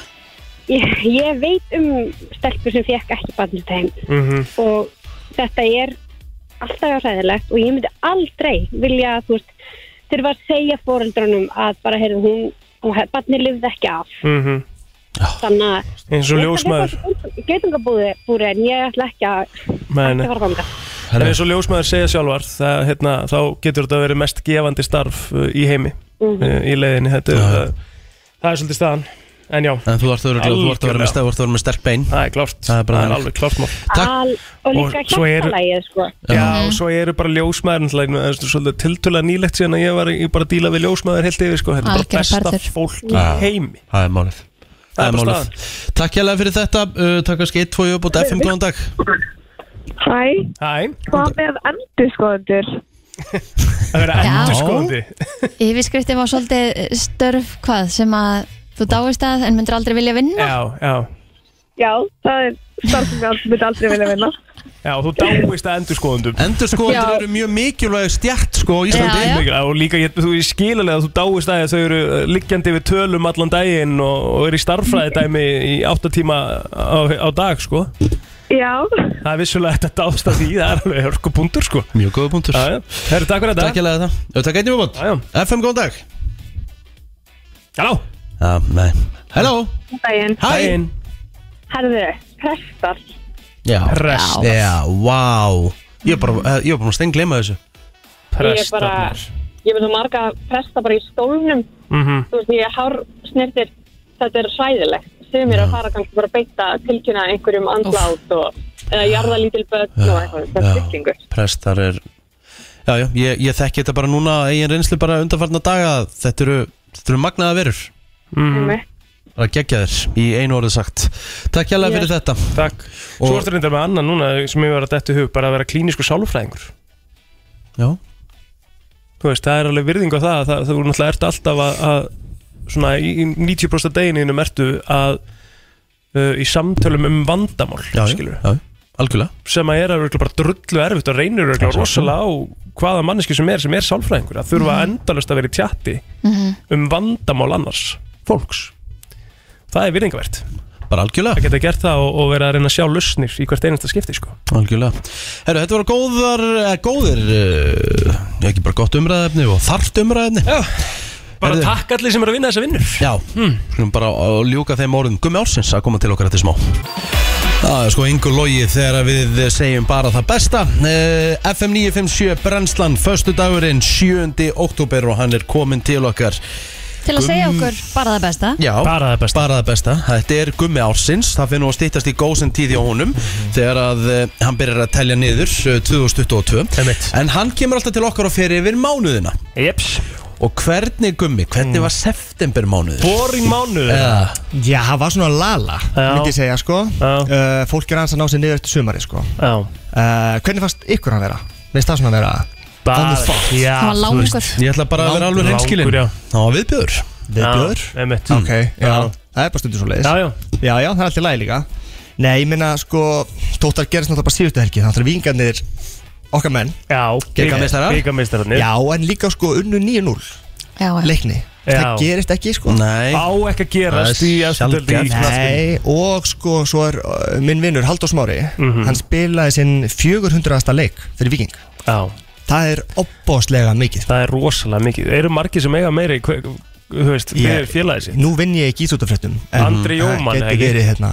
[SPEAKER 13] ég, ég veit um stelpur sem fekk ekki barnið heim
[SPEAKER 4] Mhm.
[SPEAKER 13] og þetta er alltaf ræðilegt og ég myndi aldrei vilja, þú veist, þurfa að segja fóreldrunum að bara, heyrðu, hún, hún barnið lifði ekki af
[SPEAKER 4] Mhm.
[SPEAKER 13] þannig að um
[SPEAKER 4] Eins og ljósmaður.
[SPEAKER 13] geitungabúri en ég ætla ekki að
[SPEAKER 4] Nei, nei.
[SPEAKER 13] ekki fara þangað
[SPEAKER 4] En eins og ljósmaður segja sjálfar það, hérna, þá getur þetta verið mest gefandi starf uh, í heimi
[SPEAKER 13] Mhm.
[SPEAKER 4] uh, í leiðinni þetta er, uh, það er svolítið staðan en já,
[SPEAKER 2] En þú ert að vera, þú ert að vera, með,
[SPEAKER 4] Algjörlega.
[SPEAKER 2] st- þú ert að vera með sterk bein
[SPEAKER 4] Það er klárt
[SPEAKER 2] Það er, bara
[SPEAKER 4] það er
[SPEAKER 2] þannig.
[SPEAKER 4] alveg klárt mál
[SPEAKER 13] Al, og líka
[SPEAKER 4] Og svo eru-
[SPEAKER 13] hjartalægið sko.
[SPEAKER 4] Já, og svo eru bara ljósmaður náttúrulega, það er svona svolítið tiltölulega nýlegt síðan að ég var í- bara að díla við ljósmaður heilt yfir sko, þetta er bara
[SPEAKER 3] Algjör
[SPEAKER 4] besta
[SPEAKER 3] perður.
[SPEAKER 4] fólk í
[SPEAKER 2] Já.
[SPEAKER 4] heimi
[SPEAKER 2] Það er málið
[SPEAKER 4] Það
[SPEAKER 2] Það
[SPEAKER 4] er
[SPEAKER 2] er
[SPEAKER 4] bara
[SPEAKER 2] málið Takk hérlega fyrir þetta, uh, takk kannski 1, 2 upp og FM, góðan dag
[SPEAKER 14] Hæ,
[SPEAKER 4] Hæ,
[SPEAKER 14] hvað með endurskoðendur?
[SPEAKER 4] það er
[SPEAKER 3] Já.
[SPEAKER 4] endurskóndi
[SPEAKER 3] Yfirskriftin var svolítið eh, störf hvað sem að þú dáist að en myndir aldrei vilja vinna
[SPEAKER 4] Já, já
[SPEAKER 14] Já, það er starf sem ég aldrei, myndi aldrei vilja vinna.
[SPEAKER 4] Já, og þú dáist að endurskoðundum
[SPEAKER 2] Endurskoðendur
[SPEAKER 14] Já.
[SPEAKER 2] sko, eru mjög mikilvæg stjætt sko á Íslandi
[SPEAKER 4] Já, og líka, ég, þú er skilalega að þú dáist að því að þau eru uh, liggjandi við tölum allan daginn og, og eru í starffræði dæmi í átta tíma á, á dag, sko.
[SPEAKER 14] Já,
[SPEAKER 4] Það er vissulega hægt að dást að því, það er alveg hörku punktur, sko.
[SPEAKER 2] Mjög góða punktur.
[SPEAKER 4] Já, já. Herru, takk fyrir þetta.
[SPEAKER 2] Takk hérlega þetta. Ef takk einnig við bótt. FM, góðan dag.
[SPEAKER 4] Halló.
[SPEAKER 2] Já, nei. Halló.
[SPEAKER 14] daginn.
[SPEAKER 2] Hæ.
[SPEAKER 14] Herðu, prestar.
[SPEAKER 2] Já.
[SPEAKER 14] Prest.
[SPEAKER 2] Já, vá. Ég var bara, eh, ég var bara stein glema þessu.
[SPEAKER 14] Ég er bara, ég veit þú marga presta bara í stólnum.
[SPEAKER 2] Mhm.
[SPEAKER 14] Þú veist, ég er hár snirtir, þetta er sæðilegt. Sumir eru að fara kannski bara að beita tilkynna einhverjum andlátt og eða jarða lítil börn og eitthvað, þetta er
[SPEAKER 2] Já.
[SPEAKER 14] tryggingur.
[SPEAKER 2] Prestar er, já, já, ég, ég þekki þetta bara núna, eigin reynslu bara undanfarnar daga, að þetta eru, þetta eru magnaða verur.
[SPEAKER 4] Mm.
[SPEAKER 2] Bara geggja þér, í einu orðið sagt. Takk hérlega fyrir þetta.
[SPEAKER 4] Takk. Svo ertu reyndar með annan núna sem ég var að dettu hug, bara að vera klínisku sálfræðingur.
[SPEAKER 2] Já.
[SPEAKER 4] Þú veist, það er alveg virðing á það, það, þú náttúrulega ert alltaf að, að svona í í 90% af degininum ertu að uh, í samtölum um vandamál,
[SPEAKER 2] Já, já,
[SPEAKER 4] skilur.
[SPEAKER 2] já, algjörlega.
[SPEAKER 4] sem að er að bara drullu erfitt og reynir örugglega rosalega á hvaða manneski sem er sem er sálfræðingur að þurfa endalust að vera í tjatti
[SPEAKER 6] Mhm.
[SPEAKER 4] um vandamál annars fólks það er virðingavert
[SPEAKER 2] bara algjörlega
[SPEAKER 4] að geta gert það og, og vera að reyna að sjá lausnir í hvert einasta skipti sko.
[SPEAKER 2] Algjörlega. Herru, þetta voru góðar, eh, góðir, uh, ekki bara gott umræðefni og þarft umræðefni.
[SPEAKER 4] Já, bara takk allir sem eru að vinna þessa vinnur. Hmm.
[SPEAKER 2] Já, skulum bara að ljúka þeim orðum Gummi Ársins að koma til okkar eftir smá. Það er sko yngur logi þegar við segjum bara það besta. Eh, FM 957 Brennslan, förstu dagurinn 7. oktober og hann er komin til okkar.
[SPEAKER 3] Til að
[SPEAKER 2] Gumm-
[SPEAKER 3] segja okkur bara það besta
[SPEAKER 2] Já, bara það besta, Þetta er gummi ársins, það finnum að stýttast í góðsinn tíð hjá honum Þegar að uh, hann byrjar að telja niður uh, 2022 Emitt. En hann kemur alltaf til okkar og fer yfir mánuðina
[SPEAKER 4] Jeps
[SPEAKER 2] Og hvernig gummi, hvernig var september mánuður? Já.
[SPEAKER 15] Já, það var svona lala,
[SPEAKER 2] Já.
[SPEAKER 15] myndi ég segja sko uh, Fólk er aðeins að ná sér niður eftir sumari sko
[SPEAKER 4] uh,
[SPEAKER 15] Hvernig fannst ykkur hann vera? Veist það svona vera?
[SPEAKER 4] Bara-
[SPEAKER 15] Þannig fólk.
[SPEAKER 4] já, Hann var þú langur. veist.
[SPEAKER 2] Ég ætla bara að vera
[SPEAKER 15] Langur.
[SPEAKER 2] alveg hreinskilinn.
[SPEAKER 15] Langur, já.
[SPEAKER 2] Það var viðbjöður
[SPEAKER 15] Viðbjóður?
[SPEAKER 4] Já, einmitt.
[SPEAKER 15] Ok, já,
[SPEAKER 4] Já.
[SPEAKER 15] það er bara stundur svo leiðis
[SPEAKER 4] Já, já
[SPEAKER 15] Já, já, það er alltaf læg líka Nei, ég minna sko, tóttar gerist náttúrulega bara síðustu helgi Þannig að vingarnir okkar menn
[SPEAKER 4] Já,
[SPEAKER 15] Bikarmeistarar.
[SPEAKER 4] bikarmeistararnir.
[SPEAKER 15] Já, en líka sko unnu 9-0
[SPEAKER 3] Já, já.
[SPEAKER 15] Leikni
[SPEAKER 4] Já.
[SPEAKER 15] Það gerist ekki sko
[SPEAKER 2] Nei
[SPEAKER 4] Á ekki að gerast í eftir döldi í knattspyrnu.
[SPEAKER 15] Nei, og sko, svo er uh, minn vinnur Halldór Smári
[SPEAKER 4] Mhm.
[SPEAKER 15] Hann spilaði sinn 400. leik fyrir Viking
[SPEAKER 4] Já
[SPEAKER 15] Það er opbóðslega mikið
[SPEAKER 4] Það er rosalega mikið Eru margir sem eiga meiri hver, Þú veist,
[SPEAKER 15] Ég-
[SPEAKER 4] meiri félagi sitt
[SPEAKER 15] Nú vinn ég ekki íþjóttafréttum
[SPEAKER 4] Andri Jómann,
[SPEAKER 15] Það
[SPEAKER 4] ekki?
[SPEAKER 15] getur verið hérna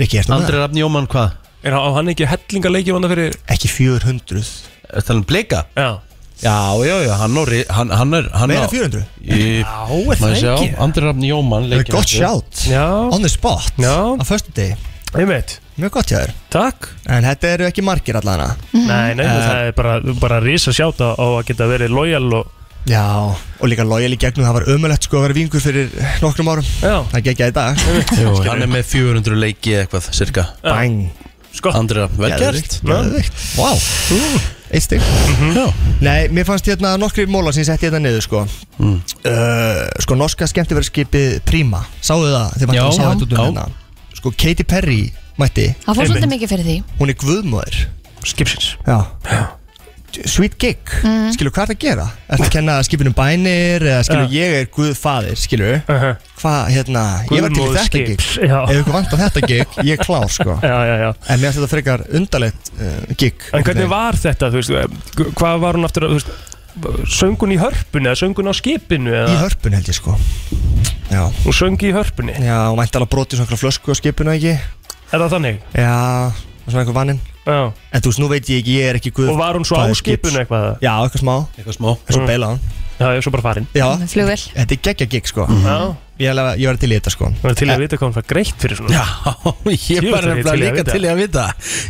[SPEAKER 15] Rikki, ertu með
[SPEAKER 2] Andri
[SPEAKER 15] það?
[SPEAKER 2] Rafn Jómann, hvað?
[SPEAKER 4] Er á- á hann ekki hellingarleiki vanda fyrir
[SPEAKER 15] Ekki 400
[SPEAKER 2] Er það um blika?
[SPEAKER 4] Já
[SPEAKER 2] Já, já, já, hann, á, ri- hann, hann er hann
[SPEAKER 15] Meira
[SPEAKER 2] á-
[SPEAKER 15] 400?
[SPEAKER 2] Í,
[SPEAKER 15] Já, er það
[SPEAKER 2] maður sjá,
[SPEAKER 15] ekki?
[SPEAKER 2] Andri Rafn Jómann
[SPEAKER 15] Það er
[SPEAKER 2] leikinn
[SPEAKER 15] gott
[SPEAKER 2] eftir.
[SPEAKER 15] sjátt On the spot
[SPEAKER 4] Já
[SPEAKER 15] Á föstu degi
[SPEAKER 4] Einmitt
[SPEAKER 15] Mjög gott hjá þér
[SPEAKER 4] Takk
[SPEAKER 15] En þetta eru ekki margir allana
[SPEAKER 4] Nei, nei,
[SPEAKER 15] Eh.
[SPEAKER 4] það er bara, bara risa sjáta á að geta verið lojal og
[SPEAKER 15] Já, og líka lojal í gegnum Það var ömulegt sko að vera vingur fyrir nokkrum árum
[SPEAKER 4] Já
[SPEAKER 15] Það gekk ég í dag
[SPEAKER 2] Jú, hann er með 400 leiki eitthvað, cirka
[SPEAKER 15] Bang
[SPEAKER 4] Skott
[SPEAKER 2] Andri Rafn, vel gert
[SPEAKER 15] Geðvikt Vá Eitt stig Nei, mér fannst hérna nokkri mólar sem ég setti hérna niður sko
[SPEAKER 2] Mhm,
[SPEAKER 15] uh, Sko, norska skemmtifæðarskipið Prima Sáðu það? Þið
[SPEAKER 2] Já.
[SPEAKER 15] vantum að sá þetta út um
[SPEAKER 2] Já.
[SPEAKER 15] hérna Sko, Katy Perry mætti
[SPEAKER 3] Það fór svolítið mikið fyrir því
[SPEAKER 15] Hún er guðmóður
[SPEAKER 4] Skipsins
[SPEAKER 15] Já Sweet gig,
[SPEAKER 3] Mhm.
[SPEAKER 15] skilur hvað er það að gera? Ertu að kenna skipinum bænir eða skilur ég er guðfaðir, skilur Hvað, hérna, ég var til í
[SPEAKER 4] Guðmóður
[SPEAKER 15] þetta gig
[SPEAKER 4] skips, já.
[SPEAKER 15] Ef ykkur vant á þetta gig, ég er klár sko
[SPEAKER 4] Já, já, já
[SPEAKER 15] En mér finnst þetta frekar undarlegt uh, gig
[SPEAKER 4] En hvernig var þetta, þú veist eh, Hvað var hún aftur, að, þú veist Söngun í hörpunni eða söngun á skipinu eða?
[SPEAKER 15] Í hörpunni held ég sko Já
[SPEAKER 4] Hún söngi í hörpunni
[SPEAKER 15] Já, hún mætti alveg brotið svona einhverja flösku á skipinu ekki
[SPEAKER 4] Er það þannig?
[SPEAKER 15] Já, svona einhver vanninn
[SPEAKER 4] Já
[SPEAKER 15] En þú veist, nú veit ég ekki, ég er ekki guð
[SPEAKER 4] Og var hún svo á
[SPEAKER 15] faðir skips.
[SPEAKER 4] skipinu eitthvað Mm.
[SPEAKER 15] Já, eitthvað smá
[SPEAKER 2] Eitthvað smá
[SPEAKER 15] En svo beilaði hún
[SPEAKER 4] Já, ég er svo bara farin
[SPEAKER 15] Já
[SPEAKER 3] Með flugvél.
[SPEAKER 15] Þetta er geggja gig sko
[SPEAKER 4] Já
[SPEAKER 15] Ég held að- ég var til í þetta sko
[SPEAKER 4] Þú verður til í að vita hvað hún fær greitt fyrir svona
[SPEAKER 2] Já, Ég var nefnilega líka til í að vita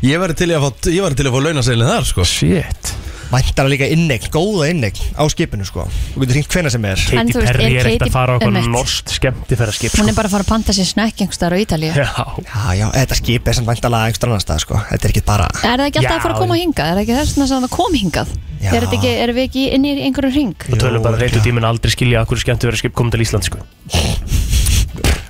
[SPEAKER 2] Ég var til í að fá, ég væri til í að fá launaseilin þar sko.
[SPEAKER 4] Shit
[SPEAKER 15] Væntar líka innegn, góða innegn á skipinu sko Þú getur hringt hvena sem er
[SPEAKER 3] En Katy þú veist, Perry er er ekkert að Katy- fara á eitthvað einmitt.
[SPEAKER 4] norskt skemmtifæraskip
[SPEAKER 3] Hún er bara að fara að panta sér snekk einhverstaðar á Ítalíu
[SPEAKER 4] Já,
[SPEAKER 15] já, já, þetta skip er samt væntalega einhver annar stað sko Þetta er ekki bara
[SPEAKER 3] Er það ekki alltaf að fara að koma
[SPEAKER 15] Já,
[SPEAKER 3] hingað? Er það ekki þess vegna sem það kom hingað?
[SPEAKER 15] Já.
[SPEAKER 3] Er, þetta ekki, er við ekki inn í einhverjum ring?
[SPEAKER 4] Og tölum bara reytu tíminn aldrei skilja að hverju skemmtifæraskip kom til Ísland sko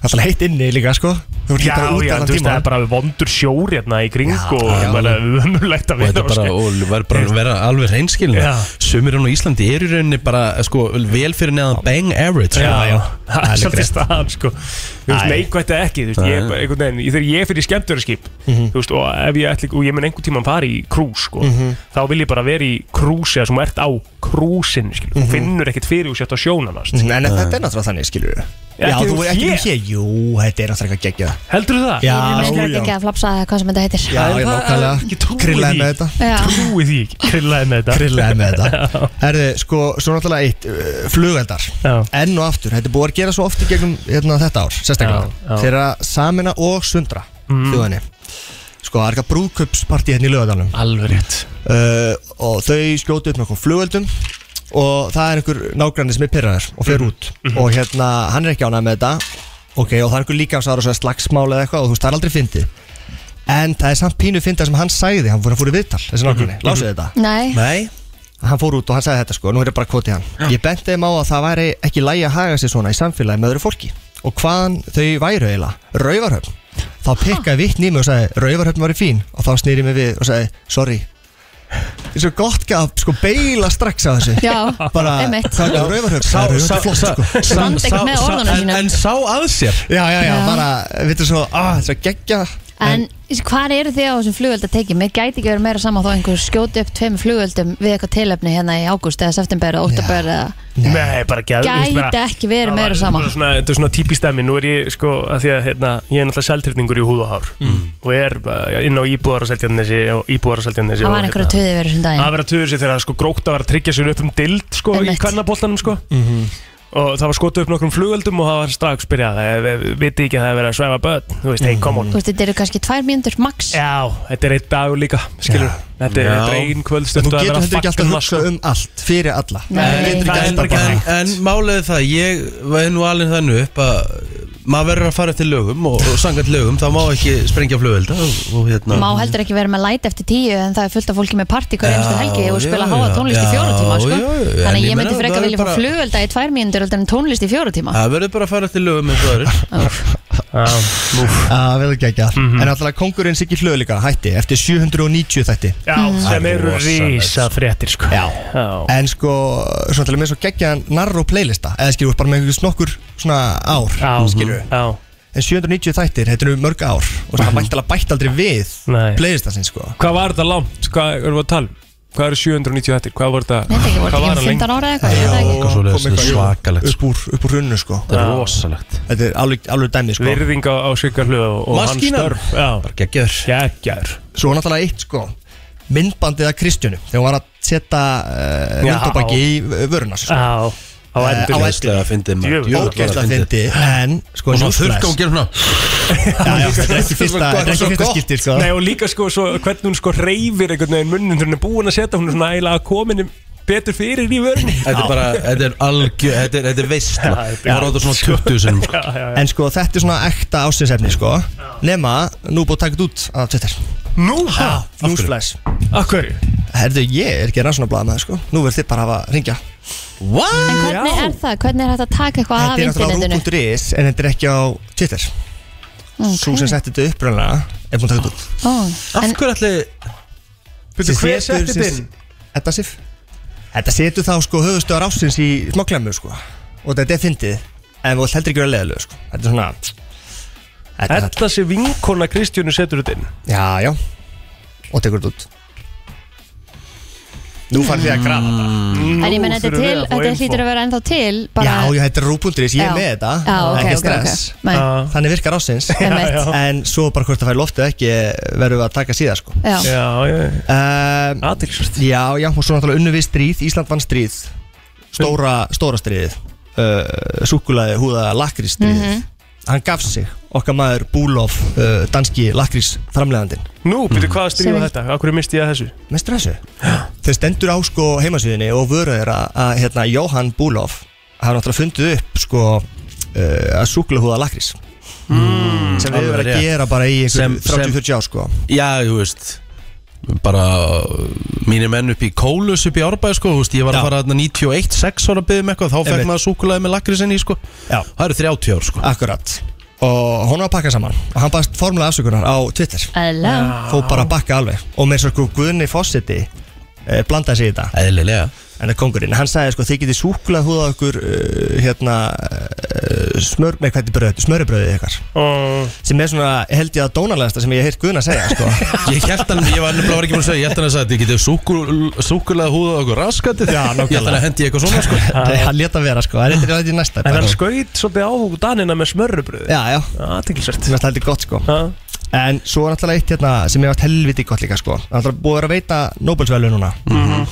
[SPEAKER 15] Alltaf heitt inni líka sko Þú ert
[SPEAKER 4] Já,
[SPEAKER 15] líka út
[SPEAKER 4] já,
[SPEAKER 15] allan
[SPEAKER 4] þú veist,
[SPEAKER 15] tímann.
[SPEAKER 4] það er bara vondur sjór hérna í kring og
[SPEAKER 2] já.
[SPEAKER 4] bara umulegt að
[SPEAKER 2] og þetta
[SPEAKER 4] vera
[SPEAKER 2] er bara, og verður bara að vera alveg reynskilin
[SPEAKER 4] Já.
[SPEAKER 2] sumir hann á Íslandi eru í rauninni bara sko, vel fyrir neðan bang average
[SPEAKER 4] Já,
[SPEAKER 2] sko.
[SPEAKER 4] já, það er
[SPEAKER 2] alveg
[SPEAKER 4] svolítið
[SPEAKER 2] rétt.
[SPEAKER 4] staðan sko Þú veist,
[SPEAKER 2] Æ.
[SPEAKER 4] neikvætt eða ekki, þú veist, ég,
[SPEAKER 2] Nei.
[SPEAKER 4] bara einhvern veginn, ég- þegar ég fyrir skemmtörarskip Þú veist, og ef ég ætli, og ég mun einhvern tímann fara í krús sko
[SPEAKER 15] Mhm.
[SPEAKER 4] Þá vil ég bara vera í krúsi, það sem þú ert á krúsin, skil Þú
[SPEAKER 15] Mhm.
[SPEAKER 4] finnur ekkert fyrir þú sért á sjónanast
[SPEAKER 15] Mhm, En þetta er náttúrulega þannig, skilur við Já,
[SPEAKER 4] Ekki
[SPEAKER 15] þú
[SPEAKER 4] þú
[SPEAKER 15] er ekki
[SPEAKER 4] sé.
[SPEAKER 15] með hér Jú, þetta er náttúrulega ekki geggjað
[SPEAKER 4] Heldur
[SPEAKER 15] Já,
[SPEAKER 4] það?
[SPEAKER 3] Ég
[SPEAKER 15] já
[SPEAKER 3] ekki að flapsa eða hvað sem þetta heitir
[SPEAKER 15] Já, já, nákvæmlega Krillaði með þetta
[SPEAKER 3] Já.
[SPEAKER 4] Trúi því ekki, krillaði með þetta
[SPEAKER 15] Krillaði með þetta Herði, sko, svo náttúrulega eitt uh, Flugeldar Enn og aftur, þetta er búið að gera svo oft í gegnum hérna, þetta ár,
[SPEAKER 4] Já,
[SPEAKER 15] sérstaklega
[SPEAKER 4] já.
[SPEAKER 15] Þeir eru að samina og sundra
[SPEAKER 4] Mm.
[SPEAKER 15] Þjóðinni Sko, það er eitthvað brúðkaupspartí hérna í lögadalum
[SPEAKER 4] Alveg rétt
[SPEAKER 15] uh, Og þau skjótu upp með okkur flugeldum Og það er einhver nágranni sem er pyrraður Og
[SPEAKER 4] Mhm.
[SPEAKER 15] fer út Og hérna, hann er ekki ánægð með þetta Ok, og það er einhver líka á sára slagsmál eða eitthvað Og þú veist, það er aldrei fyndið En það er samt pínu fyndið sem hann sagði Hann fór að fóru viðtal, þessi nágranni,
[SPEAKER 3] Mhm.
[SPEAKER 15] lásuðu þetta
[SPEAKER 3] Nei,
[SPEAKER 15] Hann fór út og hann sagði þetta sko, nú er ég bara að kvoti hann Ég benti þeim á að það væri ekki lægi að haga sér svona í samfélagi með öðru fólki Og hvaðan þau væru eiginlega, rauvarhöfn Þá pikkaði vitt nými og sagði, rauvarhöfn var fín Og þá snýri mig við og sagði, sorry Það er svo gott að sko beila strax á þessu
[SPEAKER 3] Já,
[SPEAKER 15] bara,
[SPEAKER 3] einmitt.
[SPEAKER 15] Hvað er rauvarhöfn?
[SPEAKER 2] Sá-
[SPEAKER 15] Það er
[SPEAKER 2] sá-
[SPEAKER 15] rauvarhöfn flott
[SPEAKER 2] sá-
[SPEAKER 15] sko
[SPEAKER 2] sá-
[SPEAKER 3] Standa ekkert
[SPEAKER 2] sá-
[SPEAKER 3] með
[SPEAKER 2] sá-
[SPEAKER 3] orðunum
[SPEAKER 2] en-
[SPEAKER 3] sínum.
[SPEAKER 2] En sá að sér
[SPEAKER 15] Já, já, já,
[SPEAKER 3] Já.
[SPEAKER 15] bara, veitur svo, ah, það er svo geggja
[SPEAKER 3] En hvað eru þið á þessum flugöld að teki? Mér gæti ekki verið meira saman þó einhver skjóti upp tveim flugöldum við eitthvað tilefni hérna í ágúst eða september eða óttabör eða
[SPEAKER 4] Nei, bara geð
[SPEAKER 3] gæti ekki verið meira saman
[SPEAKER 4] Þetta er svona, þetta er svona típist dæmi, nú er ég sko að því að hérna, ég er náttúrulega seltrifningur í húð og hár og er uh, inn á íbúðar að seltjarnesi og hérna. íbúðar að seltjarnesi
[SPEAKER 3] Það var einhverju töði verið þessum
[SPEAKER 4] Það
[SPEAKER 3] daginn
[SPEAKER 4] var að töðu sér þegar sko grókta var að tryggja sér upp um dild sko í kvennaboltanum sko og það var skotu upp nokkrum flugöldum og það var strax byrjað það, viti ekki að það er verið að svæfa börn þú veist, hey, come on
[SPEAKER 3] Þú veist, þetta eru kannski tvær mínútur max
[SPEAKER 4] Já, þetta er eitt dag líka, skilur Þetta er
[SPEAKER 2] Já.
[SPEAKER 4] þetta er ein kvöldstund
[SPEAKER 15] Þú
[SPEAKER 4] og það er
[SPEAKER 15] getur
[SPEAKER 4] að
[SPEAKER 15] heldur ekki
[SPEAKER 4] fagna,
[SPEAKER 15] alltaf hugsa um allt Fyrir alla
[SPEAKER 2] En,
[SPEAKER 15] Þú getur ekki
[SPEAKER 2] en,
[SPEAKER 15] alltaf bara-
[SPEAKER 2] en, en málega það, ég væði nú alveg þannig upp að maður verður að fara eftir lögum og, og sangat lögum, þá má ekki sprengja flugvelda og, og hérna
[SPEAKER 3] Má heldur ekki verið með light eftir tíu en það er fullt af fólki með partí hverja
[SPEAKER 2] Já,
[SPEAKER 3] einstu helgi og spila
[SPEAKER 2] já,
[SPEAKER 3] háa tónlist í
[SPEAKER 2] já,
[SPEAKER 3] fjóra tíma sko.
[SPEAKER 2] já, já, en
[SPEAKER 3] Þannig að
[SPEAKER 2] ég
[SPEAKER 3] ég
[SPEAKER 2] meina,
[SPEAKER 3] myndi
[SPEAKER 2] það
[SPEAKER 3] frekar
[SPEAKER 2] er
[SPEAKER 3] vilja fá
[SPEAKER 2] bara-
[SPEAKER 3] flugölda í tvær mínútur heldur en tónlist í fjóra tíma
[SPEAKER 2] Það verður bara að fara eftir lögum eins og
[SPEAKER 15] Ah,
[SPEAKER 4] aðrir
[SPEAKER 15] Já, vel geggja
[SPEAKER 4] Mhm.
[SPEAKER 15] En alltaf kongurinn Siggi Hlöð líka hætti Eftir 790 þætti
[SPEAKER 4] Já, sem eru rísa fréttir sko Já,
[SPEAKER 15] En sko, svona til að mér svo geggja Narro playlista, eða skilur, bara með einhverjum snokkur Svona ár,
[SPEAKER 4] Já, mhm.
[SPEAKER 15] skilur
[SPEAKER 4] já.
[SPEAKER 15] En 790 þættir, þetta eru mörg ár Og það væntalega bætt aldrei við
[SPEAKER 4] Nei.
[SPEAKER 15] Playlista sinn, sko
[SPEAKER 4] Hvað var þetta langt? Hvað erum við að tala? um? Hvað eru 790 hættir? Hvað var þetta?
[SPEAKER 3] Þetta ekki
[SPEAKER 4] hvað
[SPEAKER 3] voru ekki um
[SPEAKER 4] hann
[SPEAKER 3] 15 ára eða eitthvað, ég veit það ekki.
[SPEAKER 2] eitthvað svoleiðis,
[SPEAKER 15] Kom eitthvað
[SPEAKER 2] þetta er svakalegt,
[SPEAKER 15] upp úr, upp úr hrunnu, sko
[SPEAKER 2] Það er rosalegt
[SPEAKER 15] Þetta er alveg, alveg dæmi, sko
[SPEAKER 4] Virðing á, á Siggarhlöð og, og hans
[SPEAKER 15] Maskínan.
[SPEAKER 4] störf Já,
[SPEAKER 2] geggjör
[SPEAKER 4] Geggjör
[SPEAKER 15] Svo náttúrulega eitt, sko Myndbandið að Kristjánu Þegar hún var að setja uh,
[SPEAKER 4] Já.
[SPEAKER 15] myndabaki í uh, vöruna sko.
[SPEAKER 4] Já, á
[SPEAKER 15] Eh,
[SPEAKER 4] endur
[SPEAKER 15] á endinum. Ógeðslega fyndi En sko
[SPEAKER 2] Og svo
[SPEAKER 15] newsflash.
[SPEAKER 2] þurrka og gera svona
[SPEAKER 15] Já, já, þetta er ekki fyrsta Þetta er ekki fyrsta skipti sko
[SPEAKER 4] Nei og líka sko svo, hvernig hún sko reyfir einhvern veginn munnin þegar hún er búin að setja hún er svona eiginlega komin betur fyrir í vörni
[SPEAKER 2] Þetta er bara, þetta er algjör, þetta er, þetta er veistla Ég var á þetta svona 20 sinum sko.
[SPEAKER 15] En sko þetta er svona ekta ásinsefni sko Nema, nú er búið að taka þetta út af Twitter
[SPEAKER 4] Nú?
[SPEAKER 15] Ha? Newsflash
[SPEAKER 4] Akkur?
[SPEAKER 15] Herðu, ég er ekki rannsóna með það sko Nú verður þið bara að hafa að ringja
[SPEAKER 2] What?
[SPEAKER 3] En hvernig er það? Hvernig er hægt að taka eitthvað af
[SPEAKER 15] Þetta er náttúrulega
[SPEAKER 3] internetinu?
[SPEAKER 15] rú.is En þetta er ekki á Twitter Sú sem setti þetta upprænlega Er búin að taka þetta út
[SPEAKER 3] Ó, en-
[SPEAKER 2] Hver ætli
[SPEAKER 4] Byrju,
[SPEAKER 15] Sem
[SPEAKER 4] hver
[SPEAKER 15] setur-
[SPEAKER 4] setti
[SPEAKER 15] sem-
[SPEAKER 4] þetta inn?
[SPEAKER 15] Edda Sif Þetta setur þá sko höfustöðar ásins í smokklemmu sko Og þetta er fyndið En þú vilt heldur ekki vera leðilegu sko Þetta er svona Þetta er
[SPEAKER 4] Edda sé vinkona Kristjánu setur þetta inn
[SPEAKER 15] Já, já Og tekur þetta út Nú farið þið að grafa þetta
[SPEAKER 3] Mm. En ég menn þetta er til, þetta hlýtur að vera ennþá til
[SPEAKER 15] Já,
[SPEAKER 3] bara,
[SPEAKER 15] já, þetta er rúbundurins, ég
[SPEAKER 3] Já.
[SPEAKER 15] er með þetta
[SPEAKER 3] Já, ok,
[SPEAKER 15] Ekki
[SPEAKER 3] ok,
[SPEAKER 15] stress
[SPEAKER 3] ok. Nei. Já.
[SPEAKER 15] Þannig virkar ásins
[SPEAKER 3] Einmitt. Já, já.
[SPEAKER 15] En svo bara hvort það fær loftið ekki verðum við að taka síðar sko
[SPEAKER 3] Já.
[SPEAKER 4] Já, já
[SPEAKER 15] um,
[SPEAKER 4] Aðtilsvært
[SPEAKER 15] Já, já, og svo náttúrulega unnu við stríð Ísland vann stríð Stóra, stóra stríðið uh, Súkulaði húða lakrís stríðið
[SPEAKER 3] Mhm.
[SPEAKER 15] Hann gaf sig, okkar maður Búlof, uh, danski lakrís framlegandinn
[SPEAKER 4] Nú, byrju, hvað
[SPEAKER 15] Sem
[SPEAKER 4] stríða
[SPEAKER 15] við-
[SPEAKER 4] þetta? Akkur misti ég að þessu?
[SPEAKER 15] Mestur þessu? Þau stendur á sko heimasíðinni og vöru þeirra að hérna, Jóhann Búlof hafa náttúrulega fundið upp sko uh, að súkulahúða lakrís mm, sem við
[SPEAKER 2] Hmm, alveg
[SPEAKER 15] verðum
[SPEAKER 2] rétt.
[SPEAKER 15] að gera bara í
[SPEAKER 2] Sem-
[SPEAKER 15] einhver
[SPEAKER 2] sem-
[SPEAKER 15] 30-40 ár sko
[SPEAKER 2] Já, þú veist bara uh, mínir menn upp í Kólus upp í Árbæð sko, þú veist, ég var að fara þarna 91, 6 ára að byggja með eitthvað, þá fekk
[SPEAKER 15] Einmitt.
[SPEAKER 2] maður súkulega með lakrisinni sko,
[SPEAKER 15] Já.
[SPEAKER 2] það eru 30 ár sko
[SPEAKER 15] Akkurat og hún var að pakka saman og hann baðst formulega afsökunar á Twitter
[SPEAKER 3] Hello. Já.
[SPEAKER 15] fó bara að bakka alveg og með svo sko Guðni Fossetti eh, blandaði sig í þetta
[SPEAKER 2] eðlilega
[SPEAKER 15] en það kongurinn, hann sagði sko þið getið súklað húða okkur uh, hérna uh, smör, nei hvað er bröð, smöribröðið ykkar
[SPEAKER 4] oh.
[SPEAKER 15] sem er svona, held ég að dónalegasta sem ég hef heyrt Guðna segja sko
[SPEAKER 2] Ég held hann, ég var nefnilega var ekki búin að segja, ég held hann að sagði, ég getið súkulega húða okkur raskatið
[SPEAKER 15] Já, nákvæmlega.
[SPEAKER 2] Ég held hann að hendi ég eitthvað svona, sko
[SPEAKER 15] Nei, hann leta vera sko, það er eitthvað í næsta
[SPEAKER 4] En hann skaut svolítið á Danina með smörrubröð
[SPEAKER 15] Já, já
[SPEAKER 4] Aðtilsvært
[SPEAKER 15] Það er heldur gott sko En svo er náttúrulega eitt hérna sem er allt helviti gott líka sko Það er náttúrulega búið að vera að veita Nóbelsvölu núna
[SPEAKER 4] Mhm.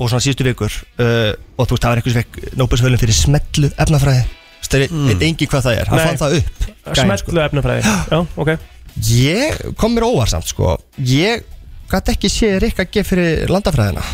[SPEAKER 15] Og svona síðustu vikur uh, Og þú veist, það var einhvers vekk Nóbelsvölu fyrir smetlu efnafræði Þú veist, það mm. veit engi hvað það er Hann
[SPEAKER 4] Hmm. Nei.
[SPEAKER 15] fann það upp gæinn, sko.
[SPEAKER 4] Smetlu efnafræði Já, ok
[SPEAKER 15] Ég kom mér óvarsamt sko Ég gæti ekki séð Rikka G fyrir landafræðina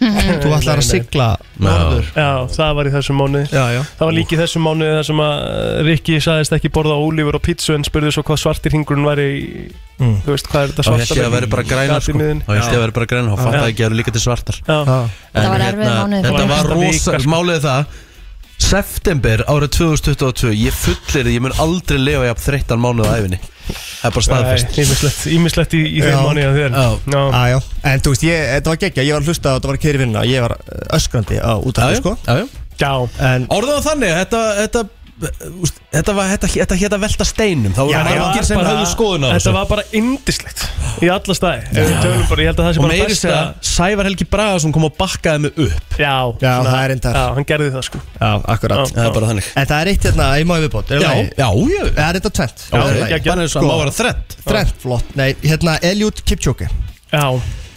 [SPEAKER 15] Þú ætlar að sigla norður
[SPEAKER 4] Já, það var í þessum mánuði
[SPEAKER 15] já, já.
[SPEAKER 4] Það var líka í þessum mánuði þar sem að uh, Rikki sagðist ekki borða ólífur og pítsu en spurði svo hvað svartir hingurinn væri í,
[SPEAKER 15] Mm.
[SPEAKER 4] Þú veist, hvað er þetta
[SPEAKER 2] Þá held
[SPEAKER 4] svarta
[SPEAKER 2] ég að vera bara græna,
[SPEAKER 4] gat í
[SPEAKER 2] sko
[SPEAKER 4] miðjunni?
[SPEAKER 2] Þá held ég að vera bara græna, þá fatt
[SPEAKER 4] Já.
[SPEAKER 2] að ekki að vera líka til svartar
[SPEAKER 4] Já.
[SPEAKER 2] En hérna,
[SPEAKER 3] var erfiður mánuður.
[SPEAKER 2] Þetta
[SPEAKER 3] Það var
[SPEAKER 2] var
[SPEAKER 3] fyrsta
[SPEAKER 2] rosa,
[SPEAKER 4] sko.
[SPEAKER 3] vika,
[SPEAKER 2] málið er það September árið 2022 Ég fullir því, ég mun aldrei lifa jafn þreyttan mánuð á æfinni Það er bara staðfest
[SPEAKER 4] Nei, Ímislegt, ímislegt í, í þeim mánuði að þér
[SPEAKER 15] Já, já, já. En þú veist, ég, þetta var geggja, ég var að hlusta og þetta var að keyra í vinnuna Ég var uh, öskrandi á útafni, sko
[SPEAKER 2] Já, já
[SPEAKER 4] Já
[SPEAKER 15] En
[SPEAKER 2] Orðan þannig, þetta, þetta eh, úst, Þetta var, þetta, þetta hétt að velta steinum Þá voru margir sem höfðu skoðun á
[SPEAKER 4] Þetta
[SPEAKER 2] þessu.
[SPEAKER 4] var bara indislegt Í alla staði Ef við tölum bara, Ég held að það sé
[SPEAKER 2] Og
[SPEAKER 4] bara
[SPEAKER 2] meiri
[SPEAKER 4] besta
[SPEAKER 2] segja, Sævar Helgi Bragaðsson kom og bakkaði mig upp
[SPEAKER 4] Já,
[SPEAKER 15] Já,
[SPEAKER 4] svona-
[SPEAKER 15] það er reyndar.
[SPEAKER 4] Já, hann gerði það sko
[SPEAKER 15] Já, akkurat
[SPEAKER 4] Já, Það er já. bara
[SPEAKER 2] þannig
[SPEAKER 15] En það er eitt hérna, ég má í viðbót er það
[SPEAKER 2] Já,
[SPEAKER 15] lagi?
[SPEAKER 2] já, já.
[SPEAKER 15] Það er þetta tvent
[SPEAKER 2] Já, geggjað. Bara eins og hann má vera þrennt.
[SPEAKER 15] Þrennt, flott Nei, hérna Eliud Kipchoge
[SPEAKER 4] Já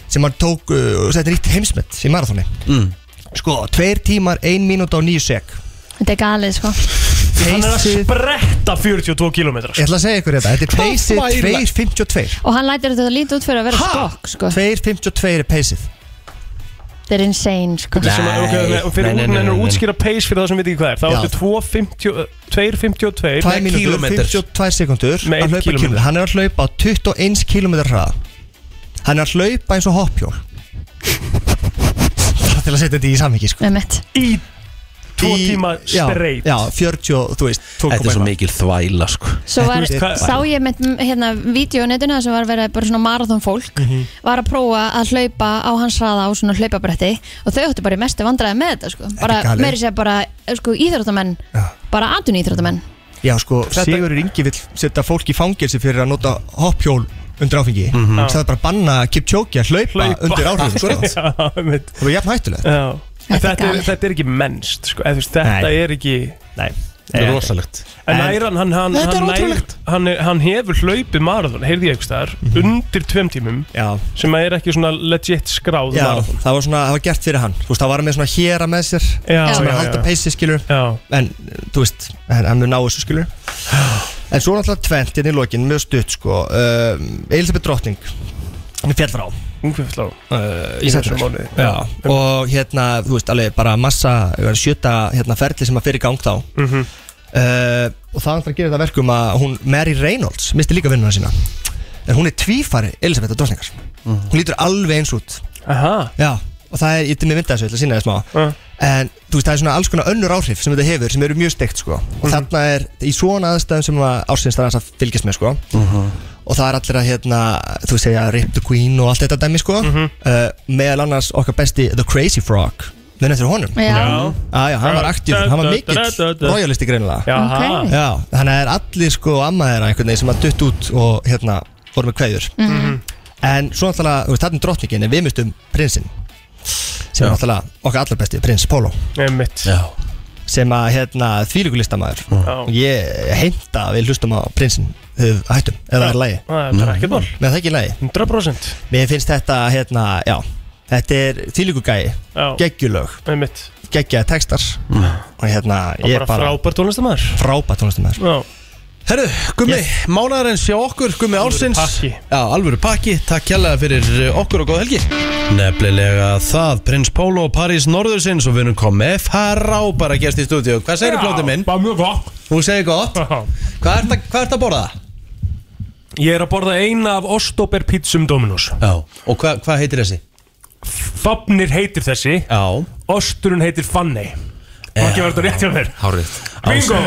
[SPEAKER 15] Sem hann tók, uh, þetta er eitt heimsmet í marathoni mm. Sko, tveir tímar, ein mínúta og nýju sek
[SPEAKER 3] Þetta er galið sko
[SPEAKER 4] Hann er að spretta 42 kilometrar
[SPEAKER 15] Ég ætla að segja ykkur þetta, þetta er peysi
[SPEAKER 3] væri-
[SPEAKER 15] 2.52
[SPEAKER 3] Og hann lætir þetta lítið út fyrir að vera skokk sko.
[SPEAKER 15] 2.52 er peysið
[SPEAKER 3] Þetta er insane sko.
[SPEAKER 4] Þetta er svona, ok, nei, og fyrir út mennur útskýra pace fyrir það sem við ekki hvað er Þá
[SPEAKER 15] Já.
[SPEAKER 4] ertu 2.50 2.52
[SPEAKER 15] 2
[SPEAKER 4] með
[SPEAKER 15] mínútur,
[SPEAKER 4] kílómetra.
[SPEAKER 15] 52 sekundur
[SPEAKER 4] Með einn
[SPEAKER 15] að hlaupa
[SPEAKER 4] kílómetra.
[SPEAKER 15] kílómetra Hann er að hlaupa á 21 kílómetra hraða Hann er að hlaupa eins og hoppjól Bara til að setja þetta í samhengi sko.
[SPEAKER 3] Einmitt.
[SPEAKER 4] Í tvo
[SPEAKER 15] Í-
[SPEAKER 4] tíma
[SPEAKER 15] já,
[SPEAKER 4] straight
[SPEAKER 15] Já, 40, og, þú veist
[SPEAKER 2] Þetta er svo mikil þvæla sko
[SPEAKER 3] Svo var, sá ég með hérna, vídeonetinu sem var verið bara svona marathon fólk
[SPEAKER 15] Mhm.
[SPEAKER 3] var að prófa að hlaupa á hans hraða á svona hlaupabretti og þau áttu bara í mestu vandræði með þetta sko. bara,
[SPEAKER 15] galið.
[SPEAKER 3] meiri sér bara sko, íþróttamenn bara atun íþróttamenn
[SPEAKER 15] Já, sko, Sigurður Ingi vill setja fólk í fangelsi fyrir að nota hoppjól undir áfengi
[SPEAKER 4] Mhm.
[SPEAKER 15] Það er bara að banna Kipchoge að hlaupa, undir áhrifum sko.
[SPEAKER 4] Já, einmitt.
[SPEAKER 15] Það var jafn hættulegt
[SPEAKER 4] Já. En
[SPEAKER 15] Þetta er
[SPEAKER 4] Þetta, er,
[SPEAKER 15] galið.
[SPEAKER 4] þetta er ekki mennst sko. eða, þú veist, Þetta
[SPEAKER 15] Nei.
[SPEAKER 4] er ekki
[SPEAKER 15] Nei.
[SPEAKER 2] Þetta er rosalegt
[SPEAKER 4] En Æran, hann, hann,
[SPEAKER 2] Þetta er
[SPEAKER 4] hann, nær,
[SPEAKER 2] ótrúlegt.
[SPEAKER 4] hann, er- hann hefur hlaupið marathon, heyrði ég einhvers staðar, undir tveim
[SPEAKER 15] Mhm.
[SPEAKER 4] tímum
[SPEAKER 15] Já.
[SPEAKER 4] sem er ekki svona legit skráð
[SPEAKER 15] Já,
[SPEAKER 4] marathon
[SPEAKER 15] það var svona, það var gert fyrir hann Þú veist, það var hann með svona héra með sér
[SPEAKER 4] Já,
[SPEAKER 15] sem er
[SPEAKER 4] já,
[SPEAKER 15] að halda
[SPEAKER 4] já.
[SPEAKER 15] peysi skilur
[SPEAKER 4] já.
[SPEAKER 15] en eh, þú veist, hann, hann mun ná þessu skilur en svo er náttúrulega tvent hérna í lokin, mjög stutt sko um, Elisabeth Drottning hann er fjall frá
[SPEAKER 4] Hún fyrir flá
[SPEAKER 15] í þessum
[SPEAKER 4] mánuði.
[SPEAKER 15] Já. og hérna, þú veist, alveg bara massa ég var að sjöta hérna ferli sem að fyrir gang þá
[SPEAKER 4] Mhm.
[SPEAKER 15] uh, og það andur að gera þetta verkum að hún Mary Reynolds misti líka vinnuna sína en hún er tvífari Elisabeth Drottningar hún lítur alveg eins út
[SPEAKER 4] Aha.
[SPEAKER 15] Já, og það er, ég til mig mynda þessu, ég ætla að sína það smá
[SPEAKER 4] Uh.
[SPEAKER 15] En þú veist, það er svona alls konar önnur áhrif sem þetta hefur, sem eru mjög steikt sko Og þarna er, í svona aðstæðum sem að ársins það er að fylgjast með sko
[SPEAKER 2] mhm.
[SPEAKER 15] Og það er allir að hérna, þú segja Rip the Queen og allt þetta dæmi sko uh, Meðal annars okkar besti The Crazy Frog Menn eftir honum
[SPEAKER 4] Já. Já.
[SPEAKER 15] ah, já, hann var aktíf, hann var mikill royalisti greinilega
[SPEAKER 4] Jaha. Ok.
[SPEAKER 15] Já, þannig að það er allir sko amma þeirra einhvern veginn sem að dutt út og hérna, voru með kveðjur
[SPEAKER 4] Mhm.
[SPEAKER 15] En svo náttúrulega, þú veist, þarna er drottningin en við mistum prinsinn sem er náttúrulega okkar allar besti, prins Pólo
[SPEAKER 4] Einmitt.
[SPEAKER 2] Já.
[SPEAKER 15] sem að hérna þvílugulistamæður
[SPEAKER 4] Já.
[SPEAKER 15] og ég heimta að við hlustum á prinsinn þegar við hættum, ef það er lægi
[SPEAKER 4] Það er bara ekkert mál.
[SPEAKER 15] Með það er ekki lægi
[SPEAKER 4] 100%
[SPEAKER 15] Mér finnst þetta, hérna, já Þetta er þvílugugæi,
[SPEAKER 4] Já.
[SPEAKER 15] geggjulög
[SPEAKER 4] Einmitt.
[SPEAKER 15] Geggjaði textar og hérna,
[SPEAKER 4] Og
[SPEAKER 15] ég
[SPEAKER 4] bara frábær tónlistamæður
[SPEAKER 15] Frábær tónlistamæður
[SPEAKER 2] Herru, Gummi, mánaðarins hjá okkur, Gummi Ársins
[SPEAKER 4] pakki.
[SPEAKER 2] Já, alvöru pakki, takk kjærlega fyrir uh, okkur og góð helgi Nefnilega það, Prins Pólo og París Norðursins og við erum komið frábæra gest í stúdíu Hvað segir
[SPEAKER 4] Já,
[SPEAKER 2] plótið minn?
[SPEAKER 4] Bara mjög gott
[SPEAKER 2] Þú segir gott Hvað ert að, hvað ert að borða?
[SPEAKER 4] Ég er að borða eina af Ostober pizzum um Dominos
[SPEAKER 2] Já, og hva, hvað heitir þessi?
[SPEAKER 4] Fafnir heitir þessi
[SPEAKER 2] Já Eh.
[SPEAKER 4] Osturinn heitir Fanny Má ekki verður rétt hjá mér
[SPEAKER 2] Hárið
[SPEAKER 4] Bingo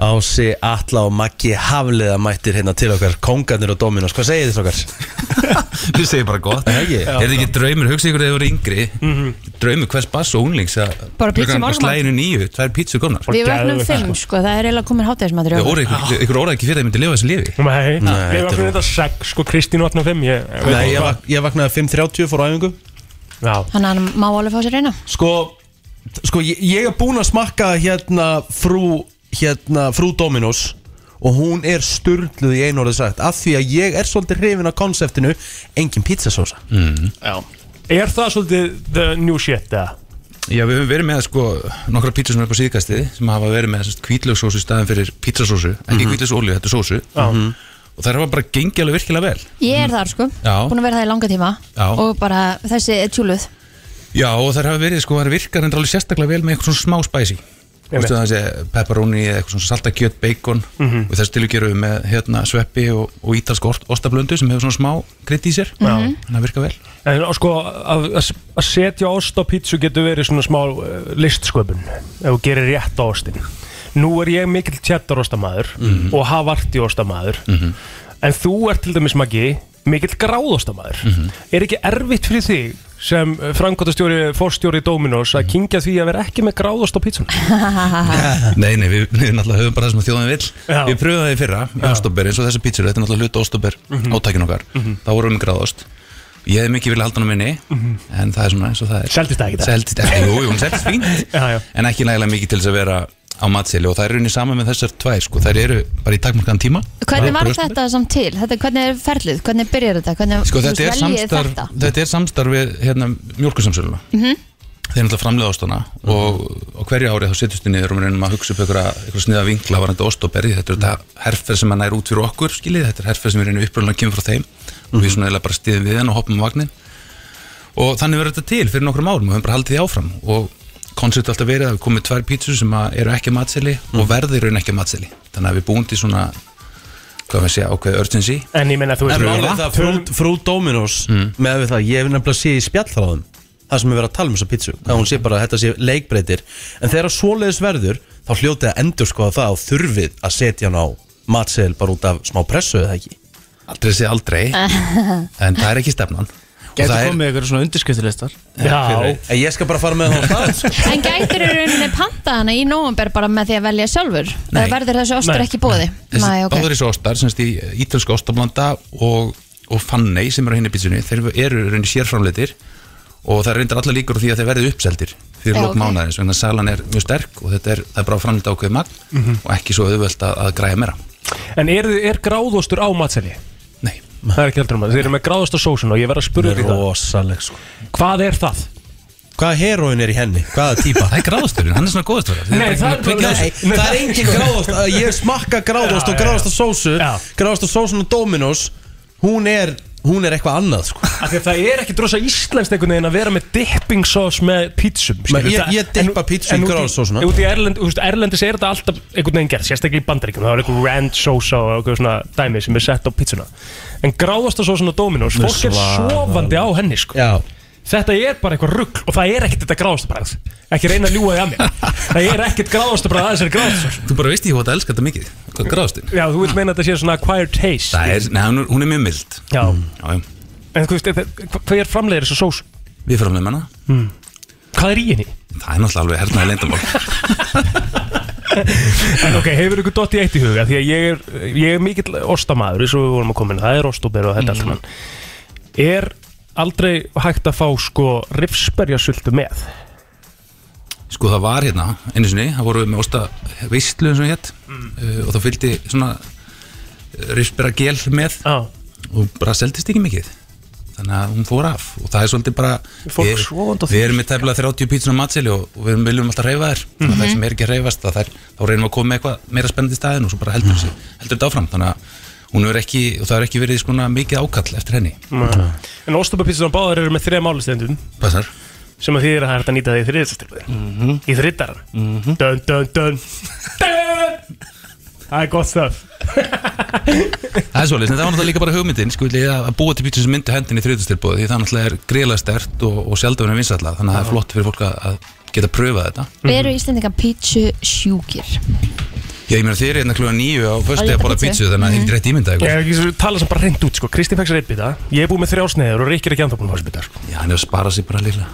[SPEAKER 2] Ási, Atla og Maggi Hafliða mættir hérna til okkar Kongarnir og Dominos, hvað segir þið strókar?
[SPEAKER 6] Við segjum bara gott
[SPEAKER 2] Er það ekki?
[SPEAKER 6] Er það ekki draumur, hugsa ykkur þegar þið voru yngri
[SPEAKER 4] Mhm.
[SPEAKER 6] Draumur hvers bass og unglings að-
[SPEAKER 3] Bara pizza í
[SPEAKER 6] Klukkan bara
[SPEAKER 3] morgunmat.
[SPEAKER 6] Slæðinu nýju, það er pizza komnar
[SPEAKER 3] Við vöknum fimm, sko, það er eiginlega komin hátæðismatur
[SPEAKER 6] Ég orða ykkur, ykkur orða ekki fyrir að ég myndi lifa þessu lífi
[SPEAKER 4] Nei,
[SPEAKER 6] Nei,
[SPEAKER 4] ég
[SPEAKER 6] þetta
[SPEAKER 4] var fyrir
[SPEAKER 6] er
[SPEAKER 4] þetta 6, sko Kristín vatna 5 ég,
[SPEAKER 2] Nei, ég, vak ég vaknaði 5.30 fór á æfingu
[SPEAKER 4] Já
[SPEAKER 3] Þannig að hann má alveg fá sér reyna
[SPEAKER 2] Sko, sko ég, ég er búinn að smakka hérna frú, hérna, frú Dominos og hún er styrluð í einu orðið sagt af því að ég er svolítið hrifin á konseptinu engin pizzasósa
[SPEAKER 6] mm.
[SPEAKER 4] Er það svolítið the new shit eða?
[SPEAKER 6] Já, við höfum verið með sko nokkra pítsur sem er upp á síðkastið sem hafa verið með kvítlögsósu staðin fyrir pítsasósu ekki mm
[SPEAKER 2] Mhm.
[SPEAKER 6] -hmm. þetta er sósu
[SPEAKER 4] Mhm.
[SPEAKER 6] og það hafa bara gengið alveg virkilega vel
[SPEAKER 3] Ég er þar, sko,
[SPEAKER 6] Mhm. Já.
[SPEAKER 3] búin að vera það í langa tíma
[SPEAKER 6] Já.
[SPEAKER 3] Og bara, þessi er tjúluð
[SPEAKER 6] Já, og það hafa verið sko, það virkar endur alveg sérstaklega vel með eitthvað svona smá spæsi
[SPEAKER 4] Einmitt.
[SPEAKER 6] Vistu það sé eh, pepperoni eða eitthvað svona saltakjöt, bacon
[SPEAKER 4] Mhm.
[SPEAKER 6] og þessu tilugjöru með hérna sveppi og, og ítalsk ost, ostablöndu sem hefur svona smá krydd í sér,
[SPEAKER 4] Já.
[SPEAKER 3] Mhm.
[SPEAKER 6] þannig að virka vel
[SPEAKER 4] En á, sko, að, að að setja ost á pítsu getur verið svona smá uh, listsköpun ef þú gerir rétt á ostin Nú er ég mikill tjettarostamæður
[SPEAKER 6] Mhm.
[SPEAKER 4] og havartiostamæður
[SPEAKER 6] Mhm.
[SPEAKER 4] En þú ert til dæmis magi mikill gráðostamæður
[SPEAKER 6] Mhm.
[SPEAKER 4] Er ekki erfitt fyrir þig sem framkvæmtastjóri, fórstjóri Dominos
[SPEAKER 6] Mhm.
[SPEAKER 4] að kingja því að vera ekki með gráðost á pítsun?
[SPEAKER 6] Nei, nei, við, við náttúrulega höfum bara það sem þjóðin vill
[SPEAKER 4] Já.
[SPEAKER 6] Við pröfum það í fyrra, í ostóber, eins og þessar pítsur þetta er náttúrulega hluta ostóber
[SPEAKER 4] Mhm.
[SPEAKER 6] átækin okkar
[SPEAKER 4] Mhm.
[SPEAKER 6] þá vorum við með gráðost Ég hef mikið vilja halda hann á minni
[SPEAKER 4] Mhm.
[SPEAKER 6] en það er svona eins og það er
[SPEAKER 4] Seldist það ekki það?
[SPEAKER 6] Seldist ekki, jú, jú, hún seldist fínt
[SPEAKER 4] Já, já
[SPEAKER 6] en ekki nægilega mikið til þess að vera á matseli og það er rauninni sama með þessar tvær sko. þær eru bara í takmarkaðan tíma
[SPEAKER 3] Hvernig var
[SPEAKER 6] Bara brjóst-
[SPEAKER 3] þetta samt til? Þetta, hvernig er ferlið? Hvernig byrjar þetta? Hvernig
[SPEAKER 6] Sko,
[SPEAKER 3] þú
[SPEAKER 6] þetta, er
[SPEAKER 3] veljið
[SPEAKER 6] samstarf,
[SPEAKER 3] þetta?
[SPEAKER 6] þetta? er samstarf við hérna, mjölkusamsöluna
[SPEAKER 3] Mhm.
[SPEAKER 6] þeir náttúrulega framlega ástana og, og hverju ári þá sittust við niður og við reynum að hugsa upp einhverja, einhverja sniða vinkla varandi ostoberið þetta er þetta herferð sem að nær út fyrir okkur skiljið, þetta er herferð sem við reynum uppröðlega að kemur frá þeim og við svona eiginlega bara stiðum við hann og hoppum á vagnin og þannig verður þetta til fyrir nokkrum árum og við höfum bara haldið því áfram og koncept alltaf verið að við komum með tvær pítsur sem að eru ekki matseli og verðir raun ekki matseli þannig að við búum til svona hvað við segja, ákveðið urgency
[SPEAKER 4] En ég meina þú
[SPEAKER 2] En
[SPEAKER 4] veist
[SPEAKER 2] málið er það frú, frú Dominos
[SPEAKER 6] Mm.
[SPEAKER 2] með við það, ég hef nefnilega séð í spjallhráðum það sem er verið að tala um þessa pítsu hvað hún sé bara að þetta sé leikbreytir en þegar svoleiðis verður, þá hljótið að endur skoða það og þurfið að setja hann á matseðil bara út af smá pressu eða ekki
[SPEAKER 6] Aldrei sé aldrei en það er ekki stefnan
[SPEAKER 2] Gæti komið
[SPEAKER 6] ykkur svona undirskriftilistar
[SPEAKER 2] Já. En ég skal bara fara með það á stað sko.
[SPEAKER 3] En gætur eru rauninni pantaðana í nóvember bara með því að velja sjálfur?
[SPEAKER 6] Nei.
[SPEAKER 3] Nei. Það verður þessi ostur
[SPEAKER 6] Nei.
[SPEAKER 3] ekki bóði? Nei,
[SPEAKER 6] Þessi
[SPEAKER 3] ok.
[SPEAKER 6] báður þessi ostar, sem sagt í ítalska ostablanda og, og fannei sem er á hinni pítsunni, þeir eru reyni sérframleitir og það er reyndar allar líkur á því að þeir verði uppseldir fyrir
[SPEAKER 4] Já,
[SPEAKER 6] lok
[SPEAKER 4] ok.
[SPEAKER 6] okay. mánaðins, vegna að salan er mjög sterk og þetta er, það er bara framleita ákveðið magn
[SPEAKER 4] Mhm.
[SPEAKER 6] og ekki svo auðvelt að, að græja meira
[SPEAKER 4] En er, er gráðostur á matseli?
[SPEAKER 6] Nei
[SPEAKER 4] Það er ekki heldur um það, þeir eru með gráðosta sósun og ég verð að spurja
[SPEAKER 2] Hún er
[SPEAKER 4] því það
[SPEAKER 2] rosaleg sko
[SPEAKER 4] Hvað er það?
[SPEAKER 2] Hvaða heroin er í henni? Hvaða típa?
[SPEAKER 6] Það er gráðasturinn, hann er svona góðasturinn
[SPEAKER 2] Nei, það er, nei, það er engin gráðast Ég smakka gráðast og gráðast að sósu Gráðast að sósun og Dominos Hún er, hún er eitthvað annað sko.
[SPEAKER 4] Af því að það er ekki drosa íslenskt einhvern veginn að vera með dipping sauce með pítsum skilur.
[SPEAKER 2] Men ég-
[SPEAKER 4] Það-
[SPEAKER 2] ég dippa
[SPEAKER 4] en-
[SPEAKER 2] pítsu í
[SPEAKER 4] en út
[SPEAKER 2] gráðasósuna.
[SPEAKER 4] Út í Erlend, þú veist, Erlendis er þetta alltaf einhvern veginn gerð, sérstaklega í bandaríkjum Það er einhver ranch sósa og einhver svona dæmi sem er sett á pítsuna En gráðasta sósan á Dominos,
[SPEAKER 2] Nú,
[SPEAKER 4] fólk er
[SPEAKER 2] svaðalega.
[SPEAKER 4] sofandi á henni sko
[SPEAKER 2] Já
[SPEAKER 4] Þetta er bara eitthvað rugg og það er ekkert þetta gráðastabræð Ekki reyna að ljúga því að mér Það er ekkert gráðastabræð að þessari gráðastabræð
[SPEAKER 6] Þú bara veist ég hvað það elskar þetta mikið, hvað gráðasturinn
[SPEAKER 4] Já, þú vilt meina að þetta sé svona acquired taste
[SPEAKER 6] Það er, nei, hún er- hún er mjög mild Mm,
[SPEAKER 4] Já,
[SPEAKER 6] já, já.
[SPEAKER 4] En þú veist, hva- hvað er framleiðir þessu sós?
[SPEAKER 6] Við framleiðum hana
[SPEAKER 4] Mm. Hvað er í henni?
[SPEAKER 6] Það er náttúrulega alveg hernaði leyndamál
[SPEAKER 4] En ok, hefur ykkur dott í eitt í huga Því að ég er, ég er mikill ostamæður Eins og við vorum að koma inn, það er ostober og þetta
[SPEAKER 6] Hmm.
[SPEAKER 4] mm. allt saman Er aldrei hægt að fá sko rifsberjasultu með?
[SPEAKER 6] Sko það var hérna, einu sinni, það voru við með ósta veistlu eins og hétt mm. og það fylgdi svona rifsbera gel með
[SPEAKER 4] ah.
[SPEAKER 6] og bara seldist ekki mikið þannig að hún fór af og það er svolítið bara
[SPEAKER 4] Fólk
[SPEAKER 6] við,
[SPEAKER 4] sofandi á því.
[SPEAKER 6] við erum með tefla 30 pítsun á matseli og, og við viljum alltaf reyfa þær þannig að
[SPEAKER 4] Mhm.
[SPEAKER 6] það sem er ekki að reyfast það þær, þá reynum við að koma með eitthvað meira spennandi í staðin og svo bara heldur, mm. heldur þetta áfram þannig að hún er ekki, og það er ekki verið skona mikið ákall eftir henni
[SPEAKER 4] Mm. En ostoberpítsunar báðar eru með þreja málistendum
[SPEAKER 6] Passar
[SPEAKER 4] Sem að því er að það er hægt að nýta því í þriðastilbúðir mm
[SPEAKER 6] Mhm.
[SPEAKER 4] -hmm. Í þriðdaran mm -hmm. Dun, dun, dun Dun Það er gott stöf
[SPEAKER 6] Það er svolítið, en það var náttúrulega líka bara hugmyndin sko, vilja, að búa til pítsu sem myndi hendin í þriðutilbúð því það náttúrulega er greiðlega stert og, og sjálfdöfnum vinsalla þannig að það
[SPEAKER 3] Mhm.
[SPEAKER 6] er Mhm. flott fyrir fólk að, að geta pröfað þetta
[SPEAKER 3] Eru Íslendinga pítsu sjúkir?
[SPEAKER 6] Já, ég meina þeir eru hérna kluga nýju á föstu
[SPEAKER 4] Að
[SPEAKER 6] að
[SPEAKER 4] éta
[SPEAKER 6] borða
[SPEAKER 4] pizzu.
[SPEAKER 6] pítsu þannig að það er ekki rétt ímynda
[SPEAKER 4] Ég er ekki svo tala sem bara reynd út sko Kristín fekk sér eittbita Ég er búið með þrjá sneiðar og Rikki er ekki andan búin að fá sér bita sko
[SPEAKER 6] Já, hann er að spara sig bara líka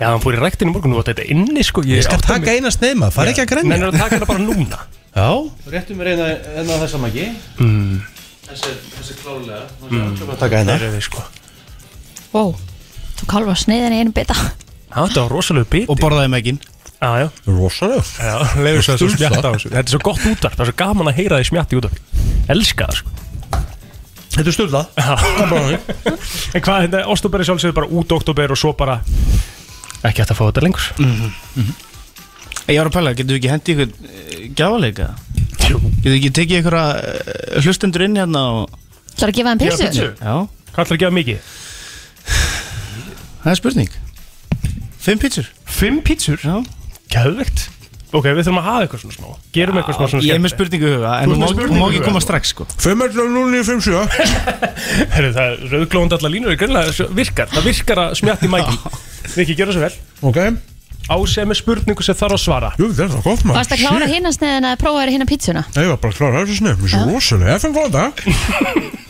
[SPEAKER 4] Já, hann fór í ræktinu í morgun og þetta inni sko
[SPEAKER 2] Ég skal taka eina sneið, maður, fara ekki að grenja.
[SPEAKER 4] Menn er að taka hana bara núna
[SPEAKER 2] Já Réttum er eina, eina þessa magi
[SPEAKER 4] mm.
[SPEAKER 2] Þessi, þessi klálega
[SPEAKER 4] mm.
[SPEAKER 2] Taka hérna.
[SPEAKER 4] Þeir eru við, sko.
[SPEAKER 3] Ó, þú kalvar sneiðin í einu bita
[SPEAKER 4] Já, þetta var rosalega biti Og borðaði megin Já, já
[SPEAKER 2] Rosalega
[SPEAKER 4] Já, leiður svo að
[SPEAKER 2] Stulsa.
[SPEAKER 4] smjatta á þessu Þetta er svo gott útvarp, það er svo gaman að heyra því smjatt í útvarp Elska það sko
[SPEAKER 2] Þetta er styrlað
[SPEAKER 4] En hvað, hérna, oktober er sjálfsögðu bara út oktober og svo bara Ekki hægt að fá þetta lengur
[SPEAKER 2] Mm.
[SPEAKER 16] Ég var að pæla, getur við ekki hendið ykkur gjáleika? Jú eh, Getur við ekki tekið ykkur að hlustendur inn hérna og
[SPEAKER 3] Það er að gefa þeim pilsu
[SPEAKER 16] Já
[SPEAKER 4] Hvað ætlar að gefa mikið?
[SPEAKER 16] Það er spurning Fimm pítsur
[SPEAKER 4] Fimm pítsur?
[SPEAKER 16] Já
[SPEAKER 4] Gæðvegt Ok, við þurfum að hafa eitthvað svona smá Gerum eitthvað svona svona
[SPEAKER 16] Ég er með spurningu í huga, en
[SPEAKER 4] Þú ert
[SPEAKER 16] hún má-
[SPEAKER 4] með spurningu
[SPEAKER 16] hún má
[SPEAKER 4] í
[SPEAKER 16] ekki
[SPEAKER 4] huga,
[SPEAKER 16] koma
[SPEAKER 4] sko.
[SPEAKER 16] strax sko
[SPEAKER 2] 5.057
[SPEAKER 4] Herru, það er rauðglóðandi allar línur er greinlega svo- virkar, það virkar að smjatta í mækin Viki, gera svo vel
[SPEAKER 2] Ok
[SPEAKER 4] Ásegð með spurningu sem þarf að svara
[SPEAKER 2] Jú, það er það gott
[SPEAKER 3] Varst að klára hina sneiðin að prófa þér hina pizzuna
[SPEAKER 2] Nei, ég var bara að klára þessu sneið Mér sé rosalega, FN góðan dag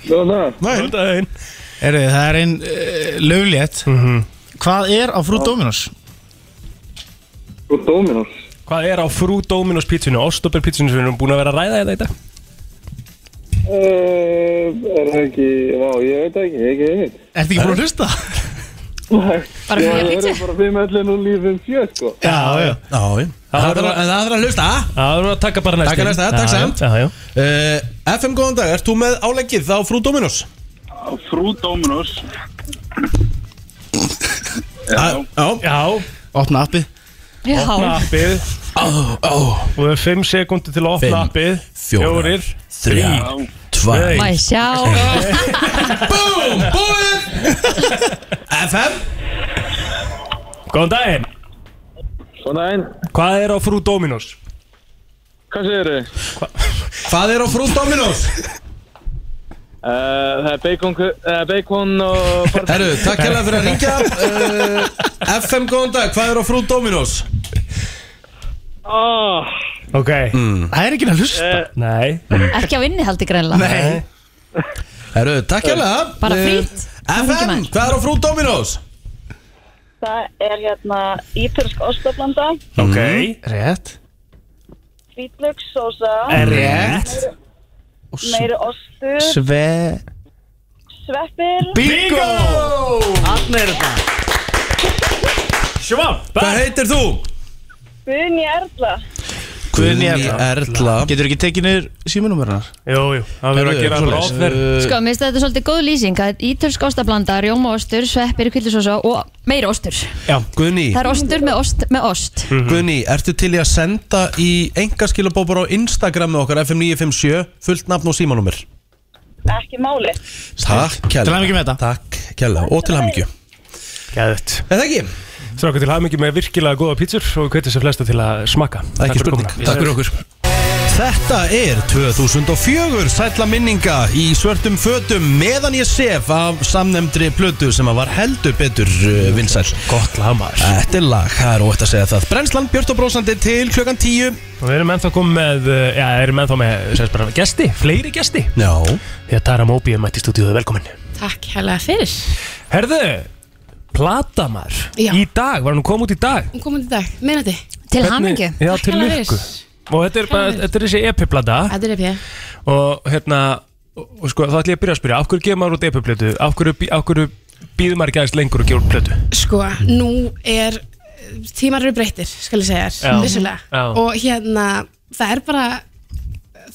[SPEAKER 16] Góðan
[SPEAKER 2] Góðan
[SPEAKER 4] daginn
[SPEAKER 16] Erið, það er einn uh, löglétt
[SPEAKER 4] Mhm.
[SPEAKER 16] Hvað er á frú Dominos?
[SPEAKER 4] Frú Dominos Hvað er á frú Dominos pítsunni, Ostober pítsunni sem við erum búin að vera að ræða þetta í dag?
[SPEAKER 8] Eh,
[SPEAKER 10] Uh, er það ekki, já, ég veit það ekki, ég ekki veit.
[SPEAKER 16] Ertu ekki búin að hlusta?
[SPEAKER 10] Bara
[SPEAKER 16] fyrir að
[SPEAKER 10] pizza? Bara fyrir með allir nú lífum fjö, sko.
[SPEAKER 16] Já, já
[SPEAKER 2] Já, það þarf að- en það þarf að hlusta
[SPEAKER 4] Það þarf að taka bara næst
[SPEAKER 2] Takk
[SPEAKER 4] inn.
[SPEAKER 2] næsta,
[SPEAKER 4] Já,
[SPEAKER 2] takk
[SPEAKER 4] já,
[SPEAKER 2] samt
[SPEAKER 4] já, já.
[SPEAKER 2] Eh, FM góðan dag, ert þú með áleggið á frú Dominos?
[SPEAKER 17] Frú Dominus
[SPEAKER 2] Ah, Já,
[SPEAKER 4] já
[SPEAKER 16] Opna appið
[SPEAKER 4] Já. Opna appið
[SPEAKER 2] oh, oh.
[SPEAKER 4] Og við erum 5 sekundi til að opna
[SPEAKER 2] Fimm,
[SPEAKER 4] appið
[SPEAKER 2] fjórar,
[SPEAKER 4] Fjórir,
[SPEAKER 2] þrjár,
[SPEAKER 4] þrír,
[SPEAKER 2] tvær.
[SPEAKER 4] tveir.
[SPEAKER 3] Má ég sjá
[SPEAKER 2] Búm, búin FM
[SPEAKER 4] Góðan daginn
[SPEAKER 17] Góðan daginn
[SPEAKER 4] Hvað er á frú Dominos?
[SPEAKER 17] Hvað segir þið?
[SPEAKER 2] Hvað er á frú Dominos?
[SPEAKER 8] Eh,
[SPEAKER 17] Það er bacon, uh, bacon og barbeik
[SPEAKER 2] Herru, takk hérna fyrir að ringja uh, FM góðan dag, hvað er á frú Dominos?
[SPEAKER 17] oh,
[SPEAKER 4] Ok
[SPEAKER 2] Mm.
[SPEAKER 16] Það er ekki að hlusta
[SPEAKER 17] Eh.
[SPEAKER 4] Nei
[SPEAKER 3] Ekki á innihaldi greinlega
[SPEAKER 2] Herru, takk hérna
[SPEAKER 3] Bara frítt.
[SPEAKER 2] FM, hvað er á frú Dominos?
[SPEAKER 10] Það er hérna ítölsk ostablanda,
[SPEAKER 16] Mhm.
[SPEAKER 4] Ok
[SPEAKER 16] Rétt
[SPEAKER 10] hvítlökssósa,
[SPEAKER 16] Er rétt
[SPEAKER 10] meiri ostur,
[SPEAKER 16] Sve
[SPEAKER 10] sveppir.
[SPEAKER 16] Bingo! Þarna er þetta
[SPEAKER 4] Sjöfam
[SPEAKER 2] Hvað heitir þú?
[SPEAKER 10] Bunni Erla.
[SPEAKER 16] Guðni
[SPEAKER 2] Erla
[SPEAKER 16] Getur ekki tekið niður síminúmerunar?
[SPEAKER 4] Jú, jú, það verður að gera bara offer.
[SPEAKER 3] Sko, mér finnst þetta svolítið góð lýsing að ítölsk ostablanda, rjómaostur, sveppir, kvillisósa og meiri ostur.
[SPEAKER 2] Já, Guðný
[SPEAKER 3] Það er ostur með ost með ost.
[SPEAKER 4] Mhm.
[SPEAKER 2] Guðný, ertu til í að senda í engaskilabópar á Instagram með okkar FM957 fullt nafn og símanúmer
[SPEAKER 10] Ekki máli.
[SPEAKER 2] Takk kjalla
[SPEAKER 16] Til hamingju með þetta
[SPEAKER 2] Takk kjalla og til hamingju
[SPEAKER 4] Gæðut
[SPEAKER 2] Er það ekki?
[SPEAKER 4] Stráka til hamingi með virkilega góða pítsur og hvetja sem flesta til að smakka
[SPEAKER 2] Ekki spurning. Takk fyrir okkur. Þetta er 2004 sætla minninga í svörtum fötum meðan ég sef af samnefndri plötu sem að var heldur betur uh, vinsæl
[SPEAKER 4] Gott lamar
[SPEAKER 2] Þetta er lag, það er ótt að segja það Brennslan, Björn og Brósandi til klukkan 10
[SPEAKER 4] Og við erum ennþá komið með, eh, já, erum ennþá með, sem sagt bara, gesti, fleiri gesti.
[SPEAKER 2] Já.
[SPEAKER 4] Því að Tara Móbi er mætt í stúdíuðu, velkomin.
[SPEAKER 18] Takk hella fyrir
[SPEAKER 4] Herðu, platamar,
[SPEAKER 18] Já.
[SPEAKER 4] í dag, var hann kom út í dag?
[SPEAKER 18] Hún kom út í dag, meðnætti
[SPEAKER 4] Hvernig- Já, til lukku. Og þetta er bara,
[SPEAKER 18] Kærlega fyrir.
[SPEAKER 4] þetta er þessi EP-plata
[SPEAKER 18] Þetta er epið
[SPEAKER 4] og hérna, og, og sko, þá ætlum ég að byrja að spyrja, af hverju gefur maður út EP-plötu? Af hverju, bí- af hverju býðum maður ekki aðeins lengur og gefur út plötu?
[SPEAKER 18] Sko, nú er eh, tímar eru breyttir, skal ég segja
[SPEAKER 4] Já.
[SPEAKER 18] þér vissulega,
[SPEAKER 4] Já.
[SPEAKER 18] og hérna það er bara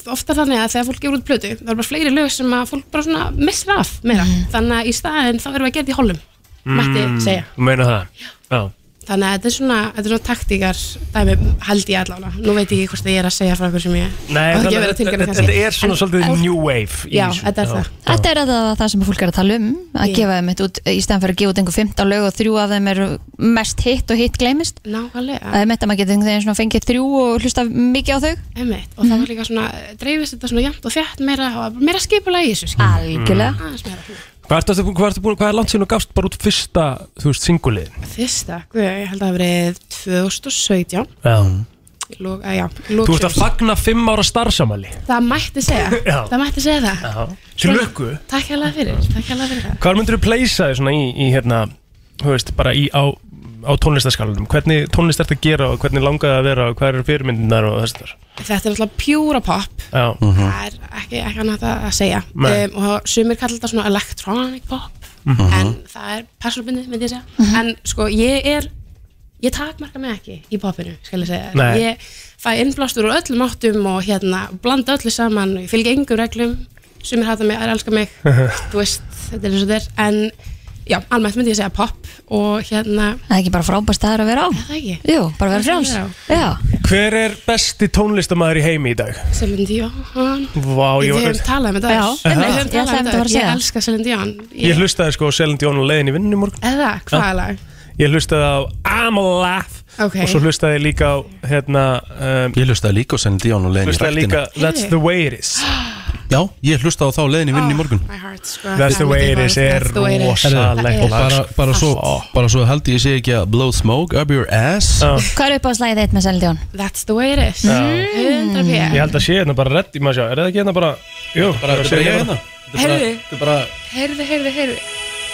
[SPEAKER 18] ofta þannig að þegar fólk gefur út plötu, það eru bara fleiri lög sem að fólk bara svona missir af meira, þannig að í staðin þá erum við að gera þetta í holum mætti segja,
[SPEAKER 4] Mm. Þú meina það? Já.
[SPEAKER 18] þannig að þetta er svona, þetta er svona taktíkar dæmi held ég allavega, nú veit ég ekki hvort ég er að segja frá okkur sem ég
[SPEAKER 4] Nei,
[SPEAKER 18] á ekki
[SPEAKER 4] þannig
[SPEAKER 18] að
[SPEAKER 4] að
[SPEAKER 18] vera að tilkynna
[SPEAKER 4] þetta-
[SPEAKER 18] kannski.
[SPEAKER 4] þetta er svona
[SPEAKER 18] En-
[SPEAKER 4] svolítið
[SPEAKER 18] en-
[SPEAKER 4] new wave í
[SPEAKER 18] Já,
[SPEAKER 4] þessu.
[SPEAKER 18] þetta er
[SPEAKER 4] Já.
[SPEAKER 18] það
[SPEAKER 3] Þetta er það, það sem fólk er að tala um að gefa þeim þetta út í stæðan fyrir að gefa út einhver 15 lög og þrjú af þeim eru mest hitt og hitt gleymist.
[SPEAKER 18] Nákvæmlega.
[SPEAKER 3] Það er með að maður getur einhvern veginn svona fengið þrjú og hlusta mikið á þau.
[SPEAKER 18] Einmitt, og það var líka svona, dreifist þetta svona jæmt og þjætt meira, og meira skipulega í þessu Mm.
[SPEAKER 3] Algjörlega.
[SPEAKER 18] Aðeins meira.
[SPEAKER 4] Hvað, ertu, aftur búin- hvað, ertu búin, hvað er langt síðan og gafst bara út fyrsta, þú veist, singuliðin?
[SPEAKER 18] Fyrsta, guð, ég held að það hafi verið 2017
[SPEAKER 4] Já.
[SPEAKER 18] Í lok- að já, í lok
[SPEAKER 4] Þú ert að
[SPEAKER 18] sumars.
[SPEAKER 4] fagna fimm ára starfsamali
[SPEAKER 18] Það mætti segja,
[SPEAKER 4] Já.
[SPEAKER 18] það mætti segja það
[SPEAKER 4] Til lukku
[SPEAKER 18] Takk hérlega fyrir, takk hérlega fyrir það
[SPEAKER 4] Hvar myndur þú pleysa þig svona í, í hérna, þú veist, bara í á, á tónlistarskalanum? Hvernig tónlist ertu að gera og hvernig langaði að vera og hvað eru fyrirmyndinar og þess þar?
[SPEAKER 18] Þetta er alltaf pjúra pop
[SPEAKER 4] Já.
[SPEAKER 2] Mhm.
[SPEAKER 18] Það er ekki, ekki annað að að segja
[SPEAKER 4] Nei.
[SPEAKER 18] um, og sumir kalla þetta svona electronic pop
[SPEAKER 4] Mhm.
[SPEAKER 18] en það er persónbundið, myndi ég segja
[SPEAKER 3] Mhm.
[SPEAKER 18] en sko, ég er ég takmarka mig ekki í popinu, skal ég segja
[SPEAKER 4] Nei.
[SPEAKER 18] ég fæ innblástur úr öllum áttum og hérna, blanda öllu saman og ég fylgja engum reglum, sumir hata mig aðra elska mig, þú veist, þetta er eins og þetta er en, já, almennt myndi ég segja pop og hérna
[SPEAKER 3] Það er ekki bara frábær staður að vera á
[SPEAKER 18] Það ekki?
[SPEAKER 3] Jú, bara vera frjáls
[SPEAKER 18] Já.
[SPEAKER 3] Já,
[SPEAKER 4] Hver er besti tónlistamæður í heimi í dag?
[SPEAKER 18] Celine Dion
[SPEAKER 4] Vá,
[SPEAKER 18] Við
[SPEAKER 4] ég, var-
[SPEAKER 18] höfum talað um þetta
[SPEAKER 3] Já,
[SPEAKER 18] áður.
[SPEAKER 3] einmitt.
[SPEAKER 18] Við höfum
[SPEAKER 3] Ég ætlaði
[SPEAKER 18] talað um þetta
[SPEAKER 3] einmitt að fara að
[SPEAKER 18] áður. Ég
[SPEAKER 3] segja.
[SPEAKER 18] elska Celine Dion
[SPEAKER 4] ég hlustaði sko á Selin Dion og leiðin í vinnu morgun.
[SPEAKER 18] Eða, hvaða
[SPEAKER 4] Já.
[SPEAKER 18] lag?
[SPEAKER 4] Ég hlustaði á I'm a Laugh
[SPEAKER 18] Ok.
[SPEAKER 4] og svo hlustaði ég líka á, hérna, um,
[SPEAKER 2] Ég hlustaði líka og sendi Díón og leiðin í
[SPEAKER 4] hlustaði líka
[SPEAKER 2] rættina
[SPEAKER 4] That's the way it is.
[SPEAKER 2] Já, ég hlustaði á þá leiðin í vinnin í morgun
[SPEAKER 18] My heart sko
[SPEAKER 4] That's the way it is er
[SPEAKER 18] That's the way it is.
[SPEAKER 4] rosalegt
[SPEAKER 2] Og bara, bara, svo, bara svo haldi ég sé ekki að blow smoke up your ass
[SPEAKER 3] hvað er upp á slæðið eitt með Seldjón?
[SPEAKER 18] That's the way it is
[SPEAKER 4] Já.
[SPEAKER 18] 100
[SPEAKER 4] Ég
[SPEAKER 18] p
[SPEAKER 4] held að sé hérna bara reddi maður sjá, er það ekki hérna bara Jú, bara,
[SPEAKER 2] þetta er
[SPEAKER 4] sé
[SPEAKER 2] bara ég
[SPEAKER 4] hérna.
[SPEAKER 18] Heyrðu,
[SPEAKER 2] Þetta er bara
[SPEAKER 18] heyrðu, heyrðu, heyrðu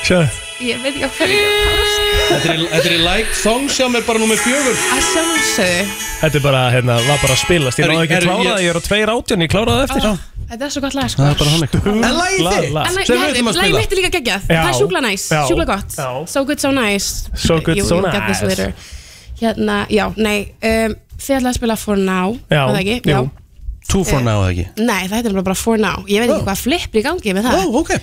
[SPEAKER 4] Sjá
[SPEAKER 18] Ég veit ekki á hverju ég er að
[SPEAKER 2] Þetta er, þetta er like song sem er bara nummer fjögur
[SPEAKER 18] Að sjálfsögðu
[SPEAKER 4] Þetta er bara, hérna, var bara að spilast Ég
[SPEAKER 2] Herru,
[SPEAKER 4] náði ekki að
[SPEAKER 2] herru,
[SPEAKER 4] klára það,
[SPEAKER 2] ég-
[SPEAKER 4] ég er á tveir átján, ég kláraði það eftir
[SPEAKER 18] Ó, Þetta er svo gott lag sko
[SPEAKER 4] Það er bara þannig.
[SPEAKER 18] En
[SPEAKER 4] lagið
[SPEAKER 18] En
[SPEAKER 4] þitt?
[SPEAKER 18] lagið-
[SPEAKER 4] Sem við
[SPEAKER 18] herðu,
[SPEAKER 4] ætlum að
[SPEAKER 18] lagið
[SPEAKER 4] spila.
[SPEAKER 18] mitt er líka geggjað
[SPEAKER 4] Já.
[SPEAKER 18] Það er sjúkla næs,
[SPEAKER 4] Já.
[SPEAKER 18] sjúkla gott
[SPEAKER 4] Já.
[SPEAKER 18] So good, so nice
[SPEAKER 4] So good,
[SPEAKER 18] You-
[SPEAKER 4] so
[SPEAKER 18] you'll get this
[SPEAKER 4] nice.
[SPEAKER 18] later. Hérna, já, nei um, Þið ætlaði að spila For Now
[SPEAKER 2] Já,
[SPEAKER 18] var það ekki?
[SPEAKER 2] jú. Two for
[SPEAKER 18] Eh,
[SPEAKER 2] now, eða ekki
[SPEAKER 18] Nei, það heitir bara, bara For Now Ég veit ekki hvað flippir í gangi með það
[SPEAKER 2] oh, okay.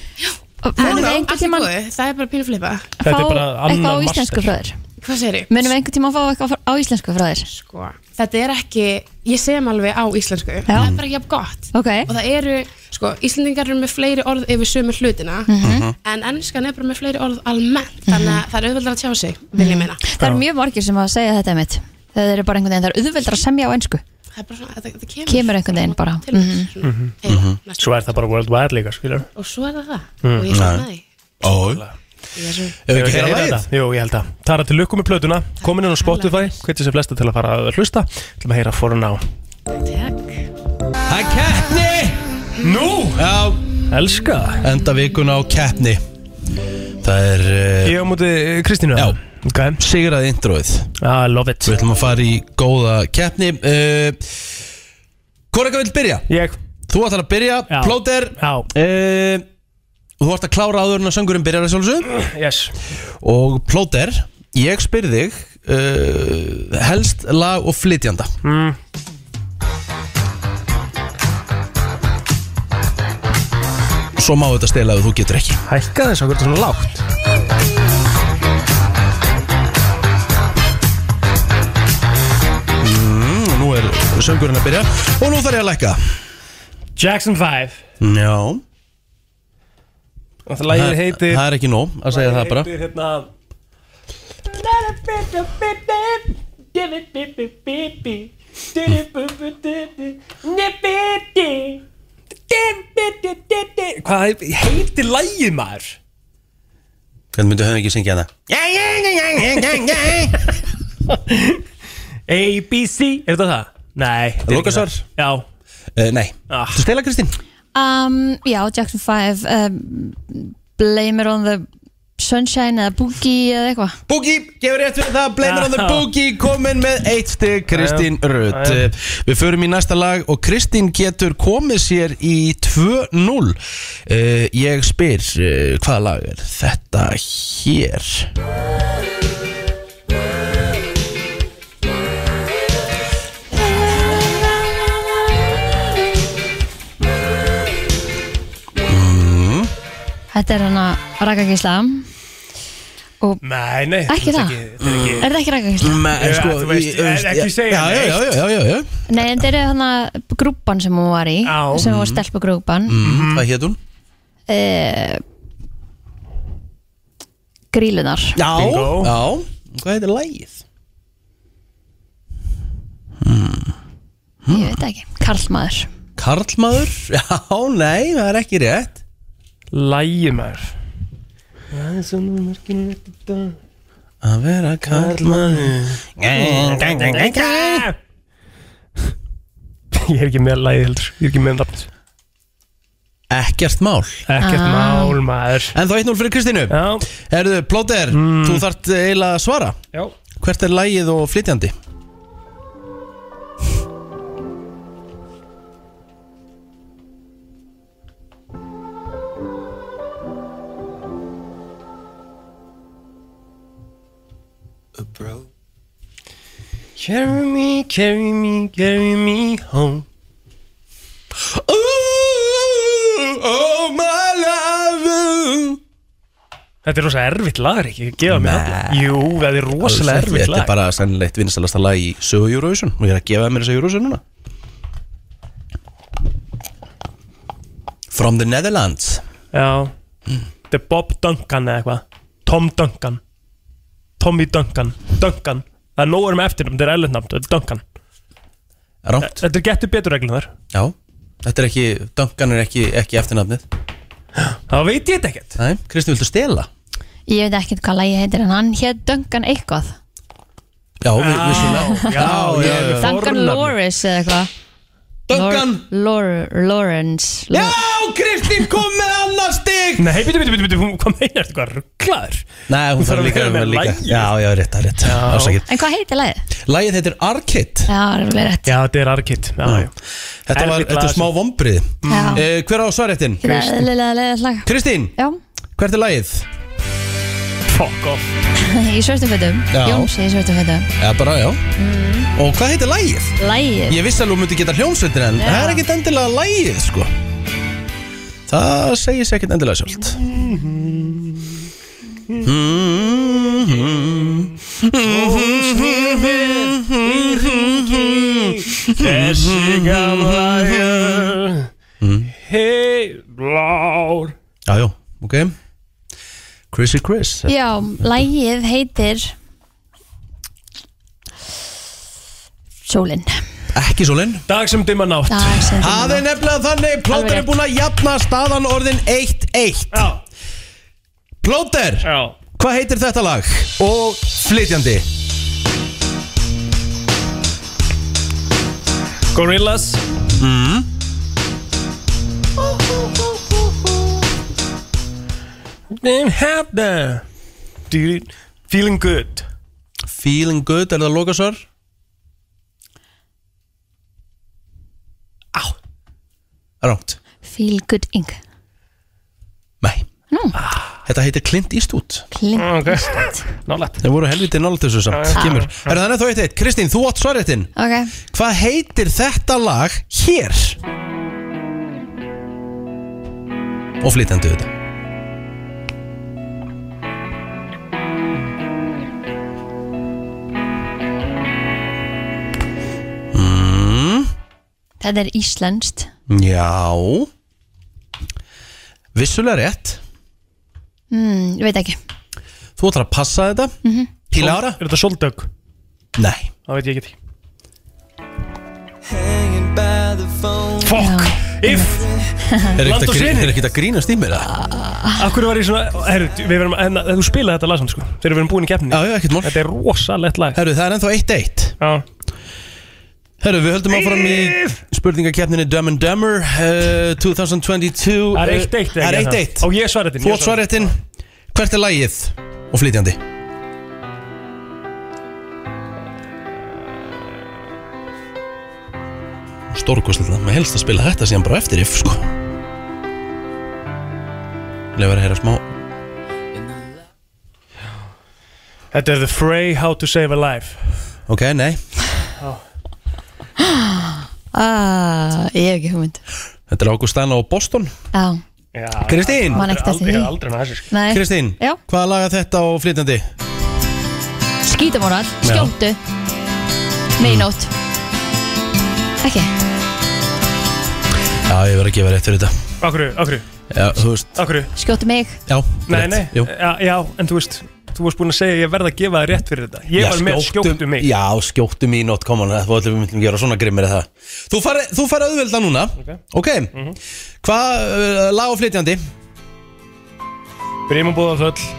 [SPEAKER 18] Það er einhvern tímann Það er bara pínu flippa
[SPEAKER 3] Þetta er bara Fá eitthvað á annan íslensku master. frá þér.
[SPEAKER 18] Hvað segir ég?
[SPEAKER 3] Munum við einhvern tíma að fá eitthvað á íslensku frá þér?
[SPEAKER 18] Sko Þetta er ekki Ég segum alveg á íslensku Það er bara ekki jafn gott
[SPEAKER 3] okay.
[SPEAKER 18] Og það eru Sko, Íslendingar eru með fleiri orð yfir sömu hlutina
[SPEAKER 3] Mhm.
[SPEAKER 18] En ennskan er bara með fleiri orð almennt Þannig að það er auðveldar að tjá sig Vil ég meina
[SPEAKER 3] Það er mjög margir sem að segja þetta mitt Það eru bara einhvern veginn, það er auðveldar að semja á ensku
[SPEAKER 18] Það er bara svona Þetta, þetta kemur
[SPEAKER 3] Kemur einhvern veginn bara
[SPEAKER 18] Til
[SPEAKER 3] mm
[SPEAKER 18] þess, svona.
[SPEAKER 2] Mhm.
[SPEAKER 4] það Mhm. Svo er það bara worldwide líka, skilur
[SPEAKER 18] Og svo er það það
[SPEAKER 4] Mm.
[SPEAKER 18] Og ég
[SPEAKER 4] Nei.
[SPEAKER 18] sakna því
[SPEAKER 2] Ó
[SPEAKER 18] Ég er svo
[SPEAKER 2] Ef við ekki heyra lagið?
[SPEAKER 4] það? Jú, ég held að Tara til lukku með plötuna, komin inn á Spotify Hvetja sem flesta til að fara að hlusta Til að heyra for now
[SPEAKER 2] Það er keppni Nú Já
[SPEAKER 4] Elska
[SPEAKER 2] Enda vikuna á keppni Það er uh,
[SPEAKER 4] Ég á múti Kristínu
[SPEAKER 2] Já
[SPEAKER 4] okay.
[SPEAKER 2] Sigraði introið
[SPEAKER 4] I love it
[SPEAKER 2] Við ætlum að fara í góða keppni uh, Hvor eitthvað vil byrja?
[SPEAKER 4] Ég
[SPEAKER 2] Þú ætlar að byrja
[SPEAKER 4] Já.
[SPEAKER 2] Plóter
[SPEAKER 4] Já
[SPEAKER 2] uh, Þú ætlar að klára áður en að söngurinn byrjar að sjálfsög
[SPEAKER 4] Yes
[SPEAKER 2] Og Plóter Ég spyr þig uh, Helst lag og flytjanda
[SPEAKER 4] mm.
[SPEAKER 2] Svo má þetta stela ef þú getur ekki
[SPEAKER 4] Hækka þess okkur svona lágt
[SPEAKER 2] mm, og Nú er söngurinn að byrja Og nú þarf ég að lækka
[SPEAKER 4] Jackson 5
[SPEAKER 2] Já
[SPEAKER 4] Og það lagið heitir
[SPEAKER 2] Það er ekki nóg að segja það bara
[SPEAKER 4] heitir hérna Hvað heitir lagið maður?
[SPEAKER 2] Hvernig myndi höfum ekki syngja það?
[SPEAKER 4] A, B, C Er þetta það? Nei þetta er ekki
[SPEAKER 2] Lokasvar?
[SPEAKER 4] það. Já
[SPEAKER 2] Uh, nei
[SPEAKER 4] ah.
[SPEAKER 2] Þú stela Kristín?
[SPEAKER 3] um, Já, Jackson 5 um, Blame it on the sunshine eða boogie eða eitthvað
[SPEAKER 2] Boogie, gefur rétt fyrir það Blame it on the
[SPEAKER 3] Já.
[SPEAKER 2] Boogie komin með eitt stygg Kristín Rutt
[SPEAKER 4] Já, já.
[SPEAKER 2] Eh, Við förum í næsta lag og Kristín getur komið sér í 2-0 Eh, Ég spyr eh, hvaða lag er þetta hér
[SPEAKER 4] mm.
[SPEAKER 3] Þetta er hann að raka gísla og
[SPEAKER 4] Nei, nei
[SPEAKER 3] Ekki
[SPEAKER 4] þetta
[SPEAKER 3] það? Er það ekki raka gísla?
[SPEAKER 2] Nei,
[SPEAKER 4] Já,
[SPEAKER 2] sko,
[SPEAKER 4] Eh, þú veist,
[SPEAKER 2] ég- þú veist,
[SPEAKER 4] ekki
[SPEAKER 2] ég-
[SPEAKER 4] segja
[SPEAKER 2] já, já, já,
[SPEAKER 4] neitt.
[SPEAKER 2] já, já, já.
[SPEAKER 3] Nei, en þetta er hann að grúpan sem hún var í
[SPEAKER 2] Já.
[SPEAKER 3] sem var stelpugrúpan
[SPEAKER 2] Mm, Hvað hétt hún?
[SPEAKER 3] uh, Grílunar
[SPEAKER 2] Já, já Hvað heitir lagið?
[SPEAKER 3] Ég veit ekki, Karlmaður
[SPEAKER 2] Karlmaður? Já, nei, það er ekki rétt
[SPEAKER 4] Lægi maður
[SPEAKER 2] Að vera karlmaður
[SPEAKER 4] Ég er ekki með lagið heldur, ég er ekki með nafnið
[SPEAKER 2] Ekkert mál
[SPEAKER 4] Ekkert Ah. mál, maður Mm.
[SPEAKER 2] En þá 1-0 fyrir Kristínu Herðu, Plóter, þú þart eiginlega að svara
[SPEAKER 4] Já
[SPEAKER 2] Hvert er lægið og flytjandi?
[SPEAKER 4] Carry me, carry me, carry me home
[SPEAKER 1] Oh my love
[SPEAKER 4] Þetta er rosa erfitt lag, ekki? Gefa mig allan Jú, það er rosalega
[SPEAKER 2] Alls ekki,
[SPEAKER 4] erfitt
[SPEAKER 2] Þetta er
[SPEAKER 4] lag
[SPEAKER 2] bara sannleitt vinstalasta lag í sögu Eurovision og ég er að gefa mér þessu Eurovision núna From the Netherlands
[SPEAKER 4] Já Þetta er Bob Duncan eða eitthvað Tom Duncan Tommy Duncan Duncan Það er nógur með eftirnum, þetta er erlendnafn, þetta er Duncan
[SPEAKER 2] Rangt
[SPEAKER 4] Þetta er getur betur reglum þar
[SPEAKER 2] Já, þetta er ekki, Duncan er ekki, ekki eftirnafnið
[SPEAKER 4] Þá veit ég þetta ekkert
[SPEAKER 2] Nei, Kristi, viltu stela?
[SPEAKER 3] Ég veit ekkert hvað lagi heitir en hann hétt Duncan eitthvað
[SPEAKER 2] Já, við, við svona
[SPEAKER 4] Já, já, já, já.
[SPEAKER 3] Duncan Lawrence eða eitthvað Duncan Lor Lor Lawrence Lor
[SPEAKER 2] Kristín kom með annar stig
[SPEAKER 4] Nei, býtu, býtu, býtu, býtu, hún- hvað meinar þetta, hvað rugglaður?
[SPEAKER 2] Nei, hún
[SPEAKER 4] Þú þarf
[SPEAKER 2] þarf
[SPEAKER 4] að
[SPEAKER 2] líka
[SPEAKER 4] vera
[SPEAKER 2] að vera
[SPEAKER 4] með
[SPEAKER 2] líka
[SPEAKER 4] lagið.
[SPEAKER 2] Já, já, rétt, það er rétt Ásakið
[SPEAKER 3] En hvað heitir lagið?
[SPEAKER 2] Lægið heitir Arkit
[SPEAKER 3] Já, það er alveg rétt
[SPEAKER 4] Já, þetta er Arkit
[SPEAKER 2] Þetta var,
[SPEAKER 4] Erfitt
[SPEAKER 2] þetta
[SPEAKER 4] lag,
[SPEAKER 2] er smá
[SPEAKER 4] sko.
[SPEAKER 2] vombrið
[SPEAKER 3] Já.
[SPEAKER 2] eh, Hver á svarréttin?
[SPEAKER 3] Þetta er eðlilega leiðast lag
[SPEAKER 2] Kristín,
[SPEAKER 3] Já,
[SPEAKER 2] hvert er lægið?
[SPEAKER 4] Fuck off
[SPEAKER 3] í svörtum fötum
[SPEAKER 2] Já.
[SPEAKER 3] Jóns í svörtum fötum
[SPEAKER 2] Já, bara, já Og hvað heitir lægið?
[SPEAKER 3] Mm. Lagið
[SPEAKER 2] Ég vissi alveg hún myndi geta hljómsveitin en
[SPEAKER 3] Já.
[SPEAKER 2] það er ekkert endilega lægið sko Það segir sér ekkert endilega sjálft
[SPEAKER 10] Mhm.
[SPEAKER 3] Mm.
[SPEAKER 2] Hmm.
[SPEAKER 4] Þessi gamla jörn Hei, blár
[SPEAKER 2] Já, já, ok Chrissy Chris
[SPEAKER 3] Já, lagið heitir Sólin
[SPEAKER 2] Ekki sólinn
[SPEAKER 4] Dag sem dimma nátt
[SPEAKER 3] Dag sem dimma
[SPEAKER 2] Það er nefnilega þannig Plóter er búin að jafna staðan orðin 1-1 Plóter
[SPEAKER 4] Já.
[SPEAKER 2] Hvað heitir þetta lag? Og flytjandi
[SPEAKER 4] Gorillas
[SPEAKER 2] mm.
[SPEAKER 4] Name have the Dude, Feeling good
[SPEAKER 2] Feeling good, er það lokasvar? Á Rámt
[SPEAKER 3] Feel good ink
[SPEAKER 2] Þetta heitir Clint Eastwood
[SPEAKER 3] Clint
[SPEAKER 4] okay. Eastwood Nálægt
[SPEAKER 2] Þeir voru helviti nálægt þessu samt
[SPEAKER 3] Já, já.
[SPEAKER 2] Kemur Er það ennþá eitt eitt? Kristín, þú átt svarréttin
[SPEAKER 3] Ok
[SPEAKER 2] Hvað heitir þetta lag hér? Og flytjandi þetta mm,
[SPEAKER 3] Þetta er íslenskt
[SPEAKER 2] Já Vissulega rétt
[SPEAKER 3] mm, Veit ekki
[SPEAKER 2] Þú ætlar að passa þetta
[SPEAKER 3] mm -hmm.
[SPEAKER 2] Píla ára
[SPEAKER 4] Mhm. Er þetta soldögg?
[SPEAKER 2] Nei
[SPEAKER 4] Það veit ég ekki Fuck If
[SPEAKER 2] Er
[SPEAKER 4] Land og sinni
[SPEAKER 2] ekkert að grínast í mér það?
[SPEAKER 4] Akkur var ég svona Herru, við verum En þú spilaði þetta lag samt sko Þegar við verum búin í keppni Já,
[SPEAKER 2] já, ekkert mál
[SPEAKER 4] Þetta er rosalegt lag
[SPEAKER 2] Herru, það er ennþá 1-1
[SPEAKER 4] Já
[SPEAKER 2] Herru, við höldum áfram í spurningakeppninni Dumb and Dumber uh, 2022
[SPEAKER 4] Það er 1-1 ekki
[SPEAKER 2] eh, Það er
[SPEAKER 4] það?
[SPEAKER 2] 1-1
[SPEAKER 4] Og ég er svarréttin, ég
[SPEAKER 2] Þú
[SPEAKER 4] er
[SPEAKER 2] átt svarréttin Hvert er lagið og flytjandi? Stórkoslega, maður helst að spila þetta síðan bara eftir if, sko Leifar að heyra smá
[SPEAKER 4] Þetta er The Fray How to Save a Life
[SPEAKER 2] Ok, nei
[SPEAKER 3] ah, Ég hef ekki hugmynd
[SPEAKER 2] Þetta er Augustana og Boston
[SPEAKER 3] Já,
[SPEAKER 2] Kristín
[SPEAKER 3] Man ekkert eftir því. Ég hef aldrei
[SPEAKER 4] með þessu sko.
[SPEAKER 3] Nei.
[SPEAKER 2] Kristín,
[SPEAKER 3] Já.
[SPEAKER 2] hvaða laga þetta og flytjandi?
[SPEAKER 3] skítamóral,
[SPEAKER 2] Já.
[SPEAKER 3] skjóttu Meinótt Ekki
[SPEAKER 2] Já, ég verð að gefa rétt fyrir þetta
[SPEAKER 4] Akkur, akkur,
[SPEAKER 2] Já, þú veist
[SPEAKER 4] akkur
[SPEAKER 3] Skjóttu mig
[SPEAKER 2] Já,
[SPEAKER 4] Nei,
[SPEAKER 2] rétt,
[SPEAKER 4] nei,
[SPEAKER 2] jú.
[SPEAKER 4] já, já, en þú veist Þú varst búin að segja að ég verð að gefa það rétt fyrir þetta Ég
[SPEAKER 2] Já,
[SPEAKER 4] var með skjóttu mig
[SPEAKER 2] Já, skjóttu mig í nótt, koma Það var allir við myndum gera svona grimmir eða það Þú farið þú farið auðvelda núna Ok,
[SPEAKER 4] Mhm.
[SPEAKER 2] Hvað, uh, lag og flytjandi?
[SPEAKER 4] Bríma búða föll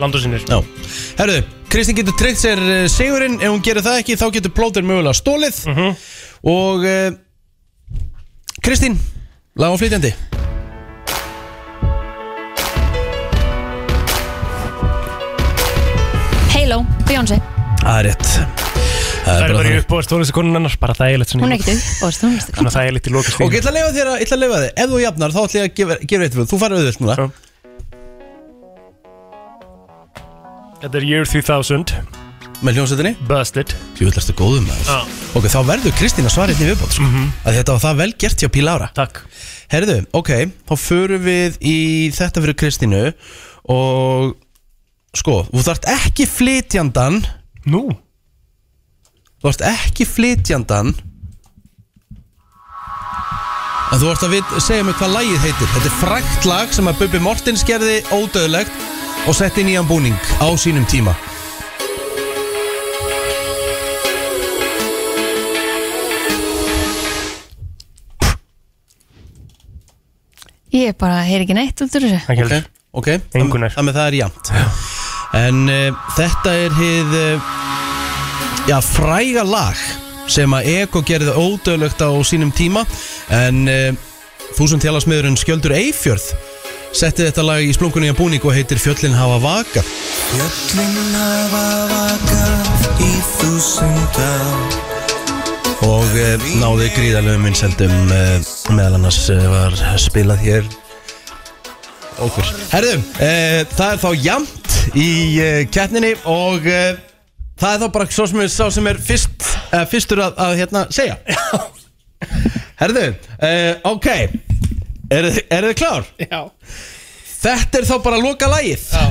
[SPEAKER 4] Land og sinir
[SPEAKER 2] Já Herðu, Kristín getur eh,
[SPEAKER 4] Mhm.
[SPEAKER 2] tryggt sér uh, sigurinn Ef hún gerir það ekki, þá getur plótur mögulega stólið Og uh, Kristín, lag og flytjandi
[SPEAKER 3] Halo, Beyoncé
[SPEAKER 2] Það er rétt
[SPEAKER 4] Það er bara í uppbóðast tónlistakonun annars Bara þægilegt svona
[SPEAKER 3] Hún er ekkert uppbóðast tónlistakona.
[SPEAKER 4] Þannig að þægilegt í loka
[SPEAKER 2] Ok, ég ætla að leifa þér að, ég ætla að leifa þér Ef þú jafnar, þá ætla ég að gefa, gefa eitt fyrir Þú farið auðvöld núna
[SPEAKER 4] Þetta er Year 3000
[SPEAKER 2] Með hljómsveitinni
[SPEAKER 4] Busted
[SPEAKER 2] Jú, góðum maður
[SPEAKER 4] Já.
[SPEAKER 2] Ok, þá verður Kristín að svara hérna í viðbót sko.
[SPEAKER 4] Mhm.
[SPEAKER 2] að Þetta var það vel gert hjá Pílára
[SPEAKER 4] Takk
[SPEAKER 2] Herðu, ok, þá förum við í þetta fyrir Kristínu Og sko, þú þarft ekki flytjandan
[SPEAKER 4] Nú
[SPEAKER 2] Þú þarft ekki flytjandan En þú ert að vit, segja mig hvað lagið heitir Þetta er frækt lag sem að Bubbi Mortens gerði ódöðlegt Og setti nýjan búning á sínum tíma
[SPEAKER 3] Ég bara heyr ekki neitt út úr þessu
[SPEAKER 2] Ok, ok, Engunar. þannig að það er jæmt En uh, þetta er hið uh, Já, fræga lag Sem að Eko gerði ódöðlögt á sínum tíma En uh, þú sem þjálasmiðurinn Skjöldur Eifjörð Setti þetta lag í splunkunni að búning og heitir Fjöllin hafa vaka
[SPEAKER 5] Fjöllin hafa vakað í þúsund ár
[SPEAKER 2] Og uh, náði gríðalögum vinsældum uh, Meðal annars uh, var spilað hér Okkur Herðu, uh, það er þá jæmt í uh, kettninni Og uh, það er þá bara svo sem er, sá sem er fyrst, uh, fyrstur að, að hérna, segja Herðu, uh, ok Eru er þið klár?
[SPEAKER 16] Já
[SPEAKER 2] Þetta er þá bara loka lagið Já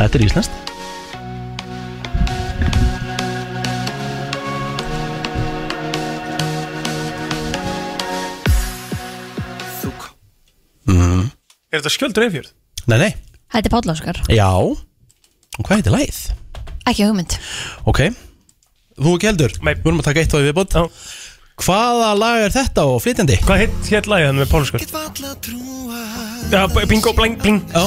[SPEAKER 2] Þetta er íslenskt mm.
[SPEAKER 4] Er þetta skjöldur eifjörð?
[SPEAKER 2] Nei, nei,
[SPEAKER 3] Þetta er Páll Óskar,
[SPEAKER 2] já Og hvað heitir lagið?
[SPEAKER 3] ekki hugmynd
[SPEAKER 2] Ok, þú ekki heldur Nei Við erum að taka eitt á í viðbót Já Hvaða lag er þetta og flytjandi?
[SPEAKER 4] Hvað hitt hér lagið hann með Pálskar? Já, b- bingo, bling, bling
[SPEAKER 2] Já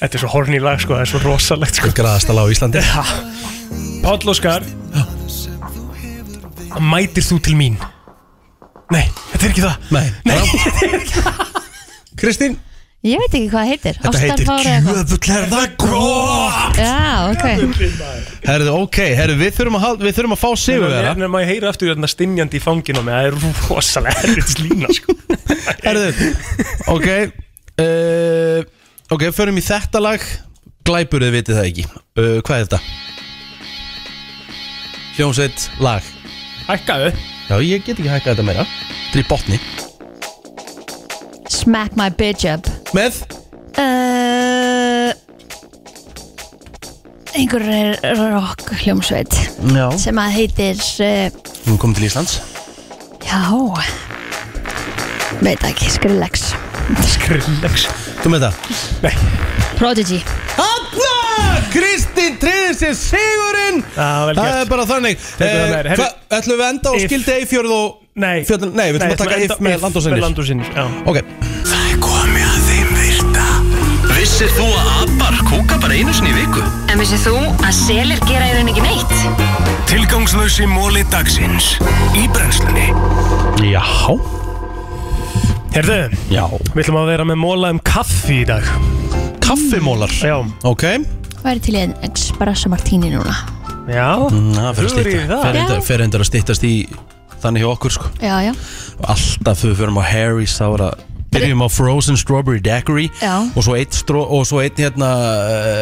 [SPEAKER 4] Þetta er svo horni lag sko, það er svo rosalegt sko
[SPEAKER 2] Graðasta lag á Íslandi
[SPEAKER 4] Já Páll Óskar Mætir þú til mín? Nei, þetta er ekki það
[SPEAKER 2] Nei,
[SPEAKER 4] Nei.
[SPEAKER 2] Kristín
[SPEAKER 3] Ég veit ekki hvað það heitir
[SPEAKER 2] Þetta heitir
[SPEAKER 3] Ástarfár eða eitthvað.
[SPEAKER 2] Jöfull er það grótt
[SPEAKER 3] Já, ok
[SPEAKER 2] Herðu, ok, herðu, við þurfum að, hal- við þurfum að fá sigur
[SPEAKER 4] Nefnir nefnir maður heyra aftur þarna stinjandi í fanginu með það er rosalega erfitt slína sko
[SPEAKER 2] Herðu, ok uh, Ok, förum í þetta lag Glæpur þið vitið það ekki uh, Hvað er þetta? Hljómsveit lag
[SPEAKER 4] Hækkaðu
[SPEAKER 2] Já, ég get ekki hækkað þetta meira Þetta er í botni
[SPEAKER 3] Smack my bitch up
[SPEAKER 2] Með?
[SPEAKER 3] Uh, einhver er rock hljómsveit
[SPEAKER 2] Já
[SPEAKER 3] sem að heitir uh,
[SPEAKER 2] Hún kom til Íslands
[SPEAKER 3] já veit ekki, Skrillex
[SPEAKER 4] Skrillex
[SPEAKER 2] Þú með það?
[SPEAKER 3] Prodigy
[SPEAKER 2] Hanna! Kristín tryður sér sigurinn
[SPEAKER 4] Já, vel
[SPEAKER 2] Það
[SPEAKER 4] gert.
[SPEAKER 2] er bara þannig
[SPEAKER 4] Tekur það með þér. Herri,
[SPEAKER 2] hva- Ætlum við að enda á
[SPEAKER 4] if-
[SPEAKER 2] skildi Eifjörð og
[SPEAKER 4] Nei.
[SPEAKER 2] fjöllun, Nei, við
[SPEAKER 4] Nei,
[SPEAKER 2] ætlum að
[SPEAKER 4] ætlum
[SPEAKER 2] taka
[SPEAKER 4] að enda
[SPEAKER 2] if með
[SPEAKER 4] if með
[SPEAKER 2] landúsinir
[SPEAKER 4] landúsinir, já.
[SPEAKER 2] Ok
[SPEAKER 5] Það er komið að þeim virta Vissir þú að abar kúka bara einu sinni í viku?
[SPEAKER 19] En vissið þú að selir gera í rauninni ekki neitt?
[SPEAKER 5] Tilgangslösi móli dagsins Í brennslunni
[SPEAKER 2] Já
[SPEAKER 4] Herðu,
[SPEAKER 2] Já
[SPEAKER 4] við ætlum að vera með móla um kaffi í dag
[SPEAKER 2] Kaffimólar?
[SPEAKER 4] Já
[SPEAKER 2] Ok
[SPEAKER 3] hvað er til í enn espresso martini núna
[SPEAKER 4] Já
[SPEAKER 2] Mm, Það fer að
[SPEAKER 4] Hugur í
[SPEAKER 2] stytta
[SPEAKER 4] það.
[SPEAKER 3] Já.
[SPEAKER 2] Fer reyndar- Fer endur að styttast í Þannig hjá okkur sko
[SPEAKER 3] já, já,
[SPEAKER 2] Alltaf þau förum á Harry's Þá er að Byrjum á Frozen Strawberry Daiquiri
[SPEAKER 3] Já.
[SPEAKER 2] Og svo eitt, stró, og svo eitt hérna,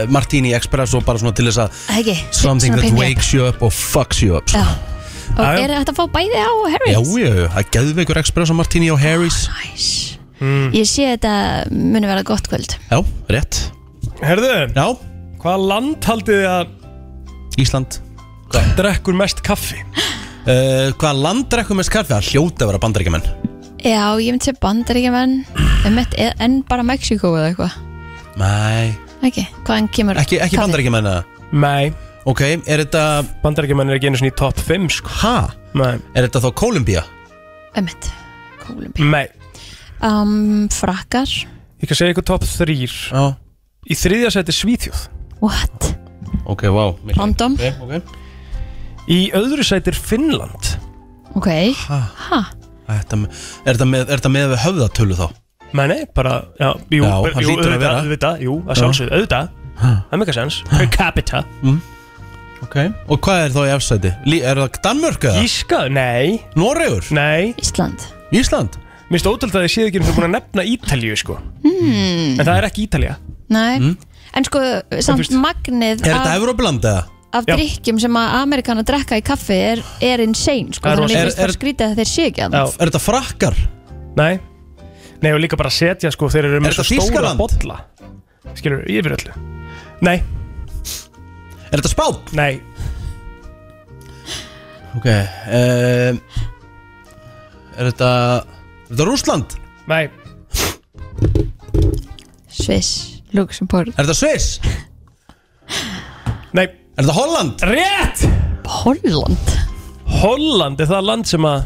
[SPEAKER 2] uh, Martini Express Og bara svona til þess að
[SPEAKER 3] ekki
[SPEAKER 2] Something
[SPEAKER 3] Svona
[SPEAKER 2] that
[SPEAKER 3] pick me up.
[SPEAKER 2] wakes you up og fucks you up
[SPEAKER 3] já. og
[SPEAKER 2] Já, já.
[SPEAKER 3] er þetta að fá bæði á
[SPEAKER 2] Já,
[SPEAKER 3] Harry's
[SPEAKER 2] já, það er geðveikur Express og Martini og Harry's
[SPEAKER 3] nice.
[SPEAKER 2] mm.
[SPEAKER 3] ég sé þetta muni vera gott kvöld
[SPEAKER 2] Já, rétt
[SPEAKER 4] Herðu
[SPEAKER 2] Já
[SPEAKER 4] Hvaða land haldið þið að
[SPEAKER 2] Ísland
[SPEAKER 4] Drekkur mest kaffi
[SPEAKER 2] uh, Hvaða land drekkur mest kaffi? Það hljóta að vera bandaríkjumenn
[SPEAKER 3] já, ég myndi segja bandaríkjumenn einmitt, e- en bara Mexiko eða eitthvað
[SPEAKER 2] Nei,
[SPEAKER 3] ekki, hvaðan kemur
[SPEAKER 2] ekki, ekki
[SPEAKER 3] kaffið?
[SPEAKER 2] bandaríkjumenn eða?
[SPEAKER 4] Nei
[SPEAKER 2] Ok, er þetta
[SPEAKER 4] Bandarækjumenn er ekki einu svona í top 5 sko
[SPEAKER 2] Hæ?
[SPEAKER 4] Nei
[SPEAKER 2] Er þetta þá Kólumbía?
[SPEAKER 3] Einmitt,
[SPEAKER 4] Nei
[SPEAKER 3] um, frakkar
[SPEAKER 4] Ég kan segja ykkur top 3
[SPEAKER 2] Já
[SPEAKER 4] Í þriðja seti Svíþjóð
[SPEAKER 3] What?
[SPEAKER 2] Ok, vá mikið.
[SPEAKER 3] Random.
[SPEAKER 2] Ok, ok.
[SPEAKER 4] Í öðru sætir Finnland
[SPEAKER 3] Ok Ha?
[SPEAKER 2] Er þetta með, er þetta með, er þetta með við höfðatölu þá?
[SPEAKER 4] Nei, nei, bara, já, jú,
[SPEAKER 2] Já,
[SPEAKER 4] bara-
[SPEAKER 2] hann
[SPEAKER 4] jú,
[SPEAKER 2] hlýtur að
[SPEAKER 4] auðvitað,
[SPEAKER 2] vera.
[SPEAKER 4] auðvitað, jú, að
[SPEAKER 2] Já.
[SPEAKER 4] sjálfsögðu, auðvitað Það er mikil sens, per capita
[SPEAKER 2] Mm. Ok, og hvað er þá í efsæti? Lí, er það Danmörk eða?
[SPEAKER 4] Íska, nei
[SPEAKER 2] Noregur?
[SPEAKER 4] Nei
[SPEAKER 3] Ísland
[SPEAKER 2] Ísland?
[SPEAKER 4] Mér finnst ótrúlega að ég séð ekki eins og búin að nefna Ítalíu, sko
[SPEAKER 3] Hmm.
[SPEAKER 4] En það er ekki Ítalía
[SPEAKER 3] Nei
[SPEAKER 4] Mm.
[SPEAKER 3] En sko,
[SPEAKER 4] En
[SPEAKER 3] samt
[SPEAKER 4] fyrst-
[SPEAKER 3] magnið af,
[SPEAKER 2] Evrópland eða?
[SPEAKER 3] af
[SPEAKER 4] Já.
[SPEAKER 3] drikkjum sem að Amerikanar drekka í kaffi er, er insane sko,
[SPEAKER 4] Það er
[SPEAKER 3] Þannig að
[SPEAKER 4] rosa-
[SPEAKER 3] mér finnst
[SPEAKER 4] Er-
[SPEAKER 3] það
[SPEAKER 4] er-
[SPEAKER 3] skrítið að þeir sé ekki að
[SPEAKER 2] Er þetta frakkar?
[SPEAKER 4] Nei Nei og líka bara setja sko þeir eru með
[SPEAKER 2] Er
[SPEAKER 4] svo
[SPEAKER 2] þetta
[SPEAKER 4] stóra
[SPEAKER 2] Þýskaland?
[SPEAKER 4] bolla Skilur, yfir öllu Nei
[SPEAKER 2] Er þetta spán?
[SPEAKER 4] Nei
[SPEAKER 2] Ok um, Er þetta Er þetta Rúsland?
[SPEAKER 4] Nei
[SPEAKER 3] Sviss, Luxemburg
[SPEAKER 2] Er þetta Sviss?
[SPEAKER 4] Nei
[SPEAKER 2] Er þetta Holland?
[SPEAKER 4] Rétt
[SPEAKER 3] Holland
[SPEAKER 4] Holland er það land sem að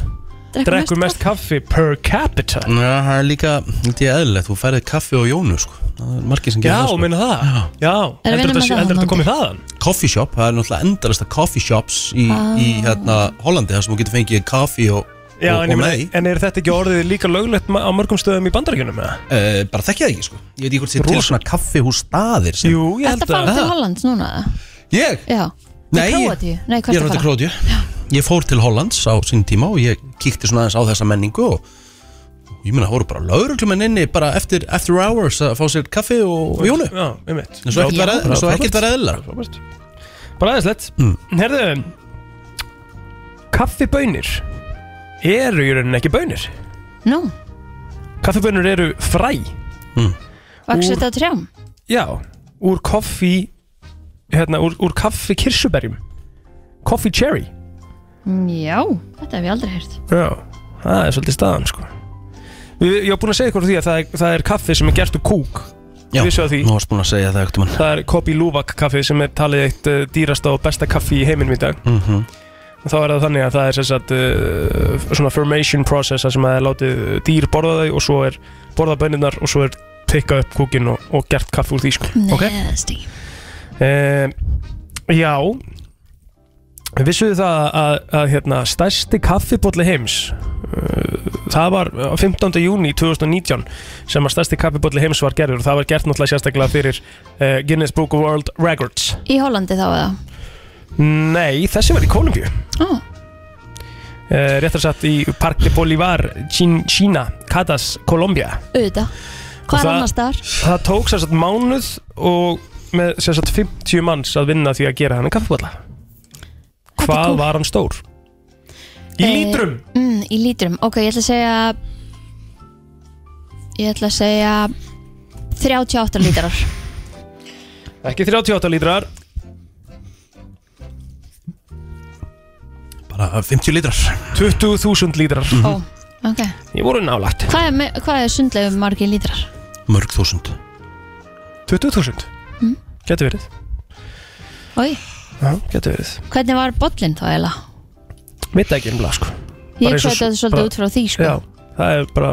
[SPEAKER 3] Drekkur
[SPEAKER 4] Drekkur mest kaffi per capita
[SPEAKER 2] Já, það er líka, þetta er eðlilegt, þú færið kaffi og jónu sko Það er margir sem gerir
[SPEAKER 4] Já,
[SPEAKER 2] það sko
[SPEAKER 4] meina það Já,
[SPEAKER 3] við
[SPEAKER 4] heldur
[SPEAKER 3] vinna með
[SPEAKER 4] þetta sé-
[SPEAKER 3] það,
[SPEAKER 4] heldur þetta komið
[SPEAKER 2] Hollandi?
[SPEAKER 4] þaðan
[SPEAKER 2] Coffee shop, það er náttúrulega endalasta coffee shops í,
[SPEAKER 4] Ah.
[SPEAKER 2] í hérna Hollandi þar sem þú getur fengið kaffi og,
[SPEAKER 4] Já,
[SPEAKER 2] og,
[SPEAKER 4] en, ég
[SPEAKER 2] og
[SPEAKER 4] meina,
[SPEAKER 2] mei
[SPEAKER 4] en er þetta ekki orðið líka löglegt ma- á mörgum stöðum í bandaríkjunum eða?
[SPEAKER 2] Uh, bara þekkja það ekki sko Ég veit ekki hvort þetta til
[SPEAKER 4] Rosa.
[SPEAKER 2] svona kaffihús staðir sem...
[SPEAKER 4] Jú, ég
[SPEAKER 3] Þetta fara til Hollands núna eða?
[SPEAKER 2] Ég?
[SPEAKER 3] Já
[SPEAKER 2] Nei,
[SPEAKER 3] Til
[SPEAKER 2] ég-
[SPEAKER 3] Króatíu Nei,
[SPEAKER 2] Ég
[SPEAKER 3] hvert
[SPEAKER 2] er
[SPEAKER 3] að
[SPEAKER 2] frá
[SPEAKER 3] fara?
[SPEAKER 2] Króti Ég fór til Hollands á sín tíma og ég kíkti svona aðeins á þessa menningu og og ég meina, það voru bara lauruglumenn inni bara eftir, after hours að fá sér kaffi og, og jónu
[SPEAKER 4] Já, um mitt
[SPEAKER 2] En svo ekkert var- en svo ekkert var eðlilegra.
[SPEAKER 4] Bara aðeinslegt mm. Herðu Kaffibönir eru í rauninni ekki bönir
[SPEAKER 3] Nú,
[SPEAKER 4] Kaffibönir eru fræ
[SPEAKER 3] vaxið þetta trjám
[SPEAKER 4] Já, úr koffi hérna, úr, úr kaffi kirsuberjum Koffi cherry
[SPEAKER 3] Mm, Já, þetta hef ég aldrei heyrt
[SPEAKER 4] Já, það er svolítið staðan sko Við- Ég var búin að segja ykkur frá því að það er, það er kaffi sem er gert úr kúk
[SPEAKER 2] Já,
[SPEAKER 4] Vissu að því
[SPEAKER 2] nú varst búin að segja það ekkert um hann
[SPEAKER 4] Það er Kopi Lúvak kaffi sem er talið eitt uh, dýrasta og besta kaffi í heiminum í dag
[SPEAKER 2] Mhm.
[SPEAKER 4] Og Þá er það þannig að það er sem sagt, uh, svona formation process þar sem að það er látið uh, dýr borða þau og svo er borða bönirnar og svo er tekkað upp kúkin og, og gert kaffi úr því sko.
[SPEAKER 3] Nasty
[SPEAKER 4] um, Já Vissuðu það að, að hérna, stærsti kaffibólli heims uh, það var á 15. júni 2019 sem að stærsti kaffibólli heims var gerður og það var gert náttúrulega sérstaklega fyrir uh, Guinness Book of World Records
[SPEAKER 3] Í Hollandi þá eða?
[SPEAKER 4] Nei, þessi var í Kolumbíu
[SPEAKER 3] Ó.
[SPEAKER 4] Eh, réttar sagt í Parque de Bolívar, Chin- China, Catas, Colombia
[SPEAKER 3] Auðvitað Hvað
[SPEAKER 4] Og
[SPEAKER 3] er
[SPEAKER 4] það-
[SPEAKER 3] annars þar?
[SPEAKER 4] Það tók sér sagt mánuð og með sér sagt 50 manns að vinna því að gera hann kaffibólla Hvað var hann stór? Í lítrum
[SPEAKER 3] mm, Í lítrum, ok, ég ætla að segja Ég ætla að segja 38 lítrar
[SPEAKER 4] Ekki 38 lítrar
[SPEAKER 2] Bara 50 litrar
[SPEAKER 4] 20.000 lítrar Mhm.
[SPEAKER 3] Ó, ok
[SPEAKER 4] Ég voru nálægt
[SPEAKER 3] Hvað er, me- hvað er sundlegu margi lítrar?
[SPEAKER 2] Mörg þúsund
[SPEAKER 4] 20.000
[SPEAKER 3] Mm.
[SPEAKER 4] Gæti verið
[SPEAKER 3] Oi,
[SPEAKER 4] Já, gæti verið
[SPEAKER 3] hvernig var bollin þá eða?
[SPEAKER 4] Veit það ekki umlega sko
[SPEAKER 3] Ég
[SPEAKER 4] Bara eins og
[SPEAKER 3] kveita þetta
[SPEAKER 4] s-
[SPEAKER 3] svolítið
[SPEAKER 4] bara-
[SPEAKER 3] út frá því sko
[SPEAKER 4] Já, það er bara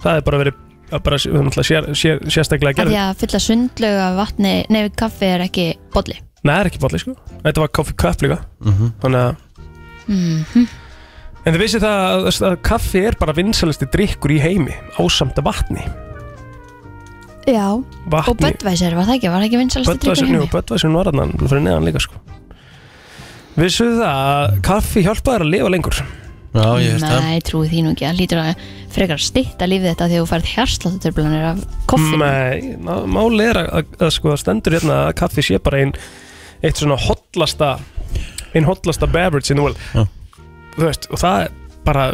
[SPEAKER 4] Það er bara verið að bara, náttúrulega sér, sér, sérstaklega
[SPEAKER 3] Af
[SPEAKER 4] gerði
[SPEAKER 3] því að fylla sundlegu af vatni Nei, kaffi er ekki bolli
[SPEAKER 4] Nei, það er ekki bolli sko Þetta var kaffi köp líka Þannig að
[SPEAKER 3] Mhm.
[SPEAKER 4] En þið vissið það að, að kaffi er bara vinsalisti drikkur í heimi Ásamt vatni
[SPEAKER 3] Já,
[SPEAKER 4] Vatni.
[SPEAKER 3] og Budweiser var það ekki, var það ekki vinsalast að drikka
[SPEAKER 4] Böttvæsinn, jú,
[SPEAKER 3] henni?
[SPEAKER 4] böttvæsinn var hann Fyrir neðan líka sko Vissuð þið það að kaffi hjálpa þér að lifa lengur
[SPEAKER 2] Já,
[SPEAKER 3] Nei, trúi því nú ekki, hann lítur að frekar stitta lífið þetta þegar þú færð hjarsláttutöflanir af koffinu
[SPEAKER 4] Nei, ná- málið er að, að, að sko, það stendur hérna að kaffi sé bara ein, eitt svona hotlasta ein hotlasta beverage in the world
[SPEAKER 2] Já.
[SPEAKER 4] þú veist, og það er bara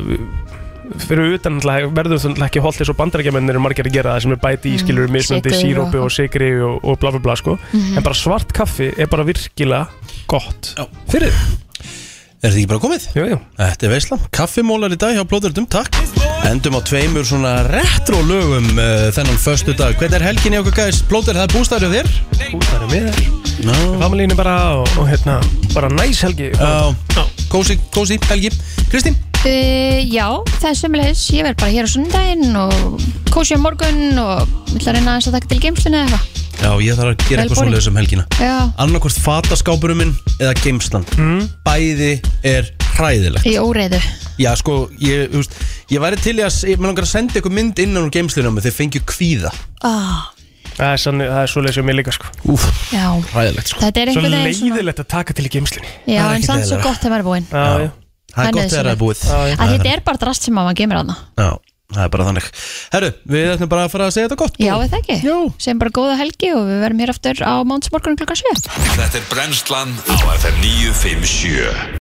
[SPEAKER 4] fyrir utan náttúrulega- verður það náttúrulega ekki holt eins og bandarækjamennir eru margir að gera það sem er bæti í
[SPEAKER 2] Mm,
[SPEAKER 4] skilur mismöndi
[SPEAKER 2] sykur og-
[SPEAKER 4] sírópi og sigri og, og bla bla bla sko
[SPEAKER 2] Mhm.
[SPEAKER 4] en bara svart kaffi er bara virkilega gott Já. fyrir
[SPEAKER 2] Er þetta ekki bara komið?
[SPEAKER 4] Jú, jú
[SPEAKER 2] Þetta er veislam, kaffimólar í dag hjá Blóðurðum, takk Endum á tveimur svona retro lögum uh, þennan föstu dag Hvernig er helgin í okkur gæs? Blóður, það er bústæður hjá þér?
[SPEAKER 4] Bústæður með
[SPEAKER 2] no.
[SPEAKER 4] Familínu bara og, og hérna, bara næs helgi
[SPEAKER 2] Já, kósi, kósi, helgi Kristín?
[SPEAKER 3] Uh, já, það er sömulegis, ég verð bara hér á sunnudaginn og kósi á morgun og ætla að reyna aðeins að taka til geimslinu eða eitthvað
[SPEAKER 2] Já, ég þarf að gera
[SPEAKER 3] Vel
[SPEAKER 2] eitthvað
[SPEAKER 3] borin.
[SPEAKER 2] svoleiðis um helgina
[SPEAKER 3] Já.
[SPEAKER 2] Annarkvort fataskápurum minn eða geimslan
[SPEAKER 4] Mm.
[SPEAKER 2] Bæði er hræðilegt
[SPEAKER 3] Í óreiðu
[SPEAKER 2] Já, sko, ég, þú veist, ég væri til í að Ég með langar að senda ykkur mynd innan úr geimslinu með Þeir fengju kvíða
[SPEAKER 3] ah,
[SPEAKER 4] Það er, sann, það er svo leiðis um mig líka sko
[SPEAKER 2] Úf,
[SPEAKER 3] Já
[SPEAKER 2] hræðilegt sko
[SPEAKER 3] Þetta er
[SPEAKER 4] Svo
[SPEAKER 3] einhvern veginn svona-
[SPEAKER 4] leiðilegt að taka til í geimslinni
[SPEAKER 3] Já, en samt svo gott þegar maður er búinn
[SPEAKER 4] Já, já
[SPEAKER 2] Það
[SPEAKER 3] Það er
[SPEAKER 2] er gott þegar það er búið
[SPEAKER 3] Að þetta er bara drast sem að maður gemir hana
[SPEAKER 2] Já, það er bara þannig Herru, við ætlum bara að fara að segja þetta gott
[SPEAKER 3] Já, er það ekki Jó. Sem bara góða helgi og við verðum hér aftur á mándsmorgunum klukkan 7
[SPEAKER 1] Þetta er brennslan á FM 957